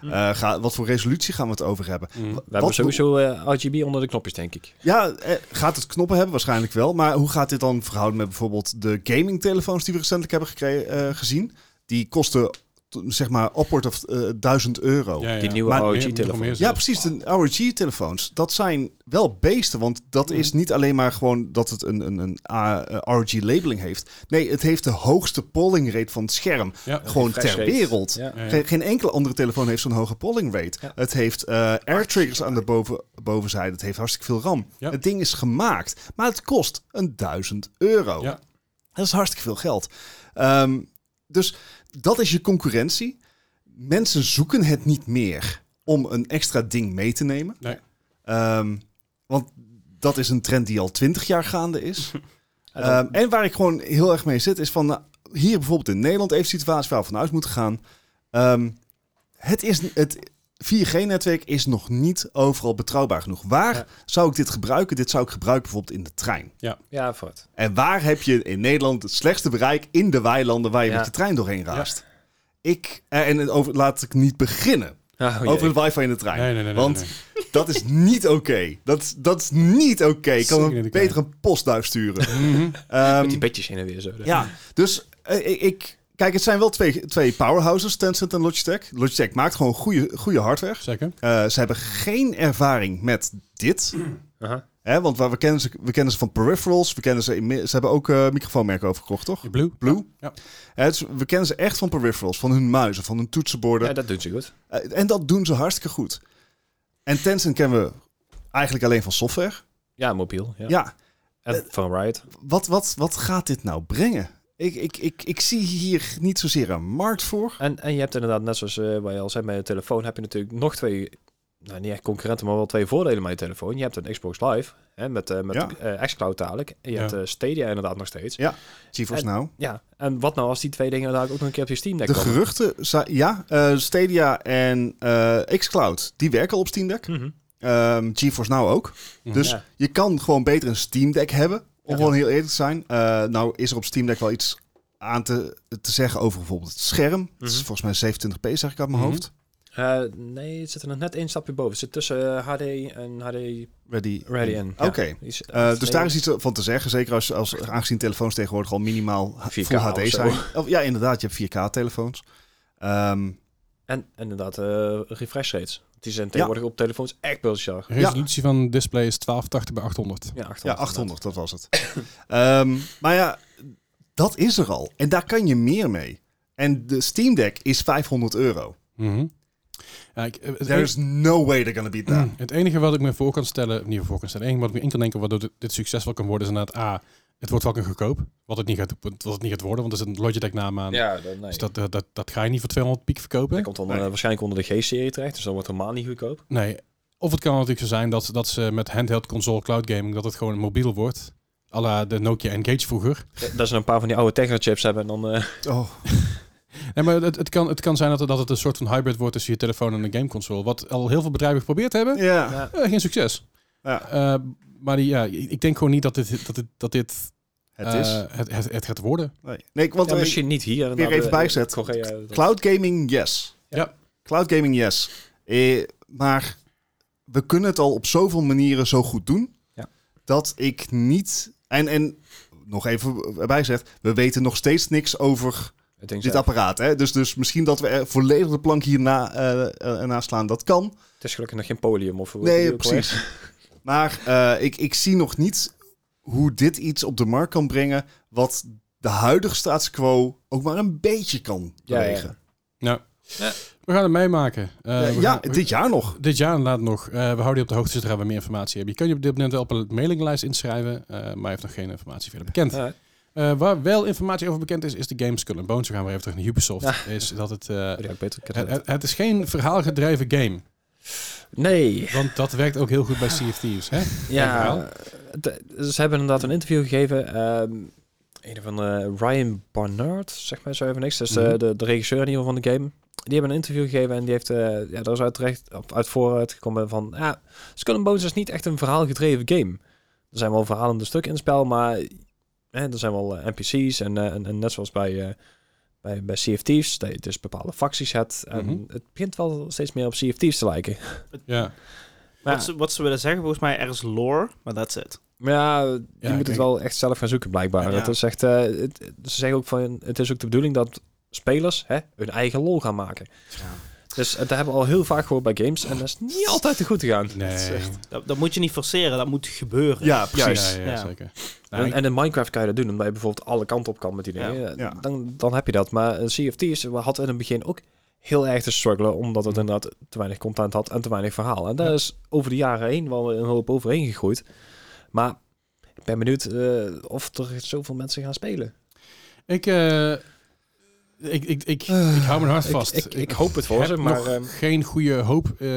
Hm.
Eh, ga, wat voor resolutie gaan we het over hebben?
Mhm.
Wat-
We hebben
wat-
sowieso eh, RGB onder de knopjes, denk ik.
Ja, eh, gaat het knoppen hebben? Waarschijnlijk wel. Maar hoe gaat dit dan verhouden met bijvoorbeeld de gaming-telefoons die we recentelijk hebben gekre- eh, gezien? Die kosten t- zeg maar upward of eh, 1000 euro. Ja.
Ja, ja.
Oh, Die nieuwe
Maar-
ROG-telefoon.
Meer- meer zelfs.
precies. De ROG-telefoons, dat zijn wel beesten. Want dat is niet alleen maar gewoon dat het een, een, een ROG-labeling heeft. Nee, het heeft de hoogste polling rate van het scherm.
Ja.
gewoon
Refresh
ter
rate.
wereld.
Ja.
Ja, ja.
Geen, geen enkele andere telefoon heeft zo'n hoge polling rate.
Ja.
Het heeft eh air triggers aan de boven, bovenzijde. Het heeft hartstikke veel RAM.
Ja.
Het ding is gemaakt, maar het kost een 1000 euro.
Ja.
Dat is hartstikke veel geld. Ehm, dus dat is je concurrentie. Mensen zoeken het niet meer om een extra ding mee te nemen.
Nee.
Ehm, want dat is een trend die al 20 jaar gaande is.
En dan-
Ehm, en waar ik gewoon heel erg mee zit, is van nou, hier bijvoorbeeld in Nederland even situatie waar we vanuit moeten gaan. Ehm, het is het 4G-netwerk is nog niet overal betrouwbaar genoeg. Waar
Ja.
zou ik dit gebruiken? Dit zou ik gebruiken bijvoorbeeld in de trein.
ja, vooruit.
En waar heb je in Nederland het slechtste bereik in de weilanden waar je
Ja.
met je trein doorheen raast? Ik eh, en over, laat ik niet beginnen
Ah, oh
over
jee.
het wifi in de trein.
Nee, nee, nee.
Want
nee, nee.
dat is niet oké. Dat, dat is niet oké. Ik kan
Zeker
hem
niet
beter
oké.
een postduif sturen.
Mhm.
Ehm,
die bedjes heen en weer zo.
ja, dus eh, ik, ik Kijk, het zijn wel twee, twee powerhouses, Tencent en Logitech. Logitech maakt gewoon goede, goede hardware.
Zeker.
Eh, ze hebben geen ervaring met dit.
Aha.
Hè, want waar we, kennen ze, we kennen ze van peripherals. We kennen ze, inmi- ze hebben ook eh microfoonmerken overgekocht, toch?
Blue.
Blue.
Ja.
Hè, dus we kennen ze echt van peripherals, van hun muizen, van hun toetsenborden.
Ja, dat doet ze goed.
Eh, en dat doen ze hartstikke goed. En Tencent kennen we eigenlijk alleen van software.
Ja, mobiel. Ja.
ja. eh,
En van Riot.
wat, wat, wat gaat dit nou brengen? Ik, ik, ik, ik zie hier niet zozeer een markt voor.
En, en je hebt inderdaad, net zoals eh waar je al zei met je telefoon, heb je natuurlijk nog twee, nou niet echt concurrenten, maar wel twee voordelen met je telefoon. Je hebt een Xbox Live, hè, met, eh met
Ja.
eh, xCloud dadelijk. En je
Ja.
hebt eh, Stadia inderdaad nog steeds.
Ja. GeForce
En-
nou.
Ja, en wat nou als die twee dingen inderdaad ook nog een keer op je Steam Deck
De
komen?
geruchten, za- ja, eh, Stadia en eh, xCloud, die werken op Steam Deck.
Mhm.
Ehm, GeForce Now ook.
Mhm.
Dus
Ja.
je kan gewoon beter een Steam Deck hebben, om
Ja.
gewoon heel eerlijk te zijn. Eh, nou is er op Steam Deck wel iets aan te, te zeggen over bijvoorbeeld het scherm. Het is
Mhm.
volgens mij 27p, zeg ik uit mijn
Mhm.
hoofd.
Eh, nee, het zit er nog net één stapje boven. Het zit tussen eh, HD en HD
Ready.
Ready in.
Oké. Eh, dus daar is iets van te zeggen. Zeker als, als aangezien telefoons tegenwoordig al minimaal h-
4K
Full HD
of zo.
zijn. Of, ja, inderdaad, je hebt 4K-telefoons. Ehm,
En inderdaad, eh, refresh rates. Die zijn tegenwoordig op telefoons echt bizar.
Resolutie van display is 1280 bij 800.
Ja, 800.
ja, 800, dat was het. Ehm, maar ja, dat is er al. En daar kan je meer mee. En de Steam Deck is 500 euro.
Mhm. Ja, ik- eh, het, Mm.
There is no way they're gonna beat that.
het enige wat ik me voor kan stellen, niet voor kan stellen, het enige wat ik me in kan denken waardoor dit, dit succesvol kan worden, is inderdaad A, het wordt fucking goedkoop. Wat het niet gaat, wat het niet gaat worden, want er zit een Logitech naam aan.
Ja, dat, nee.
Dus dat, dat, dat, dat ga je niet voor 200 piek verkopen.
Dat komt dan eh,
Nee.
waarschijnlijk onder de G-serie terecht, dus dan wordt het helemaal niet goedkoop.
Nee. Of het kan natuurlijk zo zijn dat, dat ze met handheld console cloud gaming, dat het gewoon een mobiel wordt. à la de Nokia Engage vroeger.
Eh, Dat ze een paar van die oude Tegra-chips hebben en dan... eh,
Oh,
Nee, maar het, het, kan, het kan zijn dat het, dat het een soort van hybrid wordt tussen je telefoon en een gameconsole. Wat al heel veel bedrijven geprobeerd hebben.
ja.
ja.
Eh, geen succes.
Ja.
Eh, maar die, ja, ik ik denk gewoon niet dat dit, dat dit, dat dit
Het is.
eh, het, het, het gaat worden.
Nee, nee ik- want
Ja,
eh,
misschien niet hier. inderdaad,
even
eh,
bijgezet.
Korea, dat-
cloud gaming, yes.
Ja.
Cloud gaming, yes. Eh, maar we kunnen het al op zoveel manieren zo goed doen.
Ja.
Dat ik niet. En, en nog even erbij zegt, we weten nog steeds niks over
ik denk
dit
zelf.
apparaat. Hè? Dus, dus misschien dat we er volledig de plank hierna eh, eh, naast slaan, dat kan.
Het is gelukkig nog geen podium of hoe
Nee,
hoe die ook al
precies.
heet.
Maar eh, ik, ik zie nog niet hoe dit iets op de markt kan brengen. wat de huidige status quo ook maar een beetje kan
Ja, ja.
bewegen.
Nou,
Ja.
we gaan het meemaken. Eh,
Eh,
we
ja,
gaan- we-
dit jaar nog.
Dit jaar inderdaad nog. Eh, we houden je op de hoogte zodra we meer informatie hebben. Je kan je op dit moment wel op een mailinglijst inschrijven, eh, maar je heeft nog geen informatie verder bekend.
Ja.
Eh, waar wel informatie over bekend is, is de game Skull and Bones. We gaan weer even terug naar Ubisoft. Is dat het, eh,
Oh, die had ik beter kunnen
het, het is geen verhaalgedreven game.
doen. Nee.
Want dat werkt ook heel goed bij Sea of Thieves. Hè?
Ja,
Dankjewel.
de- ze hebben inderdaad een interview gegeven. ehm een van de Ryan Barnard, zeg maar zo even niks. Dus eh,
Mhm.
de, de regisseur in ieder geval van de game. Die hebben een interview gegeven en die heeft eh, ja, daar is uit, terecht, op- uit vooruit gekomen van... Ah, Skull and Bones is niet echt een verhaalgedreven game. Er zijn wel verhalende stukken in het spel, maar hè, er zijn wel eh, NPC's. En, eh, en, en net zoals bij, eh bij, bij Sea of Thieves, dat je dus bepaalde facties hebt. En
Mhm.
het begint wel steeds meer op Sea of Thieves te lijken.
Ja.
Maar-
Wat, ze, wat ze willen zeggen, volgens mij, er is lore, maar that's it.
Maar ja, je
Ja,
moet
kijk.
het wel echt zelf gaan zoeken, blijkbaar.
Ja.
Het is echt, eh, het- ze zeggen ook van, het is ook de bedoeling dat spelers hè, hun eigen lol gaan maken. Dus eh, dat hebben we al heel vaak gehoord bij games en dat is niet altijd te goed gegaan.
Nee.
is echt-
Dat, dat moet je niet forceren, dat moet gebeuren.
Ja,
Ja,
precies.
ja, ja,
Ja.
zeker. Nou,
En, en in Minecraft kan je dat doen, omdat je bijvoorbeeld alle kanten op kan met die dingen.
Ja.
Eh,
Ja.
Dan, dan heb je dat. Maar eh, CFT's had in het begin ook heel erg te struggelen, omdat het inderdaad te weinig content had en te weinig verhaal. En daar
Ja.
is over de jaren heen wel een hoop overheen gegroeid. Maar ik ben benieuwd eh, of er zoveel mensen gaan spelen.
Ik, eh, ik, ik, ik, ik hou mijn hart vast.
Ik, ik, ik hoop het voor
heb
ze, maar...
nog
ehm,
geen goede hoop. eh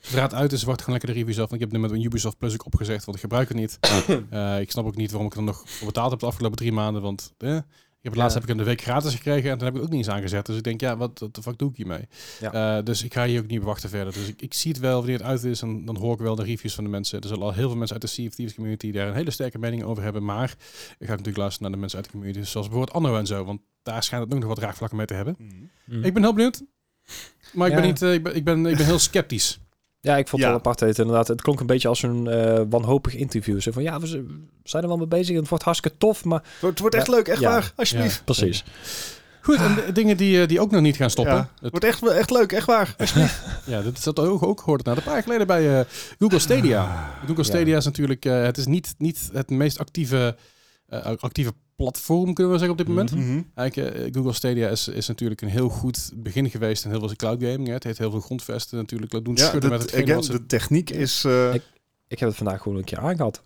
zodra het uit is, wacht gewoon lekker de review zelf. Want ik heb het met een Ubisoft Plus ook opgezegd, want ik gebruik het niet. Eh, ik snap ook niet waarom ik er nog voor betaald heb de afgelopen drie maanden. Want eh, ik heb het laatst
Ja.
heb ik een week gratis gekregen en toen heb ik het ook niet eens aangezet. Dus ik denk, ja, wat wat de fuck doe ik hiermee? Eh, dus ik ga hier ook niet op wachten verder. Dus ik, ik zie het wel wanneer het uit is en dan hoor ik wel de reviews van de mensen. Er zullen al heel veel mensen uit de Sea of Thieves community daar een hele sterke mening over hebben. Maar ik ga natuurlijk luisteren naar de mensen uit de community, zoals bijvoorbeeld Anno en zo. Want daar schijnt het ook nog wat raakvlakken mee te hebben.
Hm.
Ik ben heel benieuwd. Maar ik, ben
Ja.
niet, eh, ik, ben, ik, ben, ik ben heel sceptisch.
Ja, ik vond het
Ja.
wel apart dat het inderdaad. Het klonk een beetje als een eh, wanhopig interview. Zo van ja, we z- we zijn er wel mee bezig en het wordt hartstikke tof, maar
Het wordt echt leuk, echt
Ja.
waar. Alsjeblieft.
Ja.
precies.
Goed, en de- dingen die, eh, die ook nog niet gaan stoppen.
Ja.
Het-
Wordt echt, echt leuk, echt waar.
Ja, dat zat ook, ook gehoord na een paar jaar geleden bij eh, Google Stadia.
Ah,
Google Stadia is natuurlijk, eh, het is niet, niet het meest actieve, eh, actieve platform, kunnen we zeggen, op dit moment.
Mhm.
Eigenlijk, eh, Google Stadia is, is natuurlijk een heel goed begin geweest in heel veel cloud gaming. Hè. Het heeft heel veel grondvesten natuurlijk laat doen
Ja,
schudden
dat-
met hetgeen
again,
wat ze...
de techniek is... eh,
Ik- Ik heb het vandaag gewoon een keer aangehad.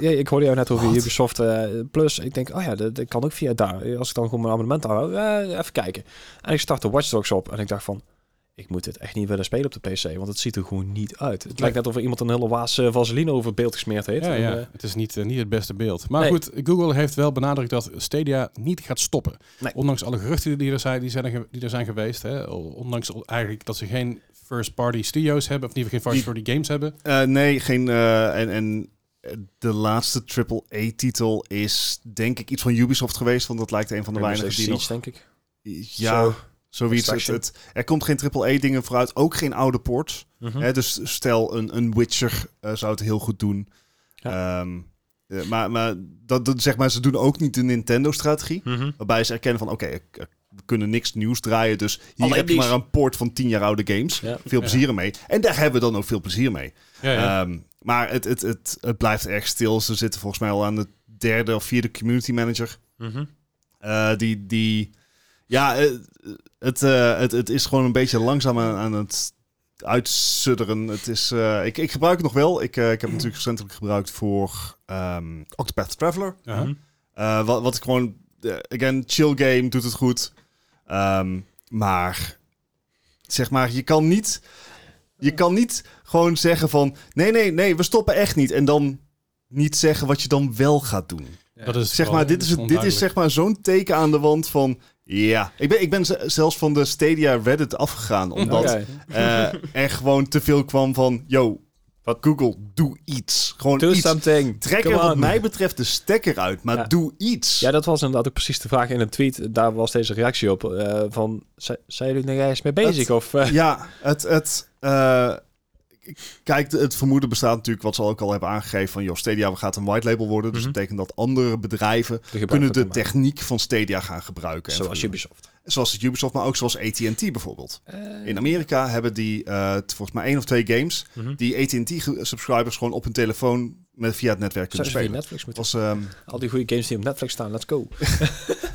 Ja, ik hoorde jou net over Ubisoft eh, Plus. Ik denk, oh ja, dat, dat kan ook via daar. Als ik dan gewoon mijn abonnement hou, eh, even kijken. En ik startte Watch Dogs op en ik dacht van... Ik moet dit echt niet willen spelen op de PC, want het ziet er gewoon niet uit. Het lijkt net of er iemand een hele waas eh, vaseline over het beeld gesmeerd heeft.
Ja,
En,
ja.
eh,
het is niet, eh, niet het beste beeld. Maar
Nee.
goed, Google heeft wel benadrukt dat Stadia niet gaat stoppen.
Nee.
Ondanks alle geruchten die er zijn, die zijn, er ge- die er zijn geweest. Hè. Ondanks al- eigenlijk dat ze geen first-party studios hebben, of niet geen first-party games hebben.
eh, nee, geen... eh, en, en de laatste AAA-titel is denk ik iets van Ubisoft geweest. Want dat lijkt een van de
Rainbow
weinigen
Six
die nog...
Siege, denk ik.
Ja,
Zo.
zoiets. Het,
Extraction.
het, er komt geen AAA-dingen vooruit. Ook geen oude ports.
Mhm.
Hè, dus stel, een, een Witcher eh, zou het heel goed doen. Ehm, eh, maar maar, dat, dat, zeg maar ze doen ook niet de Nintendo-strategie. Waarbij ze erkennen van, oké, eh, we kunnen niks nieuws draaien. Dus hier
Alleen
heb je
die-
maar een port van 10 jaar oude games.
Ja.
Veel plezier ermee. En daar hebben we dan ook veel plezier mee.
Ja, ja.
Ehm, maar het, het, het, het blijft erg stil. Ze zitten volgens mij al aan de derde of vierde community manager.
Mhm.
Eh, die, die, ja, eh, het, eh, het, het is gewoon een beetje langzaam aan, aan het uitsudderen. Het is, eh, ik, ik gebruik het nog wel. Ik, eh, ik heb het natuurlijk recentelijk gebruikt voor ehm, Octopath Traveler.
Ja.
Eh, wat, wat ik gewoon, eh, again, chill game, doet het goed. Ehm, maar, zeg maar, je kan niet, je kan niet gewoon zeggen van, nee, nee, nee, we stoppen echt niet. En dan niet zeggen wat je dan wel gaat doen.
Dat is
Zeg maar, dit is, het- dit is zeg maar zo'n teken aan de wand van... Ja, ik ben, ik ben z- zelfs van de Stadia Reddit afgegaan. Omdat
Oké.
eh, er gewoon te veel kwam van... Yo, wat? Google, doe iets. Gewoon
Do
iets.
something.
Trek
Come
er wat
on.
mij betreft de stekker uit, maar
Ja.
doe iets.
Ja, dat was inderdaad ook precies de vraag in een tweet. Daar was deze reactie op. eh, van, zi- zijn jullie er eens mee bezig? of, eh,
Ja, het... het eh, k- Kijk, het vermoeden bestaat natuurlijk, wat ze ook al hebben aangegeven, van joh, Stadia gaat een white label worden. Dus
Mhm.
dat betekent dat andere bedrijven
de gebruiker
kunnen de
te maken.
techniek van Stadia gaan gebruiken. en
Zoals
verhuren.
Ubisoft. Eh,
Zoals het Ubisoft, maar ook zoals AT&T bijvoorbeeld. In Amerika hebben die eh, t- volgens mij één of twee games...
Mhm.
die AT&T-subscribers gewoon op hun telefoon met, via het netwerk
Zouden ze
kunnen
via
spelen.
Netflix
Dat
moeten?
was, ehm,
Al die goede games die op Netflix staan, let's go.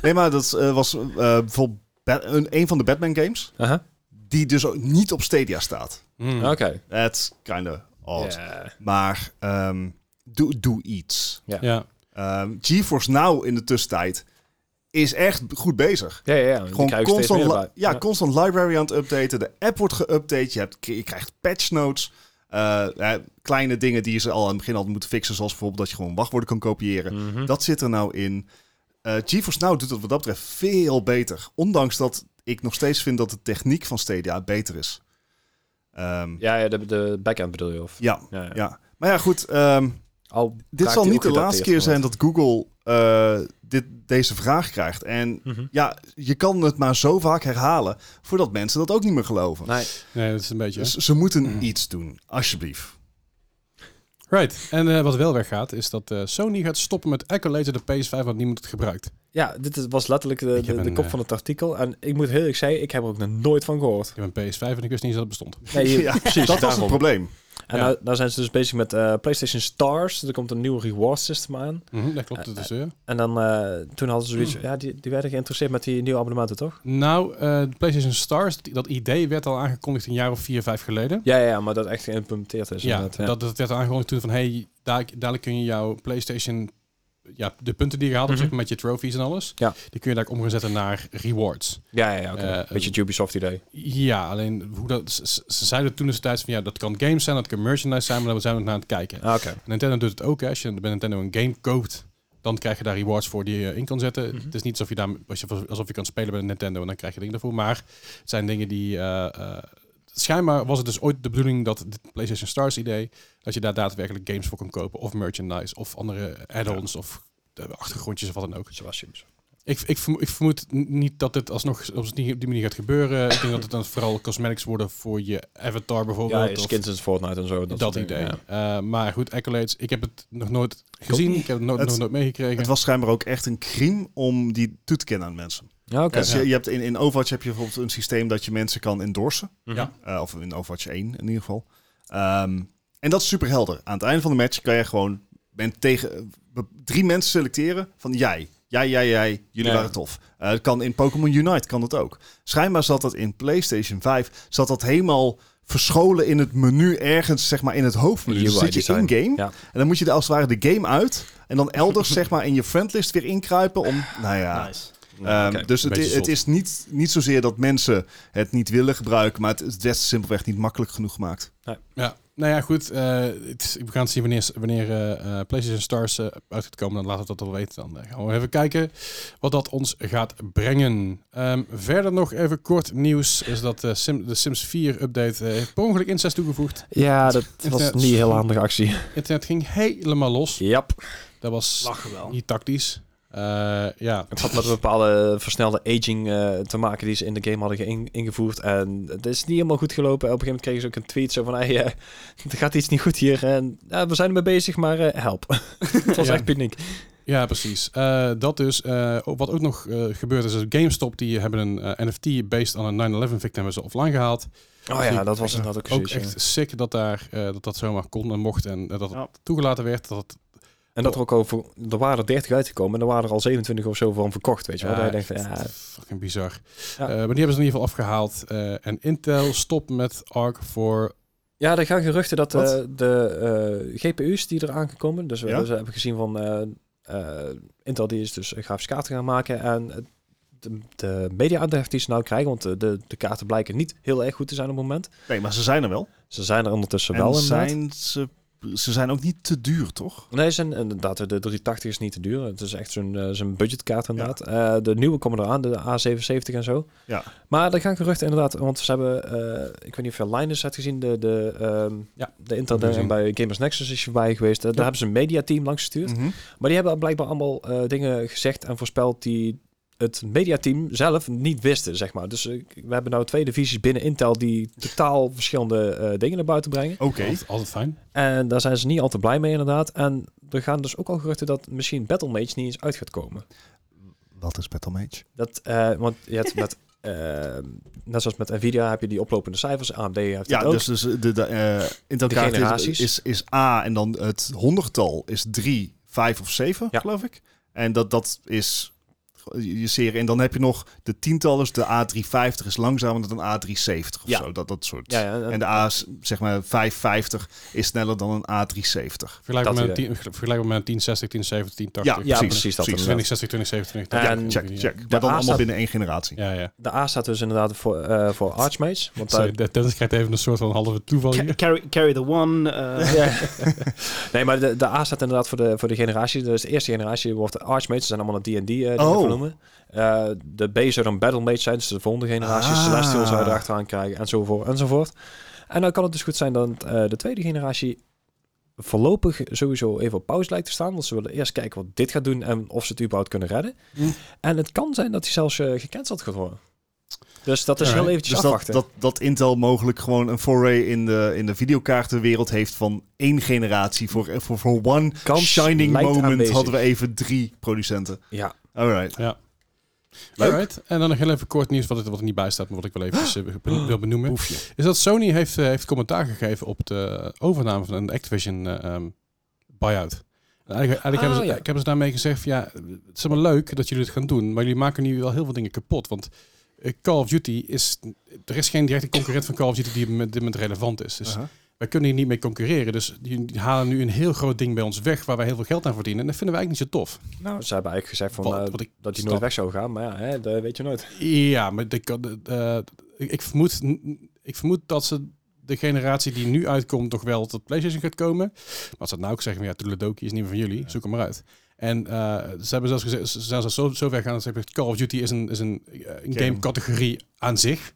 nee, maar dat eh, was eh, bijvoorbeeld Bat- een, een van de Batman-games...
Aha.
die dus ook niet op Stadia staat.
Hmm.
Oké.
That's kinda odd.
Ja.
Maar ehm, doe doe iets.
Ja.
Ehm, GeForce Now in de tussentijd is echt goed bezig.
Ja, ja, ja. Die
Gewoon
krijgen we steeds
constant,
meer
li-
bij.
ja, constant library aan het updaten. De app wordt geüpdate. Je, hebt, je krijgt patch notes. Eh, eh, kleine dingen die ze al aan het begin hadden moeten fixen. Zoals bijvoorbeeld dat je gewoon wachtwoorden kan kopiëren.
Mhm.
Dat zit er nou in. Eh GeForce Now doet het wat dat betreft veel beter. Ondanks dat ik nog steeds vind dat de techniek van Stadia beter is. Ehm, ja.
Ja, ja de, de backend bedoel je? Of,
Ja,
ja, ja.
Maar ja, goed. ehm,
Al
dit
raakt
zal
die
niet de
ook
laatste keer
gedateerd,
zijn
want-
dat Google eh, dit, deze vraag krijgt. En
Mhm.
ja, je kan het maar zo vaak herhalen voordat mensen dat ook niet meer geloven.
Nee.
Nee, dat is een beetje...
Dus ze moeten
Mhm.
iets doen, alsjeblieft.
Right. En eh, wat wel weggaat, is dat eh, Sony gaat stoppen met Accolade de PS5, want niemand het gebruikt.
Ja, dit is- was letterlijk de,
Ik heb
de, de
een,
kop
eh,
van het artikel. En ik moet heel eerlijk zeggen, ik heb er ook nog nooit van gehoord.
Ik heb een PS5 en ik wist niet eens dat het bestond.
Nee, je-
Ja,
precies.
dat was
daarom.
het probleem.
En
Ja.
nou, nou zijn ze dus bezig met eh, PlayStation Stars. Er komt een nieuw reward system aan.
Mhm, dat klopt, dat is... eh,
En dan, eh, toen hadden ze zoiets... Ja, die, die werden geïnteresseerd met die nieuwe abonnementen, toch?
Nou, eh, de PlayStation Stars, die- dat idee werd al aangekondigd een jaar of vier, vijf geleden.
Ja, ja, ja, maar dat echt geïmplementeerd is.
Ja,
Dus inderdaad, ja.
Dat, dat werd aangekondigd toen van, hey, daar, dadelijk kun je jouw PlayStation, ja, de punten die je gehaald hebt, zeg
Mhm.
maar, met je trophies en alles,
Ja,
die kun je daar om gaan zetten naar rewards.
ja, ja, ja, oké.
Eh,
Beetje het Ubisoft idee.
Ja, alleen hoe dat, ze- ze, ze zeiden toen destijds van, ja, dat kan games zijn, dat kan merchandise zijn, maar daar zijn we nog naar aan het kijken.
Ah, oké.
Nintendo doet het ook. Hè. Als je bij Nintendo een game koopt, dan krijg je daar rewards voor die je in kan zetten. Het is niet alsof je, daar, als je- alsof je kan spelen bij Nintendo en dan krijg je dingen daarvoor. Maar het zijn dingen die... eh, eh, schijnbaar was het dus ooit de bedoeling dat dit PlayStation Stars idee... dat je daar daadwerkelijk games voor kon kopen. Of merchandise, of andere add-ons, of eh, achtergrondjes of wat dan ook.
Zoals Ubisoft.
Ik, ik, vermo- ik vermoed n- niet dat dit alsnog op die, op die manier gaat gebeuren. Ik denk dat het dan vooral cosmetics worden voor je avatar
Ja,
bijvoorbeeld. of-
skins in Fortnite en zo. Dat,
dat,
soort dingen,
idee.
ja.
Eh, maar goed, accolades. Ik heb het nog nooit gezien. Ik heb het, nooit-
Het-
nog nooit meegekregen.
Het was schijnbaar ook echt een crime om die toe te kennen aan mensen.
Ja, oké.
Dus je, je hebt in, in Overwatch heb je bijvoorbeeld een systeem dat je mensen kan endorsen.
Mhm.
Ja.
Eh, of in Overwatch 1 in ieder geval. Ehm, en dat is super helder. Aan het einde van de match kan je gewoon ben tegen eh, be- drie mensen selecteren van jij. Jij, jij, jij. Jullie
Ja.
waren tof. Eh, Het kan in Pokémon Unite kan dat ook. Schijnbaar zat dat in PlayStation 5. Zat dat helemaal verscholen in het menu ergens, zeg maar in het hoofdmenu.
UI
Dus zit je
design.
in-game.
Ja.
En dan moet je er als het ware de game uit. En dan elders zeg maar in je friendlist weer inkruipen om... Nou ja,
Nice.
Ehm,
Oké,
dus
een
het,
beetje
i-
zot.
het is niet, niet zozeer dat mensen het niet willen gebruiken, maar het is des simpelweg niet makkelijk genoeg gemaakt.
Ja, nou ja, goed. eh, het is- we gaan zien wanneer, wanneer eh, eh, PlayStation Stars eh, uit gaat komen. Dan laten we dat al weten. Dan eh, gaan we even kijken wat dat ons gaat brengen. Ehm, verder nog even kort nieuws. Is dat eh, Sim- de Sims 4 update eh, heeft per ongeluk incest toegevoegd.
Ja, dat was
Internet-
niet een heel handige actie.
Internet ging helemaal los.
Jap.
Dat was
Lachen wel.
niet tactisch. Eh, ja,
Het had met een bepaalde versnelde aging eh, te maken die ze in de game hadden geïn- ingevoerd. En het is niet helemaal goed gelopen. Op een gegeven moment kregen ze ook een tweet zo van... Hey, eh, er gaat iets niet goed hier. En ja, we zijn ermee bezig, maar eh, help. het was
Ja.
echt paniek.
Ja, precies. Eh, dat dus. eh, ook- wat ook nog eh, gebeurd is, is GameStop die hebben een eh, NFT based on een 9-11 victim hebben ze offline gehaald.
Oh ja, dat was inderdaad ook
Ook
precies. ja.
echt sick dat, daar, eh, dat dat zomaar kon en mocht en eh, dat het
Ja.
toegelaten werd. Dat het,
En dat er ook over... Er waren er 30 uitgekomen en er waren er al 27 of zo van verkocht, weet je wel.
Ja,
Dat je denkt van, ja,
echt fucking bizar. Eh,
Ja.
maar die hebben ze in ieder geval afgehaald. Eh, en Intel stopt met ARC voor...
Ja, er gaan geruchten dat eh,
Wat?
de eh, GPU's die er aangekomen, dus we,
Ja?
dus we hebben gezien van eh, eh, Intel die is dus een grafische kaarten gaan maken en eh, de, de media-aandacht die ze nou krijgen, want de, de, de kaarten blijken niet heel erg goed te zijn op het moment.
Nee, maar ze zijn er wel.
Ze zijn er ondertussen
en
wel inderdaad.
zijn ze, ze zijn ook niet te duur, toch?
Nee, ze zijn eh, inderdaad, de 380 is niet te duur. Het is echt zo'n eh, zo'n budgetkaart inderdaad. Eh, de nieuwe komen eraan, de A77 en zo.
Ja.
Maar er gaan geruchten inderdaad, want ze hebben, eh, ik weet niet of je Linus hebt gezien, de, de, ehm,
Ja,
de
heb ik
internet
gezien.
bij Gamers Nexus is je bij geweest. Eh, Daar hebben ze een mediateam langs gestuurd.
Mm.
Mhm.
Maar die hebben blijkbaar allemaal eh, dingen gezegd en voorspeld die het mediateam zelf niet wisten, zeg maar. Dus eh, we hebben nou twee divisies binnen Intel die totaal verschillende eh, dingen naar buiten brengen.
Oké.
Altijd, altijd fijn.
En daar zijn ze niet al te blij mee, inderdaad. En er gaan dus ook al geruchten dat misschien Battle Mage niet eens uit gaat komen.
Wat is Battle Mage?
Dat, eh, want je hebt met, eh, net zoals met Nvidia heb je die oplopende cijfers, AMD heeft
Ja,
dat ook.
dus, dus de, de, eh Intel
De
kaart is,
generaties.
is, is A en dan het honderdtal is 3, 5 of 7,
Ja.
geloof ik. En dat, dat is je serie. En dan heb je nog de tientallen, dus de A350 is langzamer dan een A370 of
Ja.
zo. Dat, dat soort.
ja, ja, en-
En de A, zeg maar 550 is sneller dan een A370.
Vergelijkbaar
Dat
met, een 10 vergelijkbaar met een 1060, 1070, 1080.
ja, precies, dat inderdaad.
2060, 2070, 2080.
Ja,
En-
check, check. Maar
A
dan allemaal
staat-
binnen één generatie.
Ja, ja.
De A staat dus inderdaad voor, eh voor Archmage. Want daar-
Sorry, Dennis krijgt even een soort van halve toeval
Ca-
hier.
Carry, carry the one. eh,
Ja. nee, maar de, de A staat inderdaad voor de, voor de generatie. Dus de eerste generatie wordt de Archmage. Ze zijn allemaal een D&D eh, die
Oh.
we noemen. Eh, de B zou dan Battle Mage zijn. Dus de volgende generatie.
Ah.
Celestial zou je erachteraan krijgen. Enzovoort, enzovoort. En dan kan het dus goed zijn dat eh, de tweede generatie voorlopig sowieso even op pauze lijkt te staan. Want ze willen eerst kijken wat dit gaat doen en of ze het überhaupt kunnen redden.
Hm.
En het kan zijn dat hij zelfs eh, gecanceld gaat worden. Dus dat is heel
Alright.
eventjes
Dus dat,
afwachten.
dat, dat Intel mogelijk gewoon een foray in de, in de videokaartenwereld heeft van één generatie. Voor, voor, voor one
Kans
shining
lijkt
moment
aanwezig.
hadden we even drie producenten.
Ja,
Alright. Leuk.
Alright. En dan nog heel even kort nieuws wat, er- wat er niet bij staat, maar wat ik wel
Ah!
even eh, ben- wil benoemen. Is dat Sony heeft, eh, heeft commentaar gegeven op de overname van een Activision eh, ehm, buyout. En Eigenlijk, eigenlijk
Ah,
hebben, ze,
ja.
ik hebben ze daarmee gezegd, van, ja, het is allemaal leuk dat jullie het gaan doen, maar jullie maken nu wel heel veel dingen kapot. Want eh, Call of Duty is, er is geen directe concurrent van Call of Duty die op dit moment relevant is. Dus
Aha.
wij kunnen hier niet mee concurreren. Dus die halen nu een heel groot ding bij ons weg waar wij heel veel geld aan verdienen. En dat vinden wij eigenlijk niet zo tof.
nou, ze hebben eigenlijk gezegd van,
Wat-
eh,
wat ik
dat hij
snap.
nooit weg zou gaan. Maar ja, hè, dat weet je nooit.
Ja, maar de, de- de- ik, ik vermoed, ik vermoed dat ze de generatie die nu uitkomt toch wel tot PlayStation gaat komen. Maar als ze dat nou ook zeggen, van, ja, Toledoki is niet meer van jullie, zoek hem maar uit. En eh, ze hebben zelfs gezegd, ze zijn zelfs zo, zo ver gaan dat ze hebben gezegd, Call of Duty is een, is een, eh, een
Game.
game-categorie aan zich.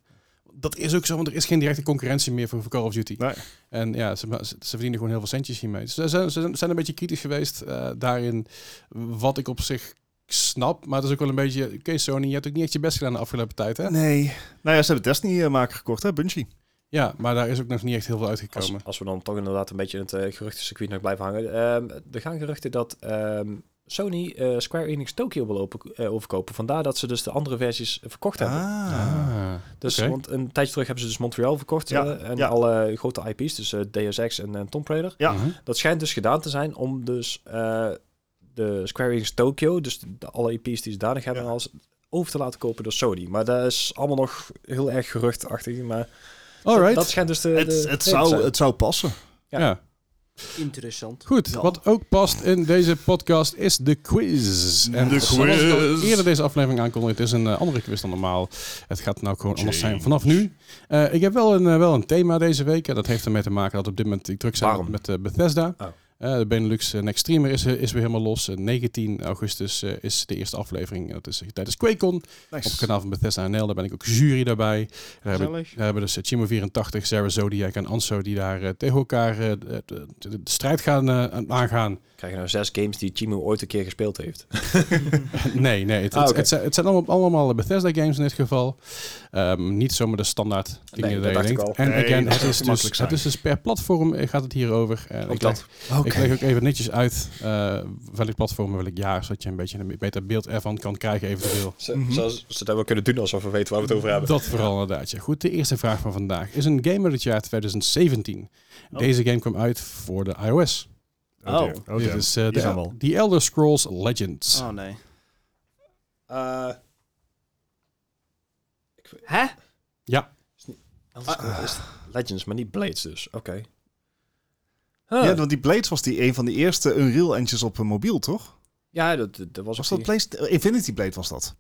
Dat is ook zo, want er is geen directe concurrentie meer voor, voor Call of Duty.
Nee.
En ja, ze, ze ze verdienen gewoon heel veel centjes hiermee. Dus ze zijn, ze zijn- zijn een beetje kritisch geweest eh, daarin, wat ik op zich snap. Maar het is ook wel een beetje, oké Sony, je hebt ook niet echt je best gedaan de afgelopen tijd, hè?
Nee. Nou ja, ze hebben Destiny-maker gekocht, hè, Bungie.
Ja, maar daar is ook nog niet echt heel veel
Als,
uitgekomen.
als we dan toch inderdaad een beetje in het eh, geruchtencircuit nog blijven hangen. Ehm, er gaan geruchten dat ehm, Sony eh, Square Enix Tokyo wil open- eh, overkopen. Vandaar dat ze dus de andere versies eh, verkocht hebben.
Ah,
Dus,
oké.
Want een tijdje terug hebben ze dus Montreal verkocht.
Ja,
eh, en
ja.
alle grote IP's, dus eh Deus Ex en, en Tomb Raider.
Ja.
Mhm.
Dat schijnt dus gedaan te zijn om dus eh, de Square Enix Tokyo, dus de, alle IP's die ze daar nog hebben,
Ja.
als over te laten kopen door Sony. Maar dat is allemaal nog heel erg geruchtachtig. Maar
Alright.
dat schijnt dus de...
Het,
de-
het,
de-
zou,
zijn.
het zou passen.
ja.
Interessant.
Goed,
Ja.
wat ook past in deze podcast is de quiz.
De
dat zal
quiz.
ik al eerder deze aflevering aankondigd. Het is een eh, andere quiz dan normaal. Het gaat nou gewoon anders zijn
Change.
vanaf nu. Eh, ik heb wel een, eh, wel een thema deze week. En dat heeft ermee te maken dat op dit moment ik druk zijn
Waarom?
met eh, Bethesda.
Oh.
Eh, de Benelux eh, Next Streamer is, eh, is weer helemaal los. Eh, 19 augustus eh, is de eerste aflevering. Dat is eh, tijdens QuakeCon. Op het kanaal van Bethesda NL, daar ben ik ook jury daarbij. Daar heb ik-
Gezellig.
we hebben dus Chimo84, Sarah Zodiac en Anso die daar eh, tegen elkaar eh, de, de- de- de strijd gaan eh, aan- aangaan.
Krijg je nou zes games die Chimu ooit een keer gespeeld heeft.
nee, nee. Het,
Ah,
het-
oké.
het zijn, het zijn allemaal, allemaal Bethesda games in dit geval. Ehm, niet zomaar de standaard dingen
dat
die je
dacht ik
denkt.
al.
En
Nee,
again,
dat
het
zou
is,
gemakkelijk
dus,
zijn.
het is dus per platform eh, gaat het hierover. En ik
Ook
leg-
dat.
Ik leg ook even netjes uit eh, welk platform en welk jaar, zodat je een beetje een beter beeld ervan kan krijgen eventueel.
Ze,
Mhm.
Zoals ze dat wel kunnen doen alsof we weten waar we het over hebben.
Dat vooral inderdaad. Ja. Goed, de eerste vraag van vandaag is een game uit het jaar 2017.
Oh.
Deze game kwam uit voor de iOS.
Oh.
Dit is eh,
Die zijn we
de,
al.
The Elder Scrolls Legends.
Ah.
Oh nee.
Eh,
Hè?
Elder Scrolls is Legends, maar niet Blades dus. Oké. Huh.
Ja,
Ja,
want die Blades was die een van de eerste Unreal engines op een mobiel, toch?
dat, dat was,
Was
ook
dat
die-
Blades? eh, Infinity Blade was dat.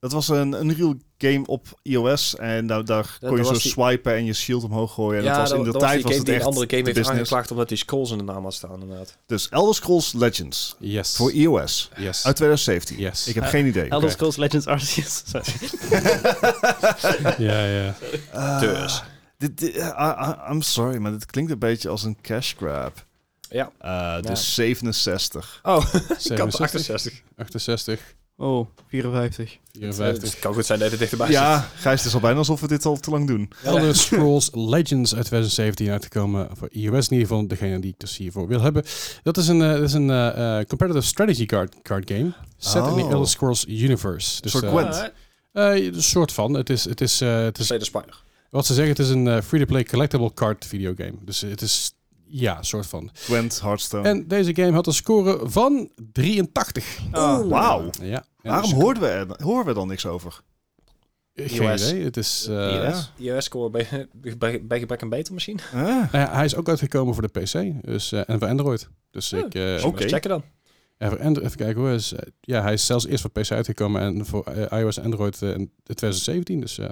Dat was een Unreal game op iOS en daar, daar
Ja,
kon je
dat
zo
was die-
swipen en je shield omhoog gooien. En dat was in de
dat
tijd
die
was
game
het
die
echt
een andere game
de
heeft
business.
aangeklaagd omdat die scrolls in de naam had staan inderdaad.
Dus Elder Scrolls Legends
Yes.
voor iOS
yes.
uit 2017.
Yes.
Ik heb
Eh,
geen idee.
Elder Scrolls Legends Arceus. Sorry.
ja, ja.
Ah,
Dus.
dit, dit- ah, ah, I'm sorry, maar dit klinkt een beetje als een cash grab.
Ja.
Eh, dus 67.
Oh,
67, 68,
Oh, 54.
Het
54.
kan goed zijn dat het dichterbij zit.
Ja, Gijs, het is al bijna alsof we dit al te lang doen.
Elder Scrolls Legends uit 2017 uitgekomen voor iOS in ieder geval, degene die ik dus hiervoor wil hebben. Dat is een, eh, dat is een eh, eh, competitive strategy card, card game, set in
Oh.
the Elder Scrolls universe. Dus,
Soort
eh,
Gwent.
eh, een soort van. Het is, het is, eh, het is
Tweede Spider.
Wat ze zeggen, het is een eh, free-to-play collectible card videogame. Dus eh, het is, ja, soort van.
Gwent, Hearthstone.
En deze game had een score van 83.
Oh.
Ah, Wauw.
Ja. En
Waarom
dus-
hoorden we, er, horen we dan niks over?
Geen
iOS?
idee. Het is, eh,
iOS?
IOS. IOS-score bij, bij, bij gebrek aan beter misschien.
Ah,
nou ja, hij is ook uitgekomen voor de PC dus, eh, en voor Android. Dus
Ah.
Oh,
ik... eh,
Zullen we eens checken dan.
en voor Android, even kijken hoor. Is, eh, ja, hij is zelfs eerst voor PC uitgekomen en voor eh, iOS en Android eh, in 2017. Dus eh,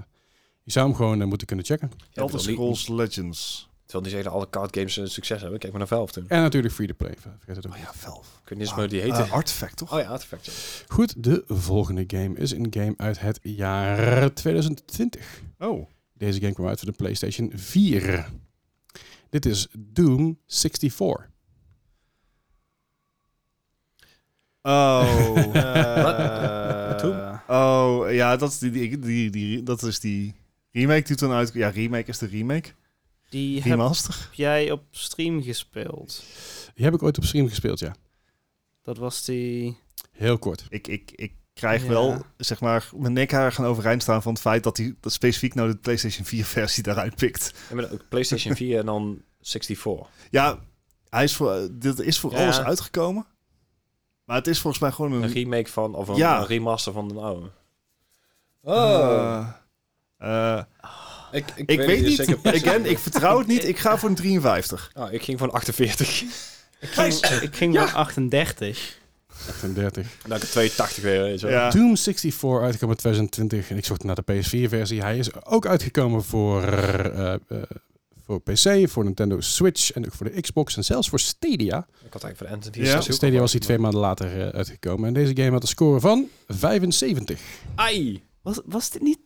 je zou hem gewoon eh, moeten kunnen checken.
Elder
bedoel,
Scrolls Legends.
Ik wil niet zeggen dat alle card games een succes hebben. Kijk maar naar Valve toen.
En natuurlijk free-to-play. Vergeet het ook
Oh ja, Valve.
Ik weet niet eens
Ah,
meer hoe die heette.
Eh, Artifact, toch?
oh ja, Artifact. ja.
Goed, de volgende game is een game uit het jaar 2020.
Oh.
Deze game kwam uit voor de PlayStation 4. Dit is Doom 64.
Oh.
Wat? Toen?
oh, ja, dat is die, die, die, die- dat is die remake die toen uit... Ja, remake is de remake.
Die heb
Remaster.
jij op stream gespeeld.
Die heb ik ooit op stream gespeeld, ja.
Dat was die...
Heel kort.
Ik, ik, ik krijg
Ja.
wel, zeg maar, mijn nekhaar gaan overeind staan van het feit dat hij dat specifiek nou de PlayStation 4 versie daaruit pikt.
En met ook PlayStation 4 en dan 64.
Ja, hij is voor, eh, dit is voor
Ja.
alles uitgekomen. Maar het is volgens mij gewoon een...
Een remake van, of een,
Mm. Ja.
een remaster van de oude.
Eh, eh,
Oh, ik,
ik weet niet.
zeker.
Again, ik vertrouw het niet. Ik ga voor een 53.
Ah, ik ging van 48.
Ik ging, ik ging van 38.
38.
En dan heb Nou, ik 82 weer. weet je wel.
Ja.
Doom 64 uitgekomen in 2020. En ik zocht naar de PS4-versie. Hij is ook uitgekomen voor, eh, eh, voor PC, voor Nintendo Switch en ook voor de Xbox en zelfs voor Stadia.
Ik had eigenlijk voor de Anthem
Ja.
die
Stadia was hij twee maanden later eh, uitgekomen. En deze game had een score van 75.
Ai!
Was, was dit niet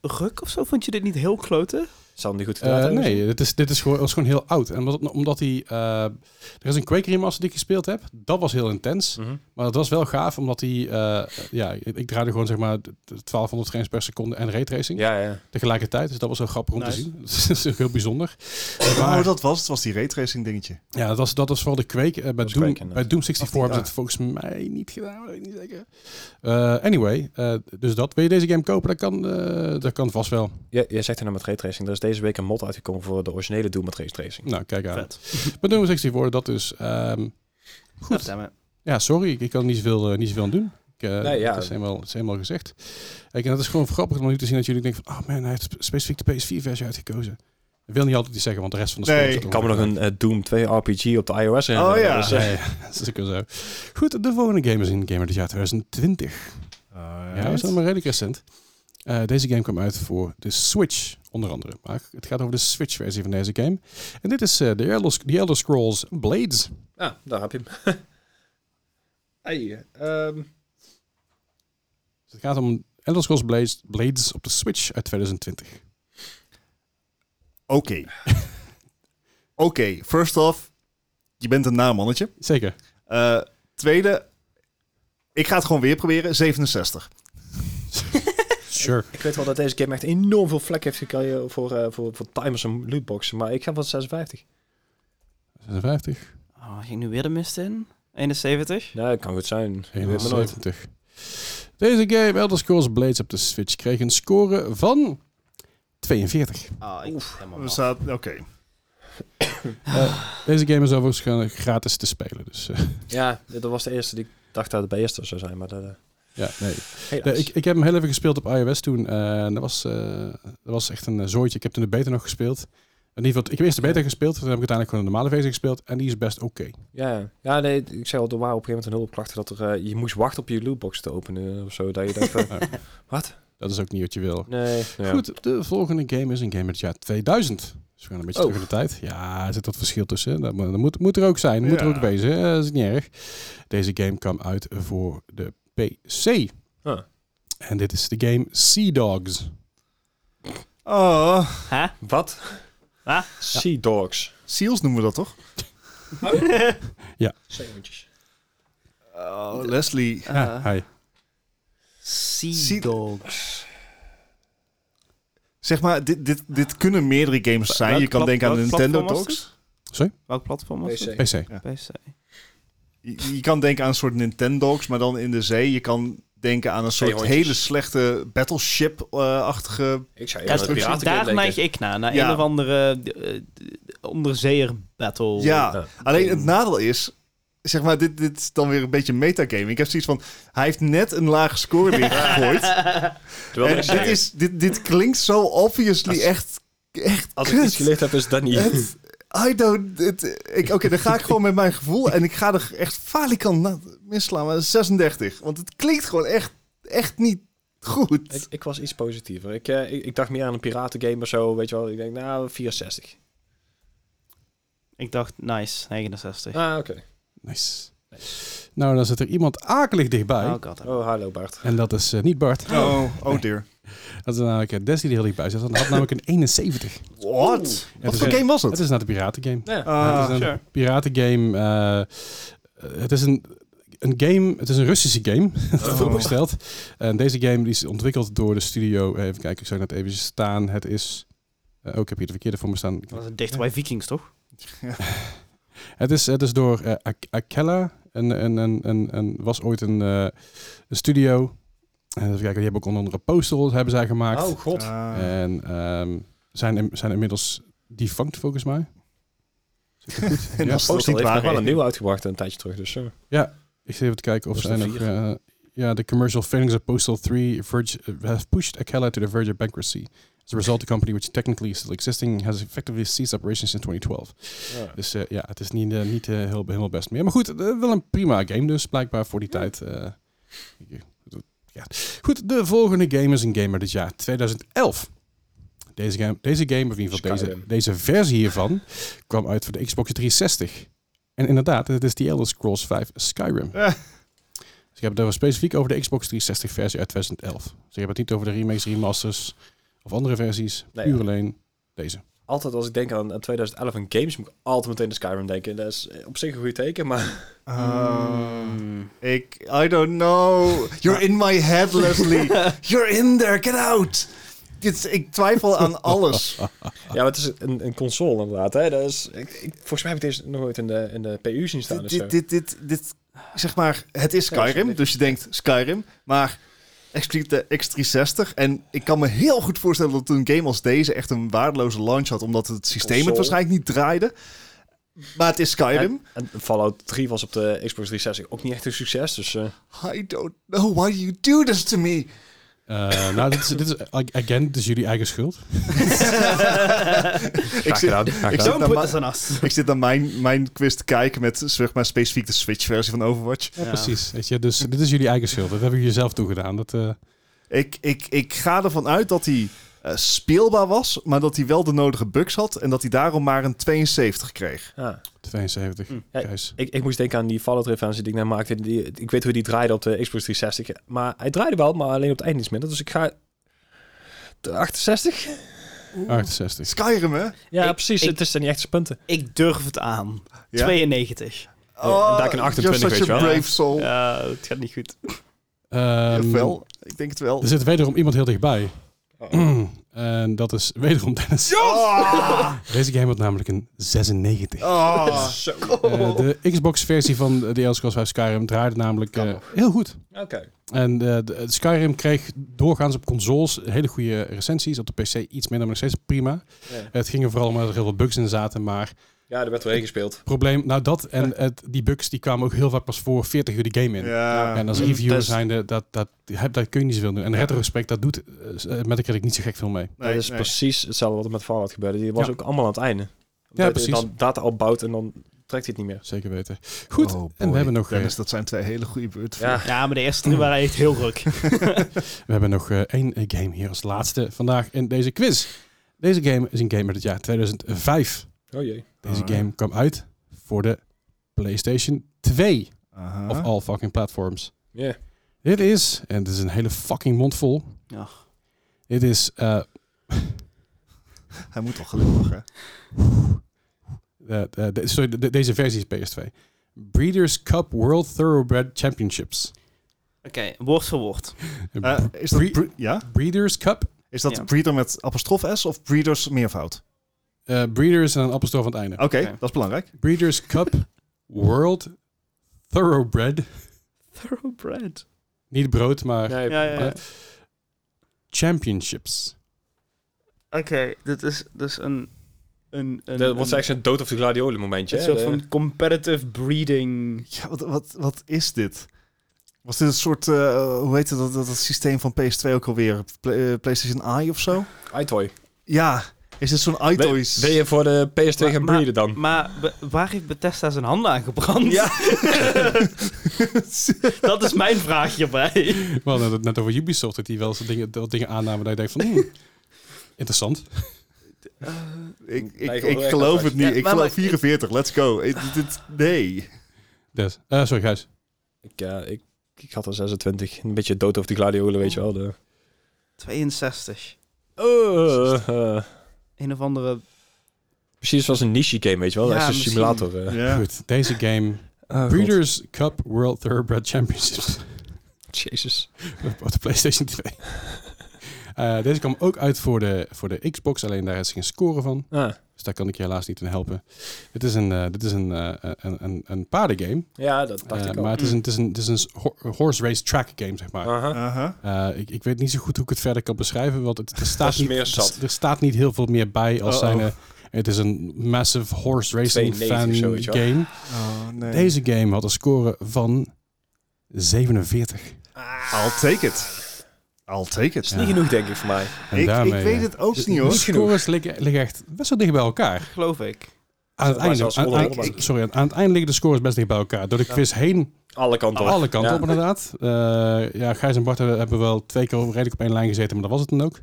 ruk of zo? Vond je dit niet heel kloten?
Is dat niet goed
Eh,
gedaan? hebben?
nee, dit is, dit is gewoon, was gewoon heel oud. En omdat, omdat hij... eh, er is een Quake remaster die ik gespeeld heb. Dat was heel intens.
Hm.
Mhm.
Maar dat was wel gaaf, omdat hij... eh, ja, ik ik draaide gewoon zeg maar 1200 frames per seconde en raytracing
Ja, ja.
tegelijkertijd. Dus dat was heel grappig om te
Nice.
zien. dat is ook heel bijzonder.
Oh,
Maar-
dat was het. was die raytracing dingetje.
Ja, dat was, dat was vooral de Quake. Eh, bij,
was
Doom,
Quake, inderdaad.
bij Doom 64
Of die-
hebben ze het volgens mij niet gedaan, weet ik niet zeker. Eh, anyway, eh, dus dat. Wil je deze game kopen? Dat kan, eh, dat kan vast wel.
Jij, jij zegt er nou met raytracing. Er is deze week een mod uitgekomen voor de originele Doom met raytracing.
Nou, kijk aan.
Vet.
Maar Doom 64 worden dat dus. Ehm,
Goed. Ja, maar-
ja, sorry, ik, ik kan er niet zoveel, eh, niet zoveel aan doen. Ik, eh,
Nee, ja.
Dat is helemaal, is helemaal gezegd. Kijk, en dat is gewoon grappig om nu te zien dat jullie denken van... Oh man, hij heeft spe- specifiek de PS4-versie uitgekozen. Ik wil niet altijd iets zeggen, want de rest van de
Nee,
spel zit
ik
er
Ik kan me nog een eh, Doom 2 RPG op de iOS herinneren.
Oh, ja.
Dus, eh,
Ja, ja, dat is ook wel zo. Goed, de volgende game is in Gamer dit jaar 2020. Ja, dat is allemaal redelijk recent. Eh, deze game kwam uit voor de Switch, onder andere. Maar het gaat over de Switch-versie van deze game. En dit is eh, de Elder, The Elder Scrolls Blades.
Ah, daar heb je hem. hey, ehm,
Dus het gaat om Elder Scrolls Blades, Blades op de Switch uit 2020.
Oké. Oké, first off, je bent een namannetje.
Zeker.
Eh, tweede, ik ga het gewoon weer proberen. 67.
Sure.
ik weet wel dat deze game echt enorm veel vlek heeft gekregen voor, eh, voor, voor timers en lootboxen. Maar ik ga van 56.
56.
Oh, ging nu weer de mist in? 71?
Nou, dat kan goed zijn. Je weet maar nooit.
71. Deze game, Elder Scrolls Blades op de Switch, kreeg een score van 42.
Ah, ik helemaal
We
wel.
zaten- Oké.
Deze game is overigens gewoon gratis te spelen. Dus eh,
Ja, dat was de eerste die ik dacht dat het bij eerste zou zijn. Maar dat, eh,
ja, nee. Ja,
helaas.
Eh, ik, ik heb hem heel even gespeeld op iOS toen. eh, en dat was, eh, dat was echt een eh, zooitje. Ik heb toen de beta nog gespeeld. In ieder geval, ik heb eerst de beta gespeeld. Toen heb ik uiteindelijk gewoon de normale versie gespeeld. En die is best oké.
Ja, ja. ja nee, ik zei al, er waren op een gegeven moment een hulp klachten dat er, eh, je moest wachten op je lootbox te openen of zo. Dat je dacht van,
Dat is ook niet wat je wil.
nee. ja.
Goed, de volgende game is een game uit het jaar 2000. Dat is gewoon een beetje
Oh.
terug in de tijd. Ja, er zit wat verschil tussen. hè. Dat, mo- dat moet, moet er ook zijn. Moet er
Ja.
ook wezen. hè. Dat is niet erg. Deze game kwam uit voor de PC.
Ah.
En dit is de game Sea Dogs.
Oh,
Hè?
Wat?
Ah?
Sea Dogs.
seals noemen we dat toch?
Eh,
Zeehondjes.
Oh, Leslie.
Ah.
Ja, hi.
Sea Dogs.
Zeg maar, dit, dit, dit kunnen meerdere games zijn. Je kan
Welk
denken aan
plat-
Nintendo
platform was
Dogs.
Welk platform was het?
PC.
PC.
PC.
Je, je kan denken aan een soort Nintendo Dogs, maar dan in de zee. Je kan denken aan een soort
Zeehondjes. hele
hele slechte Battleship-achtige...
Ik zei,
Ja,
ja, dat
dat-
piraten
daar neig ik naar. Naar
Ja.
een of andere eh, eh, onderzeeër
Oh,
battle.
ja,
Ja.
alleen het nadeel is... Zeg maar, dit, dit is dan weer een beetje metagaming. Ik heb zoiets van, hij heeft net een lage score weer gegooid.
Terwijl
En
ik
dit,
zei,
is, dit, dit klinkt zo obviously
Als-
echt, echt
als ik
kut.
iets geleerd heb, is dat niet.
Het- I don't... het- ik- Oké, dan ga ik gewoon met mijn gevoel. En ik ga er echt falikant na- misslaan. Maar 36. Want het klinkt gewoon echt, echt niet
Ik,
goed.
ik was iets positiever. Ik, eh, ik, ik dacht meer aan een piratengame of zo, weet je wel. Ik denk, nou, 64.
Ik dacht, nice, 69.
Ah, oké.
Nice. Nou, dan zit er iemand akelig dichtbij.
Oh god.
Oh, hallo Bart.
En dat is eh, niet Bart.
Oh, oh dear.
Dat is namelijk eh, Destiny die heel dichtbij zat. Dat had namelijk een 71.
What?
Het
Wat
is
voor
een-
game was
Het
het?
is nou de piratengame.
Ja.
Ah,
het is een
sure.
piratengame. eh, eh, het is een, een game... Het is een Russische game,
Oh.
vooropgesteld. En deze game die is ontwikkeld door de studio... eh, Even kijken, ik zou net even staan. Het is... eh, oh, ik heb hier de verkeerde voor me staan.
Dat was het dicht bij Vikings, toch?
Het is, het is door eh, Ak- Akella. En, en, en, en, en was ooit een, eh, een studio. En even kijken, die hebben ook onder andere Postal hebben zij gemaakt.
Oh, god.
Ah.
En ehm, zijn, in- zijn inmiddels defunct, volgens mij. Zit ik goed?
En
ja.
als
Postal
dat niet
heeft nog
waar
wel
is.
een nieuwe uitgebracht een tijdje terug, dus... eh.
Ik zit even te kijken of
Dat is
zij
de
nog...
vier.
eh, ja, de commercial failings of Postal 3 verge, eh, have pushed Akella to the verge of bankruptcy. As a result, the company, which technically is still existing, has effectively ceased operations in 2012.
ja.
Dus eh, ja, het is niet, eh, niet eh, heel, helemaal best meer. Maar goed, eh, wel een prima game dus, blijkbaar voor die tijd. eh. ja. Goed, de volgende game is een gamer dit jaar, 2011. Deze game, deze game of in ieder geval deze,
Skyrim.
deze versie hiervan, kwam uit voor de Xbox 360. En inderdaad, het is die Elder Scrolls 5 Skyrim.
Eh.
Dus ik heb het over specifiek over de Xbox 360 versie uit 2011. Dus ik heb het niet over de remakes, remasters of andere versies.
Nee,
puur
ja.
alleen Deze.
Altijd als ik denk aan, aan 2011 en games, moet ik altijd meteen de Skyrim denken. Dat is eh, op zich een goed teken,
Ah.
maar...
Hmm.
Ik, I don't know. You're in my head, Leslie. You're in there. Get out. Dit is- ik twijfel aan alles.
Ja, maar het is een, een console inderdaad, hè. Dat is, ik, ik- volgens mij heb ik deze nog nooit in de, in de PU zien staan.
dit,
dus,
dit,
eh,
dit, dit, dit- zeg maar, het is
Ja,
Skyrim,
zeker.
dus je denkt Skyrim, maar expliciet de X360. En ik kan me heel goed voorstellen dat een game als deze echt een waardeloze launch had, omdat het systeem het
Console.
waarschijnlijk niet draaide. Maar het is Skyrim.
En, en Fallout 3 was op de Xbox 360 ook niet echt een succes, dus... eh,
I don't know why you do this to me.
Eh, nou, dit is, dit is, again, dit is jullie eigen schuld.
ik, zit,
gedaan, graag
ik,
gedaan.
zit naar
Don't put
mijn-
this on us.
ik zit naar mijn, mijn quiz te kijken met zeg maar, specifiek de Switch-versie van Overwatch.
Ja,
Ja.
precies. Weet je, dus dit is jullie eigen schuld. Dat hebben jullie zelf toegedaan. Dat, eh,
Ik, ik, ik ga ervan uit dat hij eh, speelbaar was, maar dat hij wel de nodige bugs had en dat hij daarom maar een 72 kreeg.
ja.
72.
Hm.
Ja,
Gijs.
Ik, ik moest denken aan die Fallout referentie die ik net maakte. Die, ik weet hoe die draaide op de Xbox 360. Maar hij draaide wel, maar alleen op het eind iets minder. Dus ik ga... De 68?
68.
Skyrim, hè?
Ja,
Ik-
precies.
ik-
het is dan niet echt zijn punten.
Ik durf het aan.
Ja?
92.
en Oh, daar kan 28,
Oh, you're
weet
such
je
a
wel.
brave soul. Ja.
Ja, het gaat niet goed.
Ehm,
wel, ik denk het wel.
dus-
er zit wederom iemand heel dichtbij. en dat is wederom Dennis.
Ah!
Deze game had namelijk een 96.
Ah!
Eh, de Xbox-versie van The Elder Scrolls 5 Skyrim draaide namelijk eh, heel goed.
Oké.
En eh, de- het Skyrim kreeg doorgaans op consoles hele goede recensies. Op de PC iets minder, maar nog steeds prima.
Ja.
Het ging er vooral om dat er heel veel bugs in zaten, maar
Ja, er werd doorheen gespeeld.
probleem... Nou, dat en het, die bugs die kwamen ook heel vaak pas voor 40 uur de game in.
Ja.
En als
Mm,
reviewer
dus-
zijnde, dat, dat, dat, dat kun je niet zoveel doen. En retrospect, dat doet uh, Metacritic niet zo gek veel mee.
Nee,
dat is
nee.
precies hetzelfde wat er met Fallout gebeurde. Die was
Ja.
ook allemaal aan het einde. Omdat
Ja,
je
precies.
Dan data opbouwt en dan trekt hij het niet meer.
Zeker weten. Goed,
Oh,
en
boy.
we hebben nog, eh,
Dennis, dat zijn twee hele goede beurten.
Ja.
Ja, maar de eerste drie waren echt heel druk.
we hebben nog eh, één eh, game hier als laatste vandaag in deze quiz. Deze game is een game uit het jaar 2005.
Oh jee.
Deze
Ah.
game kwam uit voor de PlayStation 2
Aha.
of all fucking platforms.
Ja.
Dit is, en dit is een hele fucking mond vol.
Ja.
Dit is eh,
Hij moet toch gelukkig, hè?
de- de- Eh, de- sorry, de- de- deze versie is PS2. Breeders' Cup World Thoroughbred Championships.
Oké, woord voor woord.
Eh, is dat
Bre-
bre- ja?
Breeders' Cup
Is dat
Ja.
breeder met apostrof S of breeders meervoud?
Eh, Breeders en een appelstrof aan het einde.
Oké,
Oké.
dat is belangrijk.
Breeders Cup World Thoroughbred.
Thoroughbred.
Niet brood, maar
Nee,
Ja, ja, ja. Oké,
Championships.
dit is dus een... een, een
Dat was
een-
eigenlijk een dood of de gladiolen momentje.
een
hè.
soort
De-
van competitive breeding.
Ja, wat, wat, wat is dit? Was dit een soort, eh, hoe heet het, dat, dat, dat systeem van PS2 ook alweer? Pla- eh, PlayStation I of zo?
iToy.
Ja, is dit zo'n
Ben-
iToys?
Ben je voor de PS2 gaan
Maar-
breeden dan?
Maar be- waar heeft Bethesda zijn handen aan gebrand?
Ja.
dat is mijn vraag hierbij.
We hadden het net over Ubisoft, dat die wel eens dingen, dat dingen aannamen dat je denkt van... hmm, interessant.
ik ik,
Nee, ik
ik
wil echt
geloof
wat
het niet.
Ja,
ik
maar-
geloof
maar-
44, let's go. Ik- dit- dit- nee.
Dus, eh, sorry, Gijs.
Ik, eh, ik, ik had er 26. Een beetje dood over de gladiolen, weet je wel. De...
62. Een of andere...
precies zoals een niche game, weet je wel.
Ja,
Echt een
misschien.
simulator. eh.
Ja.
Goed, deze game.
Oh,
Breeders Cup World Thoroughbred Championships.
God. Jezus.
op de PlayStation 2. Eh, deze kwam ook uit voor de, voor de Xbox, alleen daar is geen score van.
Ah,
Dus daar kan ik je helaas niet in helpen. Dit is een, eh, dit is een, eh, een, een, een paardengame.
ja, dat dacht
Eh,
ik al. Mm.
maar het is, een, het, is een, het is een s- ho- horse race track game, zeg maar.
Aha.
Aha.
Eh, ik, ik weet niet zo goed hoe ik het verder kan beschrijven, want het, er, staat
Ah. is
niet,
meer
er
zat.
s- er staat niet heel veel meer bij als
Uh-oh.
zijn... eh, het is een massive horse racing
92
fan
of zoiets, hoor.
game.
Oh, nee.
Deze game had een score van 47.
I'll take it. I'll take it.
Is niet genoeg, denk ik, voor mij.
En
ik,
daarmee,
ik weet
eh,
het ook
de-
niet, hoor.
De scores liggen, liggen echt best wel dicht bij elkaar.
Geloof ik.
Aan het
Maar
einde,
zelfs
aan-
onder-
aan-
onder-
sorry, aan het einde liggen de scores best dicht bij elkaar. Door de quiz heen
Alle kanten op.
Alle kanten
Ja.
op, inderdaad. Eh, ja, Gijs en Bart hebben- hebben wel twee keer redelijk op één lijn gezeten, maar dat was het dan ook.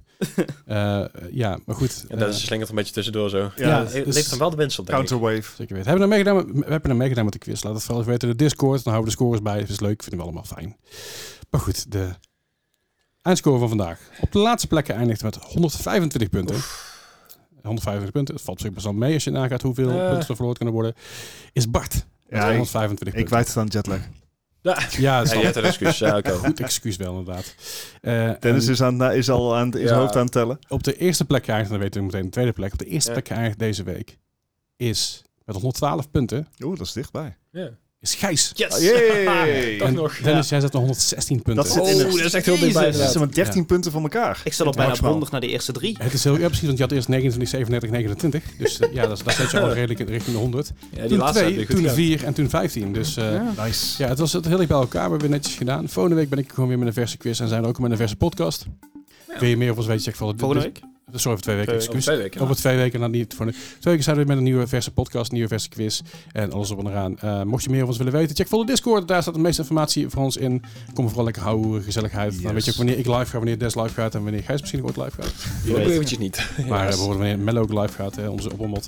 Eh, ja, maar goed.
En dat
eh,
is slingert een beetje tussendoor zo.
Ja,
ja,
Het
dus-
levert dan wel de winst op, denk ik.
Counterwave.
Zeker weten. Hebben we er meegedaan, met- we hebben er meegedaan met de quiz. Laat het vooral even weten in de Discord. Dan houden we de scores bij. Dat is leuk. Vinden we allemaal fijn. Maar goed, de eindscore van vandaag. Op de laatste plek eindigt met 125 punten. 125 punten. Het valt zich best wel mee als je nagaat hoeveel
Eh.
punten er verloren kunnen worden. Is Bart. Met
Ja, ik,
125
ik
punten.
kwijt het aan jetlag.
Ja, dat
Ja,
snap
je
ik.
hebt een excuus. Ja, oké.
Goed excuus wel, inderdaad. Eh,
Dennis
en
is, aan, is al aan, is
Ja.
hoofd aan het tellen.
Op de eerste plek geëindigd, en dan weten we meteen de tweede plek. Op de eerste
Ja.
plek geëindigd deze week is, met 112 punten,
Oeh, dat is dichtbij.
Ja.
is Gijs.
Yes!
Ah, yay!
Toch
en
nog.
Dennis, jij zat nog 116 punten.
Dat
Oh,
zit in het-
dat is echt heel dichtbij.
Jezus.
Dat
inderdaad.
zijn maar 13 punten van elkaar.
Ik zat al
Ja,
bijna op
maximaal.
100 naar de eerste drie.
Oh. Het is heel ja, precies, want je had eerst 29, 37, 29. Dus eh, ja, dat, dat zet je al redelijk in- richting de 100.
Ja, die
toen
laatste
2,
heb je goed
toen
gedaan.
4 en toen 15. Dus eh, ja.
Nice.
het was het heel erg bij elkaar. We hebben het netjes gedaan. Volgende week ben ik gewoon weer met een verse quiz en zijn we ook met een verse podcast. Wil je meer of ons weten? Zeg
dus
vooral.
Volgende week?
week? Sorry, voor twee weken,
Twee
excuus.
weken. Over twee weken,
Over twee weken, nou niet voor nu. Twee weken zijn we weer met een nieuwe verse podcast, een nieuwe verse quiz en alles op en eraan. Eh, mocht je meer van ons willen weten, check vol de Discord. Daar staat de meeste informatie voor ons in. Kom vooral lekker houden, gezelligheid. Dan
Yes.
weet je ook wanneer ik live ga, wanneer Des live gaat en wanneer Gijs misschien ooit live gaat.
Ook eventjes niet.
Maar eh,
Helaas.
bijvoorbeeld wanneer Mello ook live gaat, hè, onze oppermot.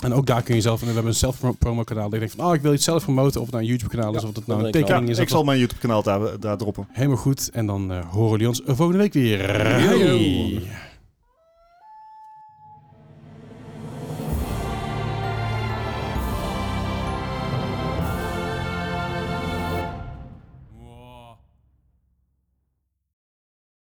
En ook daar kun je zelf, en we hebben een zelf-promo kanaal. Dat ik denk van, oh, ik wil iets zelf promoten. Of het nou een YouTube kanaal is,
Ja,
of het
dat
nou een
denk ik wel.
Ja,
tekening is.
ik
of
zal mijn YouTube-kanaal daar, daar droppen.
dat- Helemaal goed. En dan eh, horen jullie ons volgende week eh, weer.
Yo.
Hey.